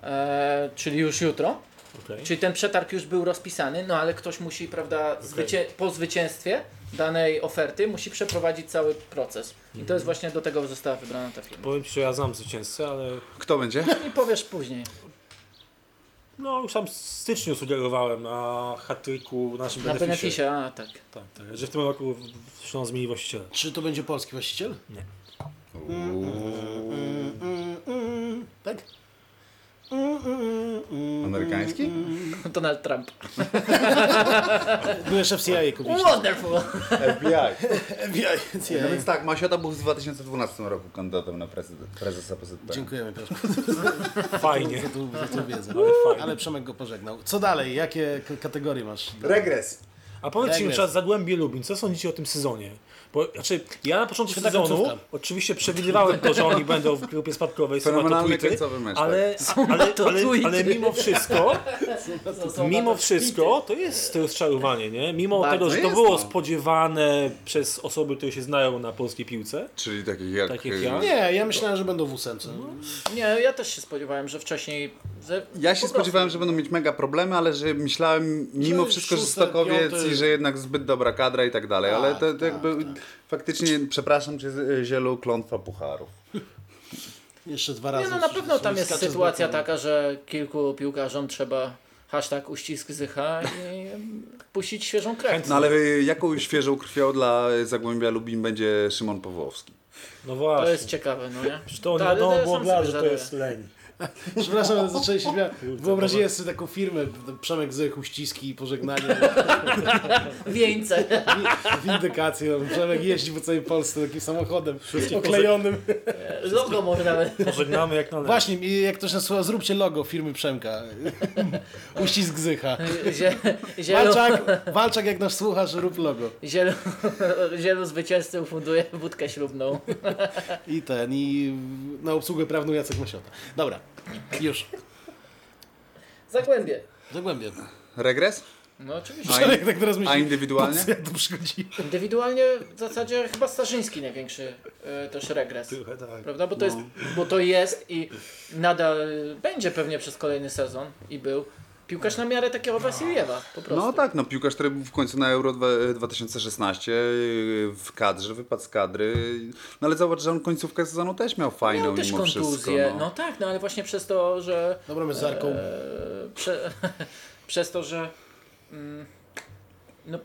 [SPEAKER 3] e, czyli już jutro.
[SPEAKER 4] Okay.
[SPEAKER 3] Czyli ten przetarg już był rozpisany, no ale ktoś musi, prawda, zwycię- po zwycięstwie danej oferty, musi przeprowadzić cały proces. I
[SPEAKER 1] Mhm.
[SPEAKER 3] to jest właśnie do tego została wybrana ta firma.
[SPEAKER 4] Powiem Ci, że ja znam zwycięzcę, ale
[SPEAKER 1] Kto będzie?
[SPEAKER 3] I powiesz później.
[SPEAKER 4] no już tam w styczniu sugerowałem na hatryku naszym
[SPEAKER 3] Na
[SPEAKER 4] beneficie.
[SPEAKER 3] beneficie, a tak. [laughs]
[SPEAKER 4] Tak, tak, że w tym roku w- Śląsk zmieni właściciela.
[SPEAKER 2] Czy to będzie polski właściciel? Mm, mm, tak? Mm, mm, mm,
[SPEAKER 1] Amerykański?
[SPEAKER 3] Donald Trump.
[SPEAKER 2] Byłeś w CIA kupić.
[SPEAKER 3] Wonderful!
[SPEAKER 1] FBI.
[SPEAKER 2] FBI,
[SPEAKER 1] No
[SPEAKER 2] CIA.
[SPEAKER 1] więc tak, Masiota był w 2012 roku kandydatem na prezes- prezesa PZP.
[SPEAKER 2] Dziękujemy Piotr [laughs]
[SPEAKER 4] Fajnie.
[SPEAKER 2] za tą, za tą wiedzę.
[SPEAKER 4] fajnie.
[SPEAKER 2] Ale Przemek go pożegnał. Co dalej? Jakie k- kategorie masz?
[SPEAKER 1] Regres.
[SPEAKER 4] A
[SPEAKER 3] Tak
[SPEAKER 4] powiedzcie mi
[SPEAKER 2] Regres.
[SPEAKER 4] czas Zagłębie Lubin, co sądzicie o tym sezonie? Bo, znaczy, ja na początku
[SPEAKER 2] Świetna
[SPEAKER 4] sezonu
[SPEAKER 2] końcówka.
[SPEAKER 4] oczywiście przewidywałem to, że oni będą w grupie spadkowej, są na to
[SPEAKER 1] Fenomenalny
[SPEAKER 4] tweety,
[SPEAKER 1] końcowy mecz, tak.
[SPEAKER 4] ale, ale,
[SPEAKER 3] na [laughs] to
[SPEAKER 4] ale,
[SPEAKER 3] tweety.
[SPEAKER 4] ale mimo wszystko,
[SPEAKER 3] Są
[SPEAKER 4] mimo
[SPEAKER 3] nawet Tak,
[SPEAKER 4] wszystko to jest rozczarowanie, nie? Mimo
[SPEAKER 3] Bardzo
[SPEAKER 4] tego, że to
[SPEAKER 1] jest, no.
[SPEAKER 4] było spodziewane przez osoby, które się znają na polskiej piłce,
[SPEAKER 1] Czyli takich jak... y,
[SPEAKER 4] Tak jak ja?
[SPEAKER 1] Nie.
[SPEAKER 2] Nie, ja myślałem, że będą w ósemce.
[SPEAKER 3] No. Nie, ja też się spodziewałem, że wcześniej. Że
[SPEAKER 1] Ja się
[SPEAKER 3] po prostu-
[SPEAKER 1] spodziewałem, że będą mieć mega problemy, ale że myślałem mimo
[SPEAKER 2] Że
[SPEAKER 1] wszystko, że
[SPEAKER 2] szóste,
[SPEAKER 1] Stokowiec
[SPEAKER 2] piąte-
[SPEAKER 1] i że jednak zbyt dobra kadra i tak dalej, ale
[SPEAKER 2] Tak,
[SPEAKER 1] to, to
[SPEAKER 2] tak,
[SPEAKER 1] jakby faktycznie, przepraszam cię z- Zielu, klątwa pucharów.
[SPEAKER 2] Jeszcze dwa
[SPEAKER 3] Nie,
[SPEAKER 2] razy.
[SPEAKER 3] no na
[SPEAKER 2] w-
[SPEAKER 3] pewno
[SPEAKER 2] w-
[SPEAKER 3] tam
[SPEAKER 2] w-
[SPEAKER 3] jest
[SPEAKER 2] skacze z
[SPEAKER 3] sytuacja
[SPEAKER 4] no.
[SPEAKER 2] boku.
[SPEAKER 3] taka, że kilku piłkarzom trzeba hashtag uścisk zycha i puścić świeżą krew.
[SPEAKER 1] No ale y, jaką świeżą krwią dla Zagłębia Lubin będzie Szymon Pawłowski?
[SPEAKER 4] no
[SPEAKER 3] To
[SPEAKER 4] właśnie.
[SPEAKER 3] jest ciekawe, no nie?
[SPEAKER 4] Czy to nie
[SPEAKER 3] Ta- ale
[SPEAKER 4] wiadomo
[SPEAKER 3] ja
[SPEAKER 4] było
[SPEAKER 3] sam
[SPEAKER 4] dla,
[SPEAKER 3] sobie
[SPEAKER 4] że to
[SPEAKER 3] żałuję.
[SPEAKER 4] jest leń.
[SPEAKER 2] Przepraszam, ale zacząłem się
[SPEAKER 3] [laughs]
[SPEAKER 2] śmiać. Wyobraziłem sobie taką firmę, Przemek Zych, uściski i pożegnanie, [laughs]
[SPEAKER 3] Wieńce. [laughs]
[SPEAKER 2] wi- windykacje. no, Przemek jeździ po całej Polsce takim samochodem oklejonym.
[SPEAKER 3] Logo może nawet.
[SPEAKER 4] Pożegnamy jak należy.
[SPEAKER 2] Tak. Właśnie, i jak ktoś nas słucha, zróbcie logo firmy Przemka. [laughs] Uścisk Zycha.
[SPEAKER 3] Zie, zielo,
[SPEAKER 2] Walczak, Walczak jak nas słuchasz, rób logo.
[SPEAKER 3] zielo, [laughs] zielo zwycięzcy ufunduje budkę ślubną.
[SPEAKER 2] I ten, i na obsługę prawną Jacek Masiota. Dobra, już.
[SPEAKER 3] Zagłębie.
[SPEAKER 2] Zagłębię.
[SPEAKER 1] Regres?
[SPEAKER 3] No oczywiście.
[SPEAKER 1] A,
[SPEAKER 2] Przemek tak teraz
[SPEAKER 1] a
[SPEAKER 2] myśli,
[SPEAKER 1] indywidualnie?
[SPEAKER 2] ja tu przychodzi.
[SPEAKER 3] Indywidualnie w zasadzie chyba Starzyński największy e, też regres.
[SPEAKER 4] Trochę tak.
[SPEAKER 3] Prawda? Bo to,
[SPEAKER 2] No.
[SPEAKER 3] jest, bo to jest i nadal będzie pewnie przez kolejny sezon i był piłkarz na miarę takiego Wasiliewa po prostu.
[SPEAKER 1] No tak, no piłkarz, który był w końcu na Euro dwa- 2016 yy, w kadrze, wypadł z kadry, no ale zobacz, że on końcówkę sezonu też miał fajną
[SPEAKER 3] Miał też
[SPEAKER 1] mimo wszystko.
[SPEAKER 3] kontuzję.
[SPEAKER 1] No.
[SPEAKER 3] No tak, no ale właśnie przez to, że
[SPEAKER 2] Dobra, my z Arką.
[SPEAKER 1] Eee,
[SPEAKER 3] e, prze, [laughs] przez to, że mm, no,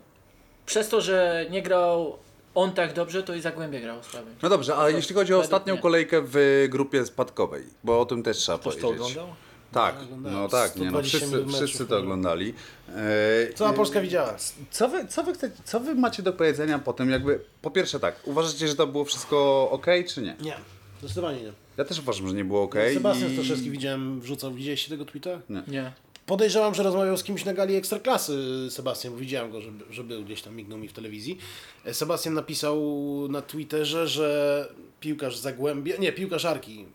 [SPEAKER 3] przez to, że nie grał on tak dobrze, to i Zagłębie grał słabiej.
[SPEAKER 1] No dobrze, a jeśli chodzi o
[SPEAKER 3] według
[SPEAKER 1] ostatnią
[SPEAKER 3] mnie.
[SPEAKER 1] kolejkę w grupie spadkowej, bo o tym też trzeba
[SPEAKER 4] Ktoś to
[SPEAKER 1] powiedzieć.
[SPEAKER 4] oglądał?
[SPEAKER 1] Tak,
[SPEAKER 2] oglądałem.
[SPEAKER 1] no tak, nie, no,
[SPEAKER 2] 120
[SPEAKER 1] wszyscy,
[SPEAKER 2] meczów,
[SPEAKER 1] wszyscy to
[SPEAKER 2] no.
[SPEAKER 1] oglądali. E,
[SPEAKER 2] Co a
[SPEAKER 1] i-
[SPEAKER 2] Polska widziała?
[SPEAKER 1] Co wy, co, wy chcecie, co wy macie do powiedzenia po tym, jakby, po pierwsze tak, uważacie, że to było wszystko ok, czy nie?
[SPEAKER 2] Nie, zdecydowanie nie.
[SPEAKER 1] Ja też uważam, że nie było ok.
[SPEAKER 2] No, Sebastian
[SPEAKER 1] i-
[SPEAKER 2] Staszewski widziałem, wrzucał. Widzieliście tego tweeta?
[SPEAKER 3] Nie.
[SPEAKER 2] Podejrzewam, że rozmawiał z kimś na gali Ekstraklasy Sebastian, bo widziałem go, że, że był gdzieś tam, mignął mi w telewizji. E, Sebastian napisał na Twitterze, że piłkarz Zagłębia, nie, piłkarzarki,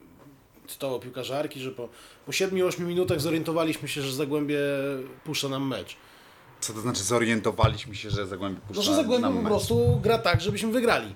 [SPEAKER 2] cytował piłkarzarki, że po, po 7-8 minutach zorientowaliśmy się, że Zagłębie puszcza nam mecz.
[SPEAKER 1] Co to znaczy zorientowaliśmy się, że Zagłębie
[SPEAKER 2] No,
[SPEAKER 1] puszcza
[SPEAKER 2] że Zagłębie
[SPEAKER 1] Tak, nam
[SPEAKER 2] po
[SPEAKER 1] mecz?
[SPEAKER 2] prostu gra tak, żebyśmy wygrali.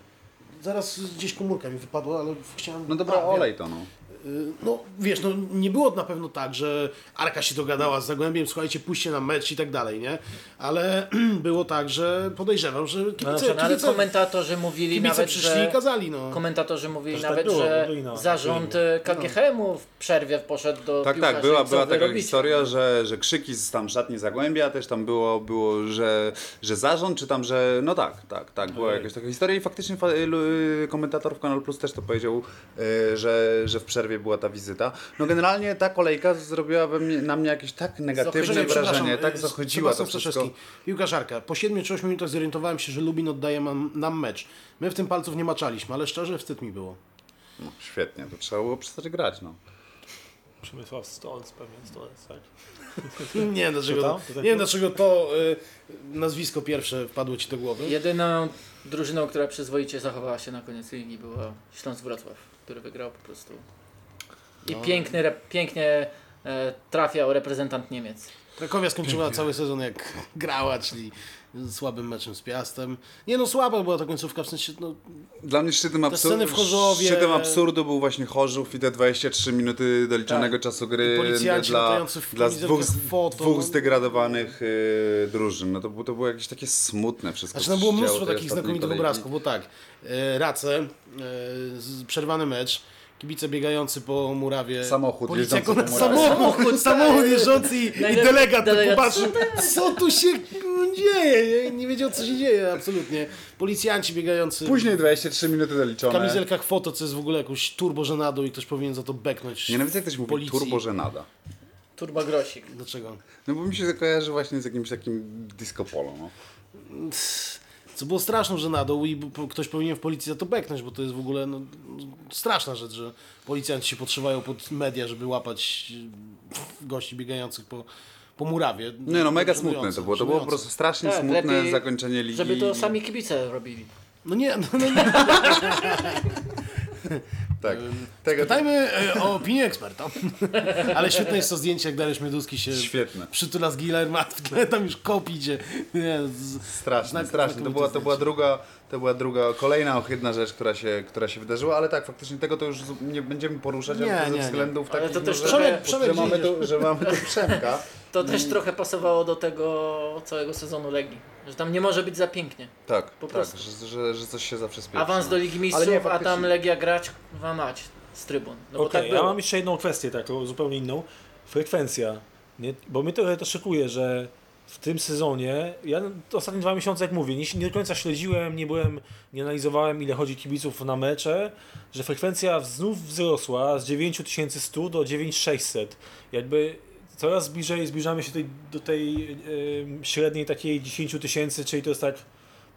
[SPEAKER 2] Zaraz gdzieś komórka mi wypadła, ale chciałem...
[SPEAKER 1] No dobra,
[SPEAKER 2] A, wiem.
[SPEAKER 1] olej to no.
[SPEAKER 2] Y, No wiesz, no nie było na pewno tak, że Arka się dogadała z Zagłębiem, słuchajcie, puśćcie na mecz i tak dalej, nie? Ale [clears throat] było tak, że podejrzewam, że kibice,
[SPEAKER 3] No, ale
[SPEAKER 2] kibice,
[SPEAKER 3] komentatorzy mówili
[SPEAKER 2] kibice
[SPEAKER 3] nawet,
[SPEAKER 2] przyszli
[SPEAKER 3] że
[SPEAKER 2] i kazali, no.
[SPEAKER 3] Komentatorzy mówili
[SPEAKER 4] Też tak
[SPEAKER 3] nawet,
[SPEAKER 4] było,
[SPEAKER 3] że
[SPEAKER 4] bo byli na-
[SPEAKER 3] zarząd
[SPEAKER 4] byli.
[SPEAKER 3] e, KGHM-u w przerwie poszedł do
[SPEAKER 1] Tak,
[SPEAKER 3] piłkarzy
[SPEAKER 1] tak,
[SPEAKER 3] i
[SPEAKER 1] była,
[SPEAKER 3] co
[SPEAKER 1] była
[SPEAKER 3] wy
[SPEAKER 1] taka
[SPEAKER 3] robicie?
[SPEAKER 1] historia, że, że krzyki z tam szatni Zagłębia, też tam było, było że, że zarząd, czy tam, że no tak, tak, tak, była jakaś taka historia i faktycznie fa- lu- komentator w Kanal Plus też to powiedział, y, że, że w przerwie była ta wizyta. No generalnie ta kolejka zrobiła we mnie, na mnie jakieś tak negatywne
[SPEAKER 3] Zachodzenie,
[SPEAKER 1] wrażenie,
[SPEAKER 2] przepraszam,
[SPEAKER 1] tak
[SPEAKER 2] y,
[SPEAKER 1] zachodziła to
[SPEAKER 2] Sebastian
[SPEAKER 1] wszystko.
[SPEAKER 2] Staszewski, Piłkarz Arka, po 7 czy 8 minutach zorientowałem się, że Lubin oddaje nam, nam mecz. My w tym palców nie maczaliśmy, ale szczerze wstyd mi było.
[SPEAKER 1] No, świetnie, to trzeba było przestać grać, no.
[SPEAKER 4] Przemysław Stolc, pewnie Stolc, tak?
[SPEAKER 2] Nie wiem dlaczego
[SPEAKER 4] tam?
[SPEAKER 2] to,
[SPEAKER 4] To tak
[SPEAKER 2] nie
[SPEAKER 4] było?
[SPEAKER 2] wiem, dlaczego to y, nazwisko pierwsze wpadło Ci do głowy.
[SPEAKER 3] Jedyną drużyną, która przyzwoicie zachowała się na koniec ligi
[SPEAKER 1] No.
[SPEAKER 3] była Śląsk Wrocław, który wygrał po prostu. I piękny, rep- pięknie e, trafiał reprezentant Niemiec.
[SPEAKER 2] Krakowia skończyła cały sezon jak [laughs] grała, czyli słabym meczem z Piastem. Nie no, słaba była ta końcówka, w sensie no,
[SPEAKER 1] Dla mnie szczytem, absur-
[SPEAKER 2] sceny w Chorzowie-
[SPEAKER 1] szczytem absurdu był właśnie Chorzów i te 23 minuty doliczonego
[SPEAKER 2] Tak.
[SPEAKER 1] czasu gry
[SPEAKER 2] I policjanci
[SPEAKER 1] dla,
[SPEAKER 2] latający w
[SPEAKER 1] dla
[SPEAKER 2] kamizelkach
[SPEAKER 1] dwóch, z-
[SPEAKER 2] foto,
[SPEAKER 1] dwóch
[SPEAKER 2] no.
[SPEAKER 1] zdegradowanych y, drużyn. No to, było- to było jakieś takie smutne wszystko.
[SPEAKER 2] Znaczy, no
[SPEAKER 1] co
[SPEAKER 2] było
[SPEAKER 1] się
[SPEAKER 2] mnóstwo
[SPEAKER 1] działo tej
[SPEAKER 2] takich
[SPEAKER 1] ostatniej
[SPEAKER 2] znakomitych
[SPEAKER 1] kolejki.
[SPEAKER 2] obrazków, bo tak, e, race, e, z- przerwany mecz, kibice biegający po murawie,
[SPEAKER 1] Samochód
[SPEAKER 2] policja,
[SPEAKER 1] jeżdżący
[SPEAKER 2] akurat
[SPEAKER 1] po murawie.
[SPEAKER 2] samochód,
[SPEAKER 3] Samochód,
[SPEAKER 2] samochód
[SPEAKER 3] tak.
[SPEAKER 2] jeżdżący i, i
[SPEAKER 3] Najlepszy
[SPEAKER 2] delegat,
[SPEAKER 3] delegat.
[SPEAKER 2] popatrzy, co tu się mm, dzieje, nie, nie wiedział co się dzieje, absolutnie, policjanci biegający
[SPEAKER 1] Później 23 minuty
[SPEAKER 2] w
[SPEAKER 1] doliczone.
[SPEAKER 2] kamizelkach foto, co jest w ogóle jakąś turbo żenadą i ktoś powinien za to beknąć
[SPEAKER 1] Nienawidzę, jak ktoś mówi
[SPEAKER 2] Policji.
[SPEAKER 1] turbo żenada.
[SPEAKER 3] Turba Grosik.
[SPEAKER 2] Dlaczego?
[SPEAKER 1] No bo mi się kojarzy właśnie z jakimś takim disco polo. No.
[SPEAKER 2] Co było straszną żenadą i b- po- ktoś powinien w policji za to beknąć, bo to jest w ogóle no, straszna rzecz, że policjanci się podszywają pod media, żeby łapać y, gości biegających po, po murawie.
[SPEAKER 1] Nie no, mega
[SPEAKER 2] Żenujące,
[SPEAKER 1] smutne to było. To było po
[SPEAKER 2] żenujące.
[SPEAKER 1] prostu strasznie
[SPEAKER 3] Tak,
[SPEAKER 1] smutne
[SPEAKER 3] lepiej,
[SPEAKER 1] zakończenie ligi.
[SPEAKER 3] Żeby to sami kibice robili.
[SPEAKER 2] No nie, no, no nie.
[SPEAKER 1] Tak. Tego...
[SPEAKER 2] Pytajmy y, o opinię eksperta. [laughs] Ale świetne jest to zdjęcie, jak Dariusz Mieduski się
[SPEAKER 1] Świetne.
[SPEAKER 2] przytula z Gilerma, w tle tam już kopicie.
[SPEAKER 1] Straszne,
[SPEAKER 2] Znak-
[SPEAKER 1] straszne. To
[SPEAKER 2] znakomite
[SPEAKER 1] była, to była
[SPEAKER 2] zdjęcie.
[SPEAKER 1] druga, to była druga, kolejna ohydna rzecz, która się, która się wydarzyła, ale tak, faktycznie tego to już zu- nie będziemy poruszać, ale
[SPEAKER 2] Nie,
[SPEAKER 1] to
[SPEAKER 2] nie,
[SPEAKER 1] ze
[SPEAKER 2] nie.
[SPEAKER 1] względów
[SPEAKER 3] Ale
[SPEAKER 1] takich,
[SPEAKER 3] to też
[SPEAKER 1] może,
[SPEAKER 3] trochę-
[SPEAKER 2] Przemek, Przemek,
[SPEAKER 1] że,
[SPEAKER 2] gdzie
[SPEAKER 1] mamy
[SPEAKER 2] idziesz?
[SPEAKER 1] tu, że mamy tu Przemka.
[SPEAKER 3] To też trochę pasowało do tego całego sezonu Legii. Że tam nie może być za pięknie.
[SPEAKER 1] [laughs] Tak,
[SPEAKER 3] Po
[SPEAKER 1] tak,
[SPEAKER 3] prostu.
[SPEAKER 1] że, że, że coś się zawsze spieprzy.
[SPEAKER 3] Awans do Ligi
[SPEAKER 1] Ale nie,
[SPEAKER 3] Mistrzów, a
[SPEAKER 1] faktycznie.
[SPEAKER 3] tam Legia grać, kurwa mać z trybun. No bo
[SPEAKER 4] Okej,
[SPEAKER 3] tak
[SPEAKER 4] ja
[SPEAKER 3] było.
[SPEAKER 4] mam jeszcze jedną kwestię, taką zupełnie inną. Frekwencja. Nie? Bo mnie trochę to szokuje, że w tym sezonie, ja te ostatnie dwa miesiące, jak mówię, nie, nie do końca śledziłem, nie byłem, nie analizowałem ile chodzi kibiców na mecze, że frekwencja znów wzrosła z 9100 do 9600. Jakby coraz bliżej zbliżamy się tej, do tej em, średniej takiej 10 000 tysięcy, czyli to jest tak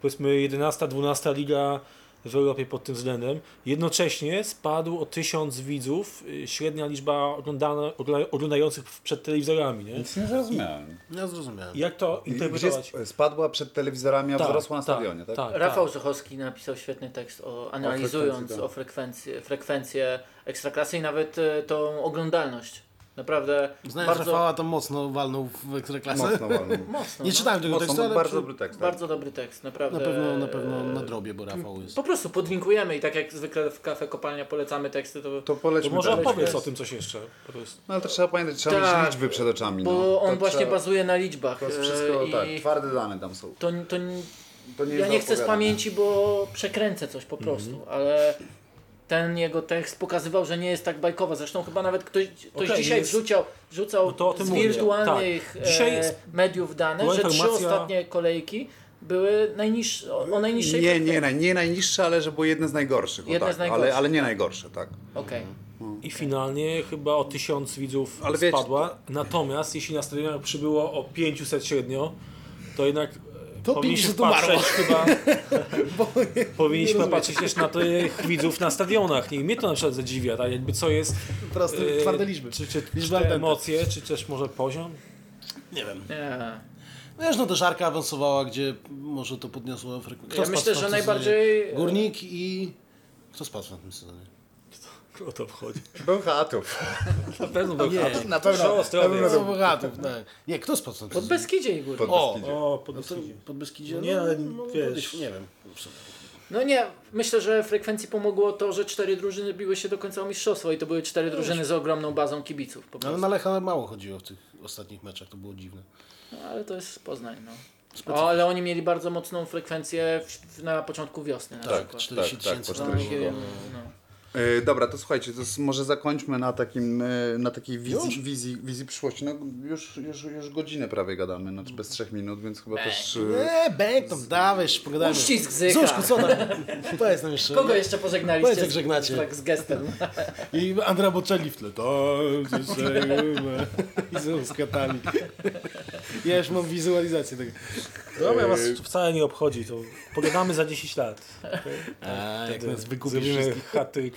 [SPEAKER 4] powiedzmy 11-12 liga w Europie pod tym względem. Jednocześnie spadł o 1000 widzów y, średnia liczba oglądana, ogla- oglądających przed telewizorami. Nie?
[SPEAKER 1] Nic nie zrozumiałem.
[SPEAKER 2] Ja zrozumiałem.
[SPEAKER 4] Jak to
[SPEAKER 1] Gdzie
[SPEAKER 4] interpretować?
[SPEAKER 1] sp- spadła przed telewizorami, a
[SPEAKER 4] Tak,
[SPEAKER 1] wzrosła na
[SPEAKER 4] tak,
[SPEAKER 1] stadionie, tak?
[SPEAKER 4] tak,
[SPEAKER 3] Rafał
[SPEAKER 4] tak.
[SPEAKER 3] Żuchowski napisał świetny tekst, o, analizując
[SPEAKER 1] frekwencji, tak.
[SPEAKER 3] o frekwencję, frekwencję ekstraklasy i nawet e, tą oglądalność. Naprawdę
[SPEAKER 2] Znając
[SPEAKER 3] bardzo
[SPEAKER 2] Rafała, tam mocno walnął w ekstraklasę. [laughs]
[SPEAKER 1] Mocno walnął.
[SPEAKER 3] mocno.
[SPEAKER 2] Nie
[SPEAKER 3] no.
[SPEAKER 2] czytałem tego
[SPEAKER 1] Mocno,
[SPEAKER 2] tekstu, ale
[SPEAKER 1] bardzo
[SPEAKER 2] przy-
[SPEAKER 1] dobry tekst. tak.
[SPEAKER 3] Bardzo dobry tekst, naprawdę. E,
[SPEAKER 2] na pewno, na pewno nadrobię, bo Rafał jest...
[SPEAKER 3] Po prostu podlinkujemy i tak jak zwykle w kafe kopalnia polecamy teksty, to
[SPEAKER 1] To polećmy
[SPEAKER 4] To może
[SPEAKER 1] dalej.
[SPEAKER 4] opowiedz o tym coś jeszcze. po prostu.
[SPEAKER 1] No ale to trzeba pamiętać, trzeba
[SPEAKER 3] Tak,
[SPEAKER 1] mieć liczby przed oczami. no.
[SPEAKER 3] bo
[SPEAKER 1] To
[SPEAKER 3] on właśnie
[SPEAKER 1] trzeba-
[SPEAKER 3] bazuje na liczbach.
[SPEAKER 1] To jest
[SPEAKER 3] e,
[SPEAKER 1] wszystko,
[SPEAKER 3] i
[SPEAKER 1] tak, twarde dane tam są.
[SPEAKER 3] to, to, nie-
[SPEAKER 1] To nie
[SPEAKER 3] ja
[SPEAKER 1] jest
[SPEAKER 3] nie chcę z
[SPEAKER 1] opowiadane.
[SPEAKER 3] pamięci, bo przekręcę coś po prostu,
[SPEAKER 4] Mhm.
[SPEAKER 3] ale ten jego tekst pokazywał, że nie jest tak bajkowa. Zresztą chyba nawet ktoś, ktoś
[SPEAKER 4] Okej,
[SPEAKER 3] dzisiaj
[SPEAKER 4] jest-
[SPEAKER 3] wrzuciał, wrzucał
[SPEAKER 4] No to o tym
[SPEAKER 3] z
[SPEAKER 4] mówię,
[SPEAKER 3] wirtualnych
[SPEAKER 4] tak. Dzisiaj
[SPEAKER 3] e,
[SPEAKER 4] jest-
[SPEAKER 3] mediów dane,
[SPEAKER 4] była
[SPEAKER 3] że trzy
[SPEAKER 4] informacja-
[SPEAKER 3] ostatnie kolejki były najniższe- o, o najniższej
[SPEAKER 1] Nie,
[SPEAKER 3] frekwencji.
[SPEAKER 1] nie, naj- nie najniższe, ale że było jedne z najgorszych. o
[SPEAKER 3] Jedne
[SPEAKER 1] tak,
[SPEAKER 3] z najgorszych.
[SPEAKER 1] Ale, ale nie najgorsze, tak.
[SPEAKER 3] Okej.
[SPEAKER 4] I finalnie chyba o 1000 widzów
[SPEAKER 1] Ale wiecie,
[SPEAKER 4] spadła. Natomiast jeśli na stadionach przybyło o 500 średnio, to jednak e,
[SPEAKER 2] To
[SPEAKER 4] powinniśmy
[SPEAKER 2] 500 umarło.
[SPEAKER 4] patrzeć
[SPEAKER 1] [laughs]
[SPEAKER 4] chyba. powinniśmy patrzeć też na tych widzów na stadionach. I mnie to na przykład zadziwia, tak? Jakby co jest.
[SPEAKER 2] Teraz
[SPEAKER 4] e,
[SPEAKER 2] twarde liczby.
[SPEAKER 4] Czy, czy, czy
[SPEAKER 2] Liczby al
[SPEAKER 4] te
[SPEAKER 2] dente.
[SPEAKER 4] emocje, czy też może poziom?
[SPEAKER 2] Nie wiem.
[SPEAKER 4] Mhm.
[SPEAKER 3] Nie.
[SPEAKER 2] Wiesz, no też Arka awansowała, gdzie może to podniosło Afrykę.
[SPEAKER 3] Ja
[SPEAKER 2] spadł
[SPEAKER 3] myślę,
[SPEAKER 2] w
[SPEAKER 3] że
[SPEAKER 2] tym
[SPEAKER 3] najbardziej-
[SPEAKER 2] sezonie? Górnik i... Kto spadł w tym sezonie?
[SPEAKER 4] O to wchodzi.
[SPEAKER 1] Bełchatów.
[SPEAKER 4] Na pewno był
[SPEAKER 2] Nie,
[SPEAKER 4] Hatem.
[SPEAKER 1] na pewno-
[SPEAKER 4] Dużo Ostrowiec.
[SPEAKER 1] na pewno
[SPEAKER 2] No, bogatów, tak. Nie, kto spadł w tym
[SPEAKER 3] Pod
[SPEAKER 2] sezonie?
[SPEAKER 3] Beskidzie i Góry.
[SPEAKER 1] Pod
[SPEAKER 2] O,
[SPEAKER 1] Beskidzie.
[SPEAKER 4] O, pod
[SPEAKER 2] No to
[SPEAKER 4] Beskidzie.
[SPEAKER 2] pod Beskidzie?
[SPEAKER 4] Nie,
[SPEAKER 2] no,
[SPEAKER 4] ale
[SPEAKER 2] no,
[SPEAKER 4] wiesz.
[SPEAKER 2] podejść- Nie wiem.
[SPEAKER 3] No nie, myślę, że frekwencji pomogło to, że cztery drużyny biły się do końca o mistrzostwo i to były
[SPEAKER 4] No
[SPEAKER 3] cztery drużyny z ogromną bazą kibiców po
[SPEAKER 2] No, Ale
[SPEAKER 3] prostu.
[SPEAKER 2] na Lecha mało chodziło w tych ostatnich meczach, to było dziwne.
[SPEAKER 3] No, ale to jest Poznań, no. O, ale oni mieli bardzo mocną frekwencję w, w, na początku wiosny na
[SPEAKER 2] Tak,
[SPEAKER 3] przykład.
[SPEAKER 2] 40
[SPEAKER 1] tak, tak,
[SPEAKER 2] tysięcy.
[SPEAKER 1] po
[SPEAKER 3] No,
[SPEAKER 1] 40
[SPEAKER 3] nie,
[SPEAKER 1] było.
[SPEAKER 3] no.
[SPEAKER 1] E, dobra, to słuchajcie, to s- może zakończmy na takim, e, na takiej
[SPEAKER 2] Już?
[SPEAKER 1] wizji, wizji, wizji przyszłości. No, już, już, już godzinę prawie gadamy, znaczy bez trzech minut, więc chyba też... E,
[SPEAKER 2] Nie, bęk tam, Eee, dawaj, jeszcze pogadajmy.
[SPEAKER 3] Uścisk zyka.
[SPEAKER 2] Zuszku, co tam? Powiedz nam jeszcze.
[SPEAKER 3] Kogo jeszcze pożegnaliście?
[SPEAKER 2] Powiedz, jak żegnacie.
[SPEAKER 3] Z, tak, z
[SPEAKER 2] [laughs]
[SPEAKER 3] gestem.
[SPEAKER 2] I Andra Bocelli w tle. Tak, ze Sejma. I znowu z katami. Ja już mam wizualizację tego.
[SPEAKER 4] No Dobra, was
[SPEAKER 1] Eee.
[SPEAKER 4] wcale nie obchodzi. To pogadamy za 10 lat.
[SPEAKER 2] A,
[SPEAKER 1] Tak,
[SPEAKER 2] jak nas wykupisz
[SPEAKER 4] Zrobimy
[SPEAKER 2] wszystkich.
[SPEAKER 4] chaty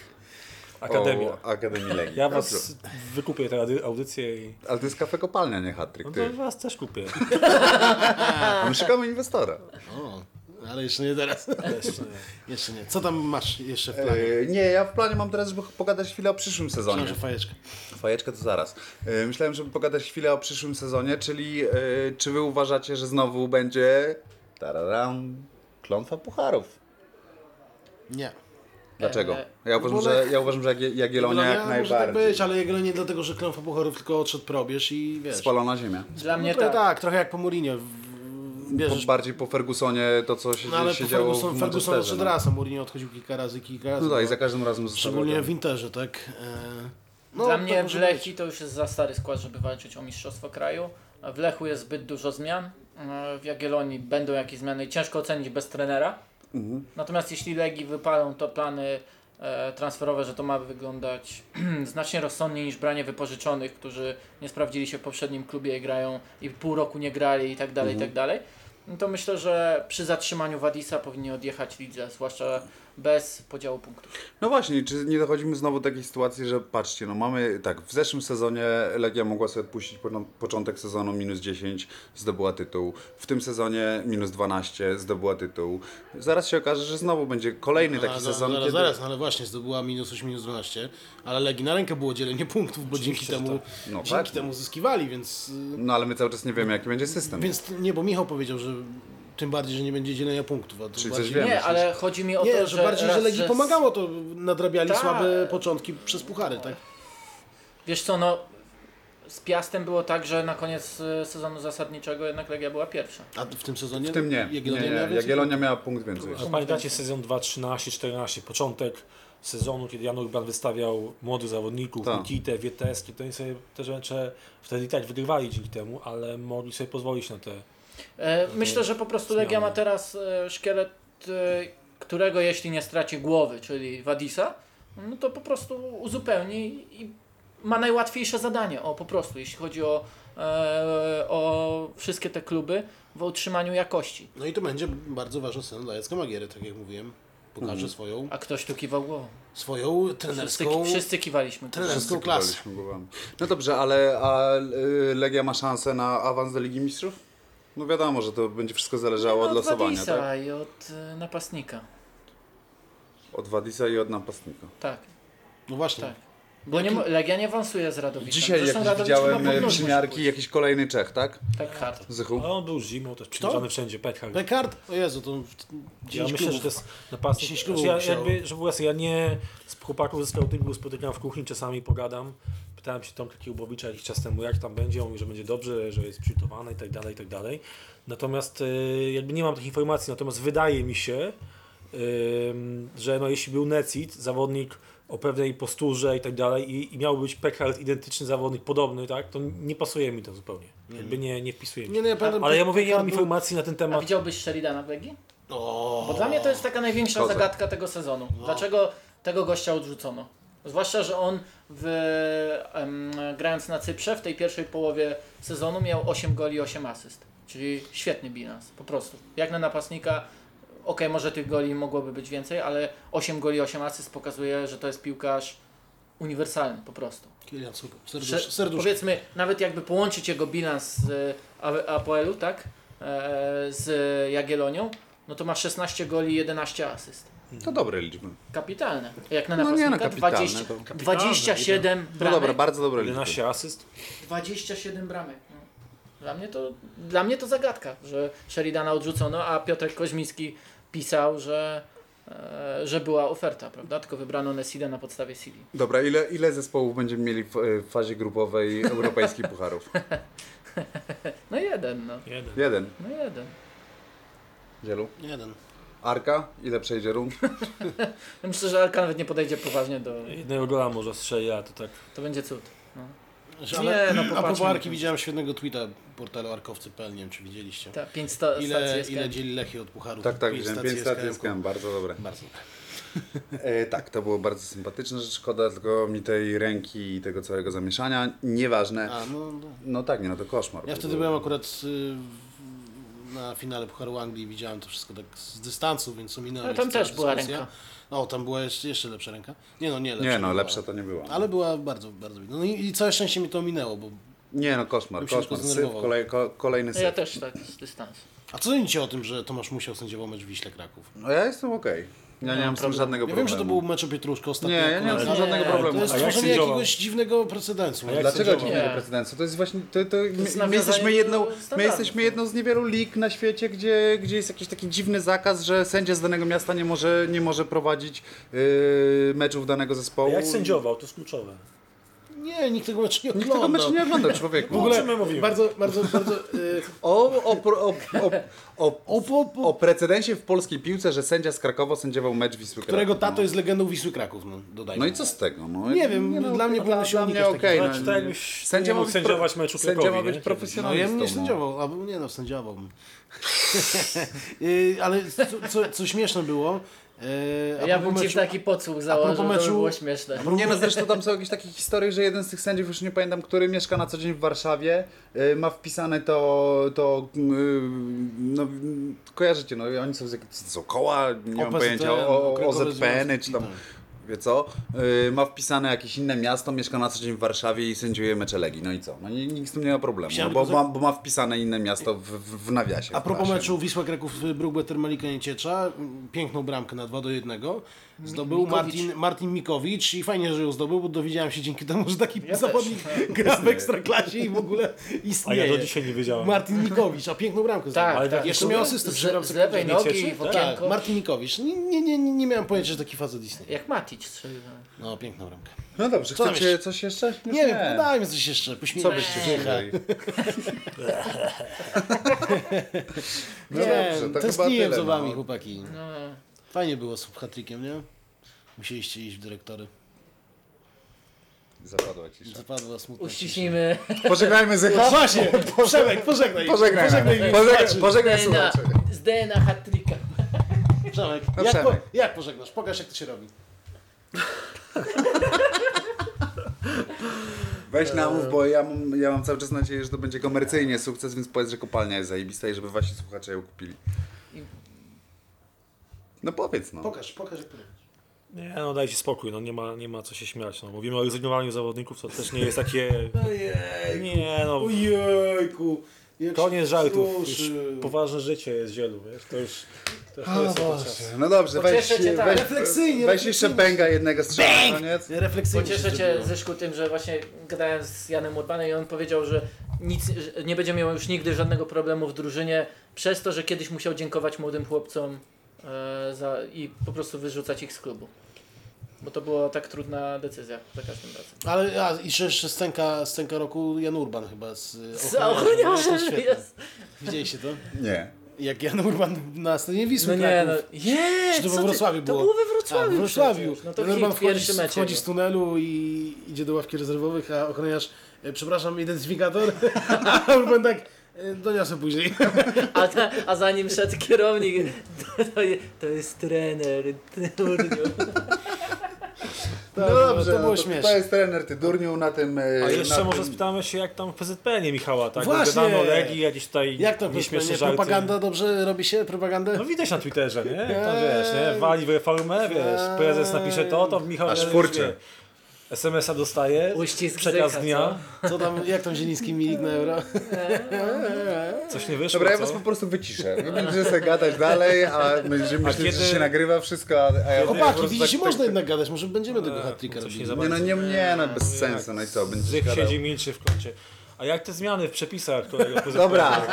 [SPEAKER 4] Akademia.
[SPEAKER 1] O, Akademii Legii.
[SPEAKER 4] Ja
[SPEAKER 1] Dobrze.
[SPEAKER 4] was wykupię tę audy- audycję i
[SPEAKER 1] Ale to jest kafe kopalnia, nie
[SPEAKER 4] no
[SPEAKER 1] hat-trick,
[SPEAKER 4] to
[SPEAKER 1] ty.
[SPEAKER 4] was też kupię.
[SPEAKER 1] A my szukamy inwestora.
[SPEAKER 2] O, ale jeszcze nie teraz.
[SPEAKER 4] Jeszcze nie.
[SPEAKER 2] [laughs] Jeszcze nie. Co tam masz jeszcze w planie?
[SPEAKER 1] E, nie, ja w planie mam teraz, żeby pogadać chwilę o przyszłym sezonie.
[SPEAKER 2] Myślałem, że fajeczka.
[SPEAKER 1] Fajeczkę to zaraz. E, Myślałem, żeby pogadać chwilę o przyszłym sezonie, czyli e, czy wy uważacie, że znowu będzie tararam, klątwa pucharów?
[SPEAKER 2] Nie.
[SPEAKER 1] Dlaczego?
[SPEAKER 3] E,
[SPEAKER 1] Ja uważam,
[SPEAKER 2] bo
[SPEAKER 1] że, ja uważam, że Jagie- Jagiellonia jak
[SPEAKER 2] może tak
[SPEAKER 1] najbardziej.
[SPEAKER 2] być, ale jego nie dlatego, że klątwa pucharów tylko odszedł probierz i wiesz.
[SPEAKER 1] Spalona ziemia.
[SPEAKER 3] Dla
[SPEAKER 2] No
[SPEAKER 3] mnie
[SPEAKER 2] to
[SPEAKER 3] tak.
[SPEAKER 2] tak, trochę jak po Mourinho. w- w-
[SPEAKER 1] Po,
[SPEAKER 2] Bierzesz
[SPEAKER 1] bardziej po Fergusonie to, co się,
[SPEAKER 2] No ale
[SPEAKER 1] się
[SPEAKER 2] po
[SPEAKER 1] działo
[SPEAKER 2] Ferguson,
[SPEAKER 1] w
[SPEAKER 2] Ferguson
[SPEAKER 1] Manchesterze,
[SPEAKER 2] odszedł
[SPEAKER 1] no.
[SPEAKER 2] raz, a Mourinho odchodził kilka razy, kilka razy.
[SPEAKER 1] No tak, i
[SPEAKER 2] no.
[SPEAKER 1] za każdym razem zostawiał
[SPEAKER 2] Szczególnie
[SPEAKER 1] tam.
[SPEAKER 2] w Interze, tak? E, no,
[SPEAKER 3] Dla
[SPEAKER 2] tak
[SPEAKER 3] mnie w
[SPEAKER 2] może
[SPEAKER 3] Lechii to już jest za stary skład, żeby walczyć o mistrzostwo kraju. W Lechu jest zbyt dużo zmian. E, W Jagiellonii będą jakieś zmiany i ciężko ocenić bez trenera.
[SPEAKER 2] Mhm.
[SPEAKER 3] Natomiast jeśli Legii wypalą to plany e, transferowe, że to ma wyglądać [clears throat] znacznie rozsądniej niż branie wypożyczonych, którzy nie sprawdzili się w poprzednim klubie i grają i pół roku nie grali i tak dalej, i
[SPEAKER 2] Mhm.
[SPEAKER 3] tak dalej. No to myślę, że przy zatrzymaniu Wadisa powinien odjechać Lidze, zwłaszcza bez podziału punktów.
[SPEAKER 1] No właśnie, czy nie dochodzimy znowu do takiej sytuacji, że patrzcie, no mamy tak, w zeszłym sezonie Legia mogła sobie odpuścić po- początek sezonu minus 10, zdobyła tytuł. W tym sezonie minus 12, zdobyła tytuł. Zaraz się okaże, że znowu będzie kolejny taki
[SPEAKER 2] A, No, za-
[SPEAKER 1] sezon,
[SPEAKER 2] Zaraz,
[SPEAKER 1] kiedy...
[SPEAKER 2] zaraz, no ale właśnie zdobyła minus 8, minus 12, ale Legii na rękę było dzielenie punktów, bo dzięki
[SPEAKER 4] że
[SPEAKER 2] temu,
[SPEAKER 1] No
[SPEAKER 2] dzięki
[SPEAKER 1] tak.
[SPEAKER 2] temu zyskiwali, więc,
[SPEAKER 1] No ale my cały czas nie wiemy, jaki będzie
[SPEAKER 2] y,
[SPEAKER 1] system.
[SPEAKER 2] więc nie, bo Michał powiedział, że tym bardziej, że nie będzie dzielenia punktów. A to
[SPEAKER 1] Czyli coś
[SPEAKER 2] bardziej,
[SPEAKER 1] wiem.
[SPEAKER 3] Nie,
[SPEAKER 1] myślisz?
[SPEAKER 3] ale chodzi mi o
[SPEAKER 2] Nie,
[SPEAKER 3] to,
[SPEAKER 2] że bardziej, że
[SPEAKER 3] raz,
[SPEAKER 2] Legii pomagało, to nadrabiali
[SPEAKER 3] Tak.
[SPEAKER 2] słabe początki przez puchary, tak?
[SPEAKER 3] Wiesz co, no z Piastem było tak, że na koniec y, sezonu zasadniczego jednak Legia była pierwsza.
[SPEAKER 2] A w tym sezonie?
[SPEAKER 1] W tym nie. nie,
[SPEAKER 2] Jagiellonia miała
[SPEAKER 1] nie.
[SPEAKER 2] więcej?
[SPEAKER 1] Jagiellonia miała punkt więcej.
[SPEAKER 4] A Pamiętacie sezon 2, 13, 14, początek sezonu, kiedy Jan Urban wystawiał młodych zawodników,
[SPEAKER 1] Tak.
[SPEAKER 4] Nikitę, Wietes, to oni sobie te rzeczy wtedy i tak wygrywali dzięki temu, ale mogli sobie pozwolić na te...
[SPEAKER 3] E, myślę, że po prostu Legia ma teraz e, szkielet, e, którego jeśli nie straci głowy, czyli Wadisa, no to po prostu uzupełni i ma najłatwiejsze zadanie, o po prostu, jeśli chodzi o, e, o wszystkie te kluby w utrzymaniu jakości.
[SPEAKER 2] No i to będzie bardzo ważny sezon dla Jacka Magiery, tak jak mówiłem. Pokaże
[SPEAKER 1] Mhm.
[SPEAKER 2] swoją,
[SPEAKER 3] A ktoś tu kiwał głową.
[SPEAKER 2] swoją
[SPEAKER 3] Wszyscy,
[SPEAKER 2] trenerską...
[SPEAKER 3] wszyscy kiwaliśmy.
[SPEAKER 2] Trenerską
[SPEAKER 1] Wszyscy
[SPEAKER 2] klasę.
[SPEAKER 1] kiwaliśmy głowami. No dobrze, ale a y, Legia ma szansę na awans do Ligi Mistrzów? No wiadomo, że to będzie wszystko zależało od
[SPEAKER 3] no, od
[SPEAKER 1] losowania,
[SPEAKER 3] Wadisa
[SPEAKER 1] tak?
[SPEAKER 3] i od e, napastnika.
[SPEAKER 1] Od Wadisa i od napastnika.
[SPEAKER 3] Tak.
[SPEAKER 2] No właśnie.
[SPEAKER 3] Tak. Bo nie, mo- Legia nie awansuje z Radowicem.
[SPEAKER 1] Dzisiaj
[SPEAKER 3] Zresztą
[SPEAKER 1] jak
[SPEAKER 3] Radowicz
[SPEAKER 1] widziałem
[SPEAKER 3] chyba
[SPEAKER 1] e,
[SPEAKER 3] powinno
[SPEAKER 1] przymiarki,
[SPEAKER 3] pójść.
[SPEAKER 1] jakiś kolejny Czech, tak?
[SPEAKER 3] Tak hard.
[SPEAKER 1] Zychu?
[SPEAKER 4] A on był zimą też przyjeżdżany wszędzie, Pethard.
[SPEAKER 2] Pekard? O Jezu, to w-
[SPEAKER 4] Ja
[SPEAKER 2] 10
[SPEAKER 4] myślę,
[SPEAKER 2] klubów.
[SPEAKER 4] że to jest napastnik.
[SPEAKER 2] Dziesięć
[SPEAKER 4] Znaczy,
[SPEAKER 2] klubów
[SPEAKER 4] ja,
[SPEAKER 2] musiało.
[SPEAKER 4] jakby, żeby jasne, ja nie z chłopaków ze scoutingu spotykam w kuchni, czasami pogadam. Pytałem się Tomka Kiełbowicza jakiś czas temu, jak tam będzie, on mówi, że będzie dobrze, że jest przygotowane i tak dalej, i tak dalej. Natomiast y, jakby nie mam tych informacji, natomiast wydaje mi się, ym, że no, jeśli był Necit, zawodnik o pewnej posturze i tak dalej i, i miał być Pekard identyczny zawodnik, podobny, tak, to nie pasuje mi to zupełnie. Jakby nie, nie wpisuje mi się.
[SPEAKER 2] Nie, no ja pamiętam,
[SPEAKER 4] Ale ja mówię, nie
[SPEAKER 2] Pekard
[SPEAKER 4] mam
[SPEAKER 2] był-
[SPEAKER 4] informacji na ten
[SPEAKER 3] A
[SPEAKER 4] temat.
[SPEAKER 3] widziałbyś Sheridana w Legii?
[SPEAKER 2] O,
[SPEAKER 3] Bo dla mnie to jest taka największa
[SPEAKER 1] Kozak.
[SPEAKER 3] zagadka tego sezonu. Dlaczego tego gościa odrzucono? Zwłaszcza, że on w, em, grając na Cyprze w tej pierwszej połowie sezonu miał 8 goli i 8 asyst. Czyli świetny bilans, po prostu. Jak na napastnika, okej, może tych goli mogłoby być więcej, ale 8 goli i 8 asyst pokazuje, że to jest piłkarz uniwersalny po prostu.
[SPEAKER 2] Kilian, super.
[SPEAKER 3] Prze-
[SPEAKER 2] Serdusz, serdusz.
[SPEAKER 3] Powiedzmy, nawet jakby połączyć jego bilans z e, A- APL-u, tak? E, Z Jagielonią, no to ma 16 goli i 11 asyst.
[SPEAKER 1] To No dobre liczby.
[SPEAKER 3] Kapitalne. Jak na
[SPEAKER 1] No nie, no,
[SPEAKER 3] napastnika
[SPEAKER 1] kapitalne,
[SPEAKER 3] 20,
[SPEAKER 1] to-
[SPEAKER 3] 27
[SPEAKER 1] No
[SPEAKER 3] bramek.
[SPEAKER 1] dobra, bardzo dobre liczby.
[SPEAKER 4] 11 asyst.
[SPEAKER 3] 27 bramek. No. Dla mnie, to, dla mnie to zagadka, że Sheridana odrzucono, a Piotrek Koźmiński pisał, że, e, że była oferta, prawda? Tylko wybrano Nesida na podstawie CV.
[SPEAKER 1] Dobra, ile, ile zespołów będziemy mieli w, e, w fazie grupowej [laughs] europejskich pucharów?
[SPEAKER 3] No jeden, no.
[SPEAKER 4] Jeden.
[SPEAKER 1] Jeden.
[SPEAKER 3] No jeden.
[SPEAKER 1] Dzielu.
[SPEAKER 2] Jeden.
[SPEAKER 1] Arka, ile przejdzie rund?
[SPEAKER 3] Ja Myślę, że Alka nawet nie podejdzie poważnie do...
[SPEAKER 4] Jednego gola może strzeli, a to tak.
[SPEAKER 3] To będzie cud. No.
[SPEAKER 2] Ale,
[SPEAKER 3] nie, no
[SPEAKER 2] a po
[SPEAKER 3] popatrzmy.
[SPEAKER 2] Arki widziałem świetnego tweeta portalu arkowcy.pl, nie wiem czy widzieliście.
[SPEAKER 3] Ta, pięć sta-
[SPEAKER 2] Ile,
[SPEAKER 3] stacji
[SPEAKER 2] ile
[SPEAKER 3] ile
[SPEAKER 2] dzieli Lechii od pucharów?
[SPEAKER 1] Tak, tak, wziąłem 5
[SPEAKER 2] SKM-ku.
[SPEAKER 1] stacji z KM, bardzo dobre.
[SPEAKER 2] Bardzo.
[SPEAKER 1] E, tak, to było bardzo sympatyczne, że szkoda tylko mi tej ręki i tego całego zamieszania. Nieważne.
[SPEAKER 2] A, no, no.
[SPEAKER 1] No tak, nie, no to koszmar.
[SPEAKER 2] Ja wtedy byłem akurat y, na finale Pucharu Anglii, widziałem to wszystko tak z dystansu, więc ominąłem.
[SPEAKER 3] Ale tam
[SPEAKER 2] jeszcze
[SPEAKER 3] też była
[SPEAKER 2] dyskusję.
[SPEAKER 3] ręka.
[SPEAKER 2] No, tam była jeszcze, jeszcze lepsza ręka. Nie no, nie lepsza.
[SPEAKER 1] Nie no,
[SPEAKER 2] była.
[SPEAKER 1] lepsza to nie była.
[SPEAKER 2] Ale była bardzo, bardzo widna. No i, i całe szczęście mi to ominęło, bo
[SPEAKER 1] Nie no, koszmar,
[SPEAKER 2] Bym się
[SPEAKER 1] koszmar.
[SPEAKER 2] tylko
[SPEAKER 1] Syf,
[SPEAKER 2] zdenerwował.
[SPEAKER 1] kolej, ko, kolejny syf.
[SPEAKER 3] Ja też tak, z dystansu.
[SPEAKER 2] A co sądzicie o tym, że Tomasz musiał sędziował mecz w Wiśle Kraków?
[SPEAKER 1] No ja jestem okej. Ja nie mam z tym żadnego
[SPEAKER 2] No, Ja
[SPEAKER 1] problemu.
[SPEAKER 2] wiem, że to był mecz o Pietruszko ostatnio.
[SPEAKER 1] Nie, ja nie mam z
[SPEAKER 2] akurat,
[SPEAKER 1] tym żadnego
[SPEAKER 3] Nie,
[SPEAKER 1] problemu.
[SPEAKER 2] ale To jest
[SPEAKER 4] A jak
[SPEAKER 2] stworzenie
[SPEAKER 4] sędziował?
[SPEAKER 2] jakiegoś dziwnego precedensu.
[SPEAKER 4] jak
[SPEAKER 1] Dlaczego
[SPEAKER 4] sędziowa?
[SPEAKER 1] dziwnego
[SPEAKER 3] Nie.
[SPEAKER 1] precedensu? To jest właśnie, to, to, my-
[SPEAKER 3] jest
[SPEAKER 1] my,
[SPEAKER 3] nawiązanie
[SPEAKER 1] jesteśmy
[SPEAKER 3] do
[SPEAKER 1] jedną, my
[SPEAKER 3] standardów,
[SPEAKER 1] jesteśmy
[SPEAKER 3] no.
[SPEAKER 1] jedną z niewielu lig na świecie, gdzie, gdzie jest jakiś taki dziwny zakaz, że sędzia z danego miasta nie może, nie może prowadzić yy, meczów danego
[SPEAKER 4] A
[SPEAKER 1] zespołu.
[SPEAKER 4] jak sędziował, to jest kluczowe.
[SPEAKER 2] Nie, nikt tego meczu nie
[SPEAKER 1] Nikt
[SPEAKER 2] oglądał.
[SPEAKER 1] tego meczu nie ogląda, człowieku.
[SPEAKER 4] W ogóle- O czym my mówimy?
[SPEAKER 2] Bardzo, bardzo, bardzo...
[SPEAKER 1] [laughs]
[SPEAKER 2] y,
[SPEAKER 1] O, o, pro- o, o, o,
[SPEAKER 2] o, po, po,
[SPEAKER 1] o precedensie w polskiej piłce, że sędzia z Krakowa sędziował mecz Wisły
[SPEAKER 2] którego
[SPEAKER 1] Kraków.
[SPEAKER 2] tato jest legendą Wisły Kraków, no, dodajmy.
[SPEAKER 1] No i co z tego? No,
[SPEAKER 2] Nie wiem, dla mnie powinno się
[SPEAKER 1] dla mnie
[SPEAKER 2] unikać
[SPEAKER 1] okej.
[SPEAKER 2] takich-
[SPEAKER 1] no,
[SPEAKER 4] Znaczy, tak jakbyś nie mógł
[SPEAKER 1] pro-
[SPEAKER 4] sędziować meczu
[SPEAKER 1] Sędzia
[SPEAKER 4] Krakowi,
[SPEAKER 1] ma
[SPEAKER 4] nie?
[SPEAKER 1] być
[SPEAKER 4] Kiedyś.
[SPEAKER 2] No ja bym
[SPEAKER 1] profesjonalistą.
[SPEAKER 2] nie sędziował, albo nie no, sędziowałbym. [laughs] Y, Ale co, co, co śmieszne było... y, a
[SPEAKER 3] Ja
[SPEAKER 2] propos
[SPEAKER 3] bym ci
[SPEAKER 2] meczu-
[SPEAKER 3] taki podsłuch założył, to by
[SPEAKER 2] meczu-
[SPEAKER 3] było śmieszne.
[SPEAKER 1] Nie no, zresztą tam są jakieś takie historie, że jeden z tych sędziów, już nie pamiętam, który mieszka na co dzień w Warszawie, y, ma wpisane to, to y, no, y, kojarzycie, no oni są z jakiego, to są koła, nie mam
[SPEAKER 2] OPZN,
[SPEAKER 1] pojęcia,
[SPEAKER 2] no,
[SPEAKER 1] o, o,
[SPEAKER 2] Krakowe
[SPEAKER 1] OZPN-y czy tam,
[SPEAKER 2] Związki,
[SPEAKER 1] wie co, y, ma wpisane jakieś inne miasto, mieszka na co dzień w Warszawie i sędziuje mecze Legii, no i co, no i nikt z tym nie ma problemu, no,
[SPEAKER 2] Chciałem
[SPEAKER 1] bo,
[SPEAKER 2] tylko-
[SPEAKER 1] ma, bo ma wpisane inne miasto w, w, w nawiasie.
[SPEAKER 2] A propos
[SPEAKER 1] strasznie.
[SPEAKER 2] meczu Wisła Kraków y, Brugbeter Malika Nieciecza, m, piękną bramkę na 2 do 1 zdobył
[SPEAKER 3] Mikowicz.
[SPEAKER 2] Martin, Martin Mikowicz i fajnie, że ją zdobył, bo dowiedziałem się dzięki temu, że taki
[SPEAKER 1] [laughs]
[SPEAKER 2] zawodnik gra w Ekstraklasie i w ogóle
[SPEAKER 4] A
[SPEAKER 2] istnieje.
[SPEAKER 4] ja do dzisiaj nie wiedziałem.
[SPEAKER 2] Martin Mikowicz, a piękną bramkę
[SPEAKER 3] Tak,
[SPEAKER 2] zdobył.
[SPEAKER 4] tak.
[SPEAKER 2] Jeszcze miał asystę.
[SPEAKER 3] Z,
[SPEAKER 2] przegrał
[SPEAKER 3] z lewej
[SPEAKER 4] Nie cieszy?
[SPEAKER 3] nogi, w
[SPEAKER 4] Tak.
[SPEAKER 2] Tak,
[SPEAKER 3] okienko.
[SPEAKER 2] Martin Mikowicz. Nie, nie, nie, nie miałem pojęcia, że taki facet istnieje.
[SPEAKER 3] Jak Matic strzelił.
[SPEAKER 2] No, piękną bramkę.
[SPEAKER 1] No dobrze,
[SPEAKER 2] Co tam
[SPEAKER 1] chcecie
[SPEAKER 2] jeszcze?
[SPEAKER 1] coś jeszcze? Już
[SPEAKER 2] Nie wiem, no dajmy coś jeszcze, pośmiejmy
[SPEAKER 1] Co byście chcieli?
[SPEAKER 2] No
[SPEAKER 1] [laughs] No
[SPEAKER 2] nie,
[SPEAKER 1] dobrze, to chyba
[SPEAKER 2] tęskniłem
[SPEAKER 1] tyle,
[SPEAKER 2] za wami,
[SPEAKER 1] no.
[SPEAKER 2] chłopaki.
[SPEAKER 3] No,
[SPEAKER 2] Fajnie było z hatrikiem, nie? Musieliście iść w dyrektory.
[SPEAKER 1] Zapadła cisza.
[SPEAKER 2] Zapadła smutna
[SPEAKER 3] uściśnijmy.
[SPEAKER 1] Pożegnajmy z
[SPEAKER 2] No właśnie, Przemek, pożegnaj.
[SPEAKER 1] Pożegnaj.
[SPEAKER 2] Pożegnaj.
[SPEAKER 1] Pożegnaj,
[SPEAKER 2] mi.
[SPEAKER 1] pożegnaj, pożegnaj
[SPEAKER 3] DNA,
[SPEAKER 1] słuchaczy.
[SPEAKER 3] z DNA hat-tricka.
[SPEAKER 2] Przemek,
[SPEAKER 1] No
[SPEAKER 2] jak, po,
[SPEAKER 1] Przemek.
[SPEAKER 2] jak pożegnasz? Pokaż jak to się robi.
[SPEAKER 1] Weź namów, bo ja mam, ja mam cały czas nadzieję, że to będzie komercyjnie sukces, więc powiedz, że kopalnia jest zajebista i żeby wasi słuchacze ją kupili. No powiedz no.
[SPEAKER 2] Pokaż, pokaż jak to robisz.
[SPEAKER 4] Nie, no dajcie spokój, no nie ma, nie ma co się śmiać. No. Mówimy o rezygnowaniu zawodników, to też nie jest takie... Nie, no...
[SPEAKER 2] Ojejku. jak
[SPEAKER 4] Koniec
[SPEAKER 2] się
[SPEAKER 4] żartów. Już
[SPEAKER 2] wzruszył.
[SPEAKER 4] poważne życie jest wielu, wiesz, to już... To już
[SPEAKER 2] O
[SPEAKER 4] jest
[SPEAKER 2] Boże.
[SPEAKER 1] No dobrze, weź,
[SPEAKER 3] Pocieszę cię, tak.
[SPEAKER 1] weź,
[SPEAKER 2] Refleksyjnie,
[SPEAKER 1] weź jeszcze
[SPEAKER 2] refleksyjnie.
[SPEAKER 1] bęga jednego strzału na koniec.
[SPEAKER 2] Refleksyjnie. się
[SPEAKER 3] Pocieszę cię
[SPEAKER 2] zrobiło.
[SPEAKER 3] Zyszku tym, że właśnie gadałem z Janem Urbanem i on powiedział, że nic, że nie będzie miał już nigdy żadnego problemu w drużynie przez to, że kiedyś musiał dziękować młodym chłopcom e, za, i po prostu wyrzucać ich z klubu. Bo to była tak trudna decyzja za każdym razem.
[SPEAKER 2] Ale a, i jeszcze jeszcze scenka, scenka roku Jan Urban chyba z y,
[SPEAKER 3] Z
[SPEAKER 2] ochroniarzem. To
[SPEAKER 3] ochroniarzem
[SPEAKER 2] świetne.
[SPEAKER 3] jest.
[SPEAKER 2] Widzieliście to?
[SPEAKER 1] tak? Nie.
[SPEAKER 2] Jak Jan Urban na scenie Wisły
[SPEAKER 3] No nie, no.
[SPEAKER 2] Kraków.
[SPEAKER 3] Je,
[SPEAKER 2] Czy to
[SPEAKER 3] co
[SPEAKER 2] we
[SPEAKER 3] ty-
[SPEAKER 2] Wrocławiu
[SPEAKER 3] To
[SPEAKER 2] było?
[SPEAKER 3] było we
[SPEAKER 2] A,
[SPEAKER 3] Wrocławiu.
[SPEAKER 2] w Wrocławiu.
[SPEAKER 3] przecież. No to
[SPEAKER 2] Jan
[SPEAKER 3] hit,
[SPEAKER 2] Urban wchodzi,
[SPEAKER 3] pierwszy no. mecz.
[SPEAKER 2] wchodzi
[SPEAKER 3] jego.
[SPEAKER 2] z tunelu i idzie do ławki rezerwowych, a ochroniarz, e, przepraszam, identyfikator, [laughs] a Urban tak, e, doniosę później.
[SPEAKER 3] A, ta, a zanim szedł kierownik, [laughs] to, to, je- to jest trener. [laughs] turniu.
[SPEAKER 2] No to było śmieszne.
[SPEAKER 1] To jest trener, ty durniu na tym...
[SPEAKER 4] A jeszcze może
[SPEAKER 1] tym...
[SPEAKER 4] spytamy się, jak tam w PZPN-ie Michała, tak?
[SPEAKER 2] Właśnie!
[SPEAKER 4] Gadano o Legii, jakieś tutaj
[SPEAKER 2] Jak to
[SPEAKER 4] nieśmieszne
[SPEAKER 2] nie,
[SPEAKER 4] żarty.
[SPEAKER 2] propaganda dobrze robi się? Propagandę?
[SPEAKER 4] No widać na Twitterze, nie? Jak tam wiesz, nie? Wali w reformę, E, wiesz, prezes napisze to, to Michał...
[SPEAKER 1] Aż
[SPEAKER 4] wiesz,
[SPEAKER 1] furcie.
[SPEAKER 4] wie. SMS-a dostaje,
[SPEAKER 3] Uścisk
[SPEAKER 4] przekaz
[SPEAKER 3] zyka,
[SPEAKER 4] dnia,
[SPEAKER 2] Co tam, jak tam Zieliński milik na euro?
[SPEAKER 4] coś nie wyszło,
[SPEAKER 1] Dobra, ja
[SPEAKER 4] co?
[SPEAKER 1] was po prostu wyciszę. Wy będziecie sobie gadać dalej, a będziemy
[SPEAKER 4] A
[SPEAKER 1] myśleć, że
[SPEAKER 4] kiedy-
[SPEAKER 1] się nagrywa wszystko, a, a ja...
[SPEAKER 2] Chłopaki,
[SPEAKER 1] po prostu
[SPEAKER 2] widzicie,
[SPEAKER 1] tak-
[SPEAKER 2] można jednak gadać, może będziemy tego hat-tricka
[SPEAKER 4] coś nie
[SPEAKER 2] robili.
[SPEAKER 4] za
[SPEAKER 1] Nie no,
[SPEAKER 4] bardzo.
[SPEAKER 1] nie, nie, no bez sensu, no i co, będziesz
[SPEAKER 4] Zych
[SPEAKER 1] gadał.
[SPEAKER 4] siedzi milczy w kącie. A jak te zmiany w przepisach, którego PZPN...
[SPEAKER 1] Dobra,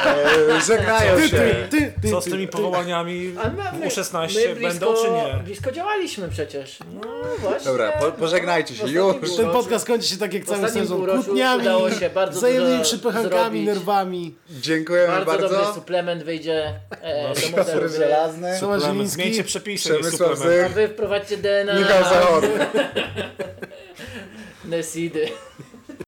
[SPEAKER 1] e, żegnają się.
[SPEAKER 2] ty, ty,
[SPEAKER 4] Co z tymi
[SPEAKER 2] ty.
[SPEAKER 4] powołaniami
[SPEAKER 3] A my- my-
[SPEAKER 4] U16
[SPEAKER 3] my
[SPEAKER 4] będą, czy nie?
[SPEAKER 3] Blisko działaliśmy przecież. No właśnie.
[SPEAKER 1] Dobra, po, pożegnajcie się, już.
[SPEAKER 2] Ten podcast kończy się tak jak
[SPEAKER 3] W
[SPEAKER 2] cały
[SPEAKER 3] ostatnim
[SPEAKER 2] sezon.
[SPEAKER 3] półroczu
[SPEAKER 2] Kłótniami,
[SPEAKER 3] udało się bardzo
[SPEAKER 2] wzajemnymi
[SPEAKER 3] dużo
[SPEAKER 2] przypychankami,
[SPEAKER 3] zrobić.
[SPEAKER 2] nerwami.
[SPEAKER 1] Dziękujemy
[SPEAKER 3] Bardzo, dobry
[SPEAKER 1] bardzo.
[SPEAKER 3] suplement wyjdzie e,
[SPEAKER 4] No,
[SPEAKER 3] do
[SPEAKER 1] Kasper
[SPEAKER 3] modelu.
[SPEAKER 1] Żelazny,
[SPEAKER 2] Tomasz
[SPEAKER 4] Suplement.
[SPEAKER 2] Zieliński.
[SPEAKER 4] Zmieńcie przepisy, nie
[SPEAKER 1] Przemysław
[SPEAKER 4] suplement.
[SPEAKER 3] A
[SPEAKER 1] Zych,
[SPEAKER 3] No. wy wprowadźcie DNA
[SPEAKER 1] Michał Zachor.
[SPEAKER 3] Nesidy.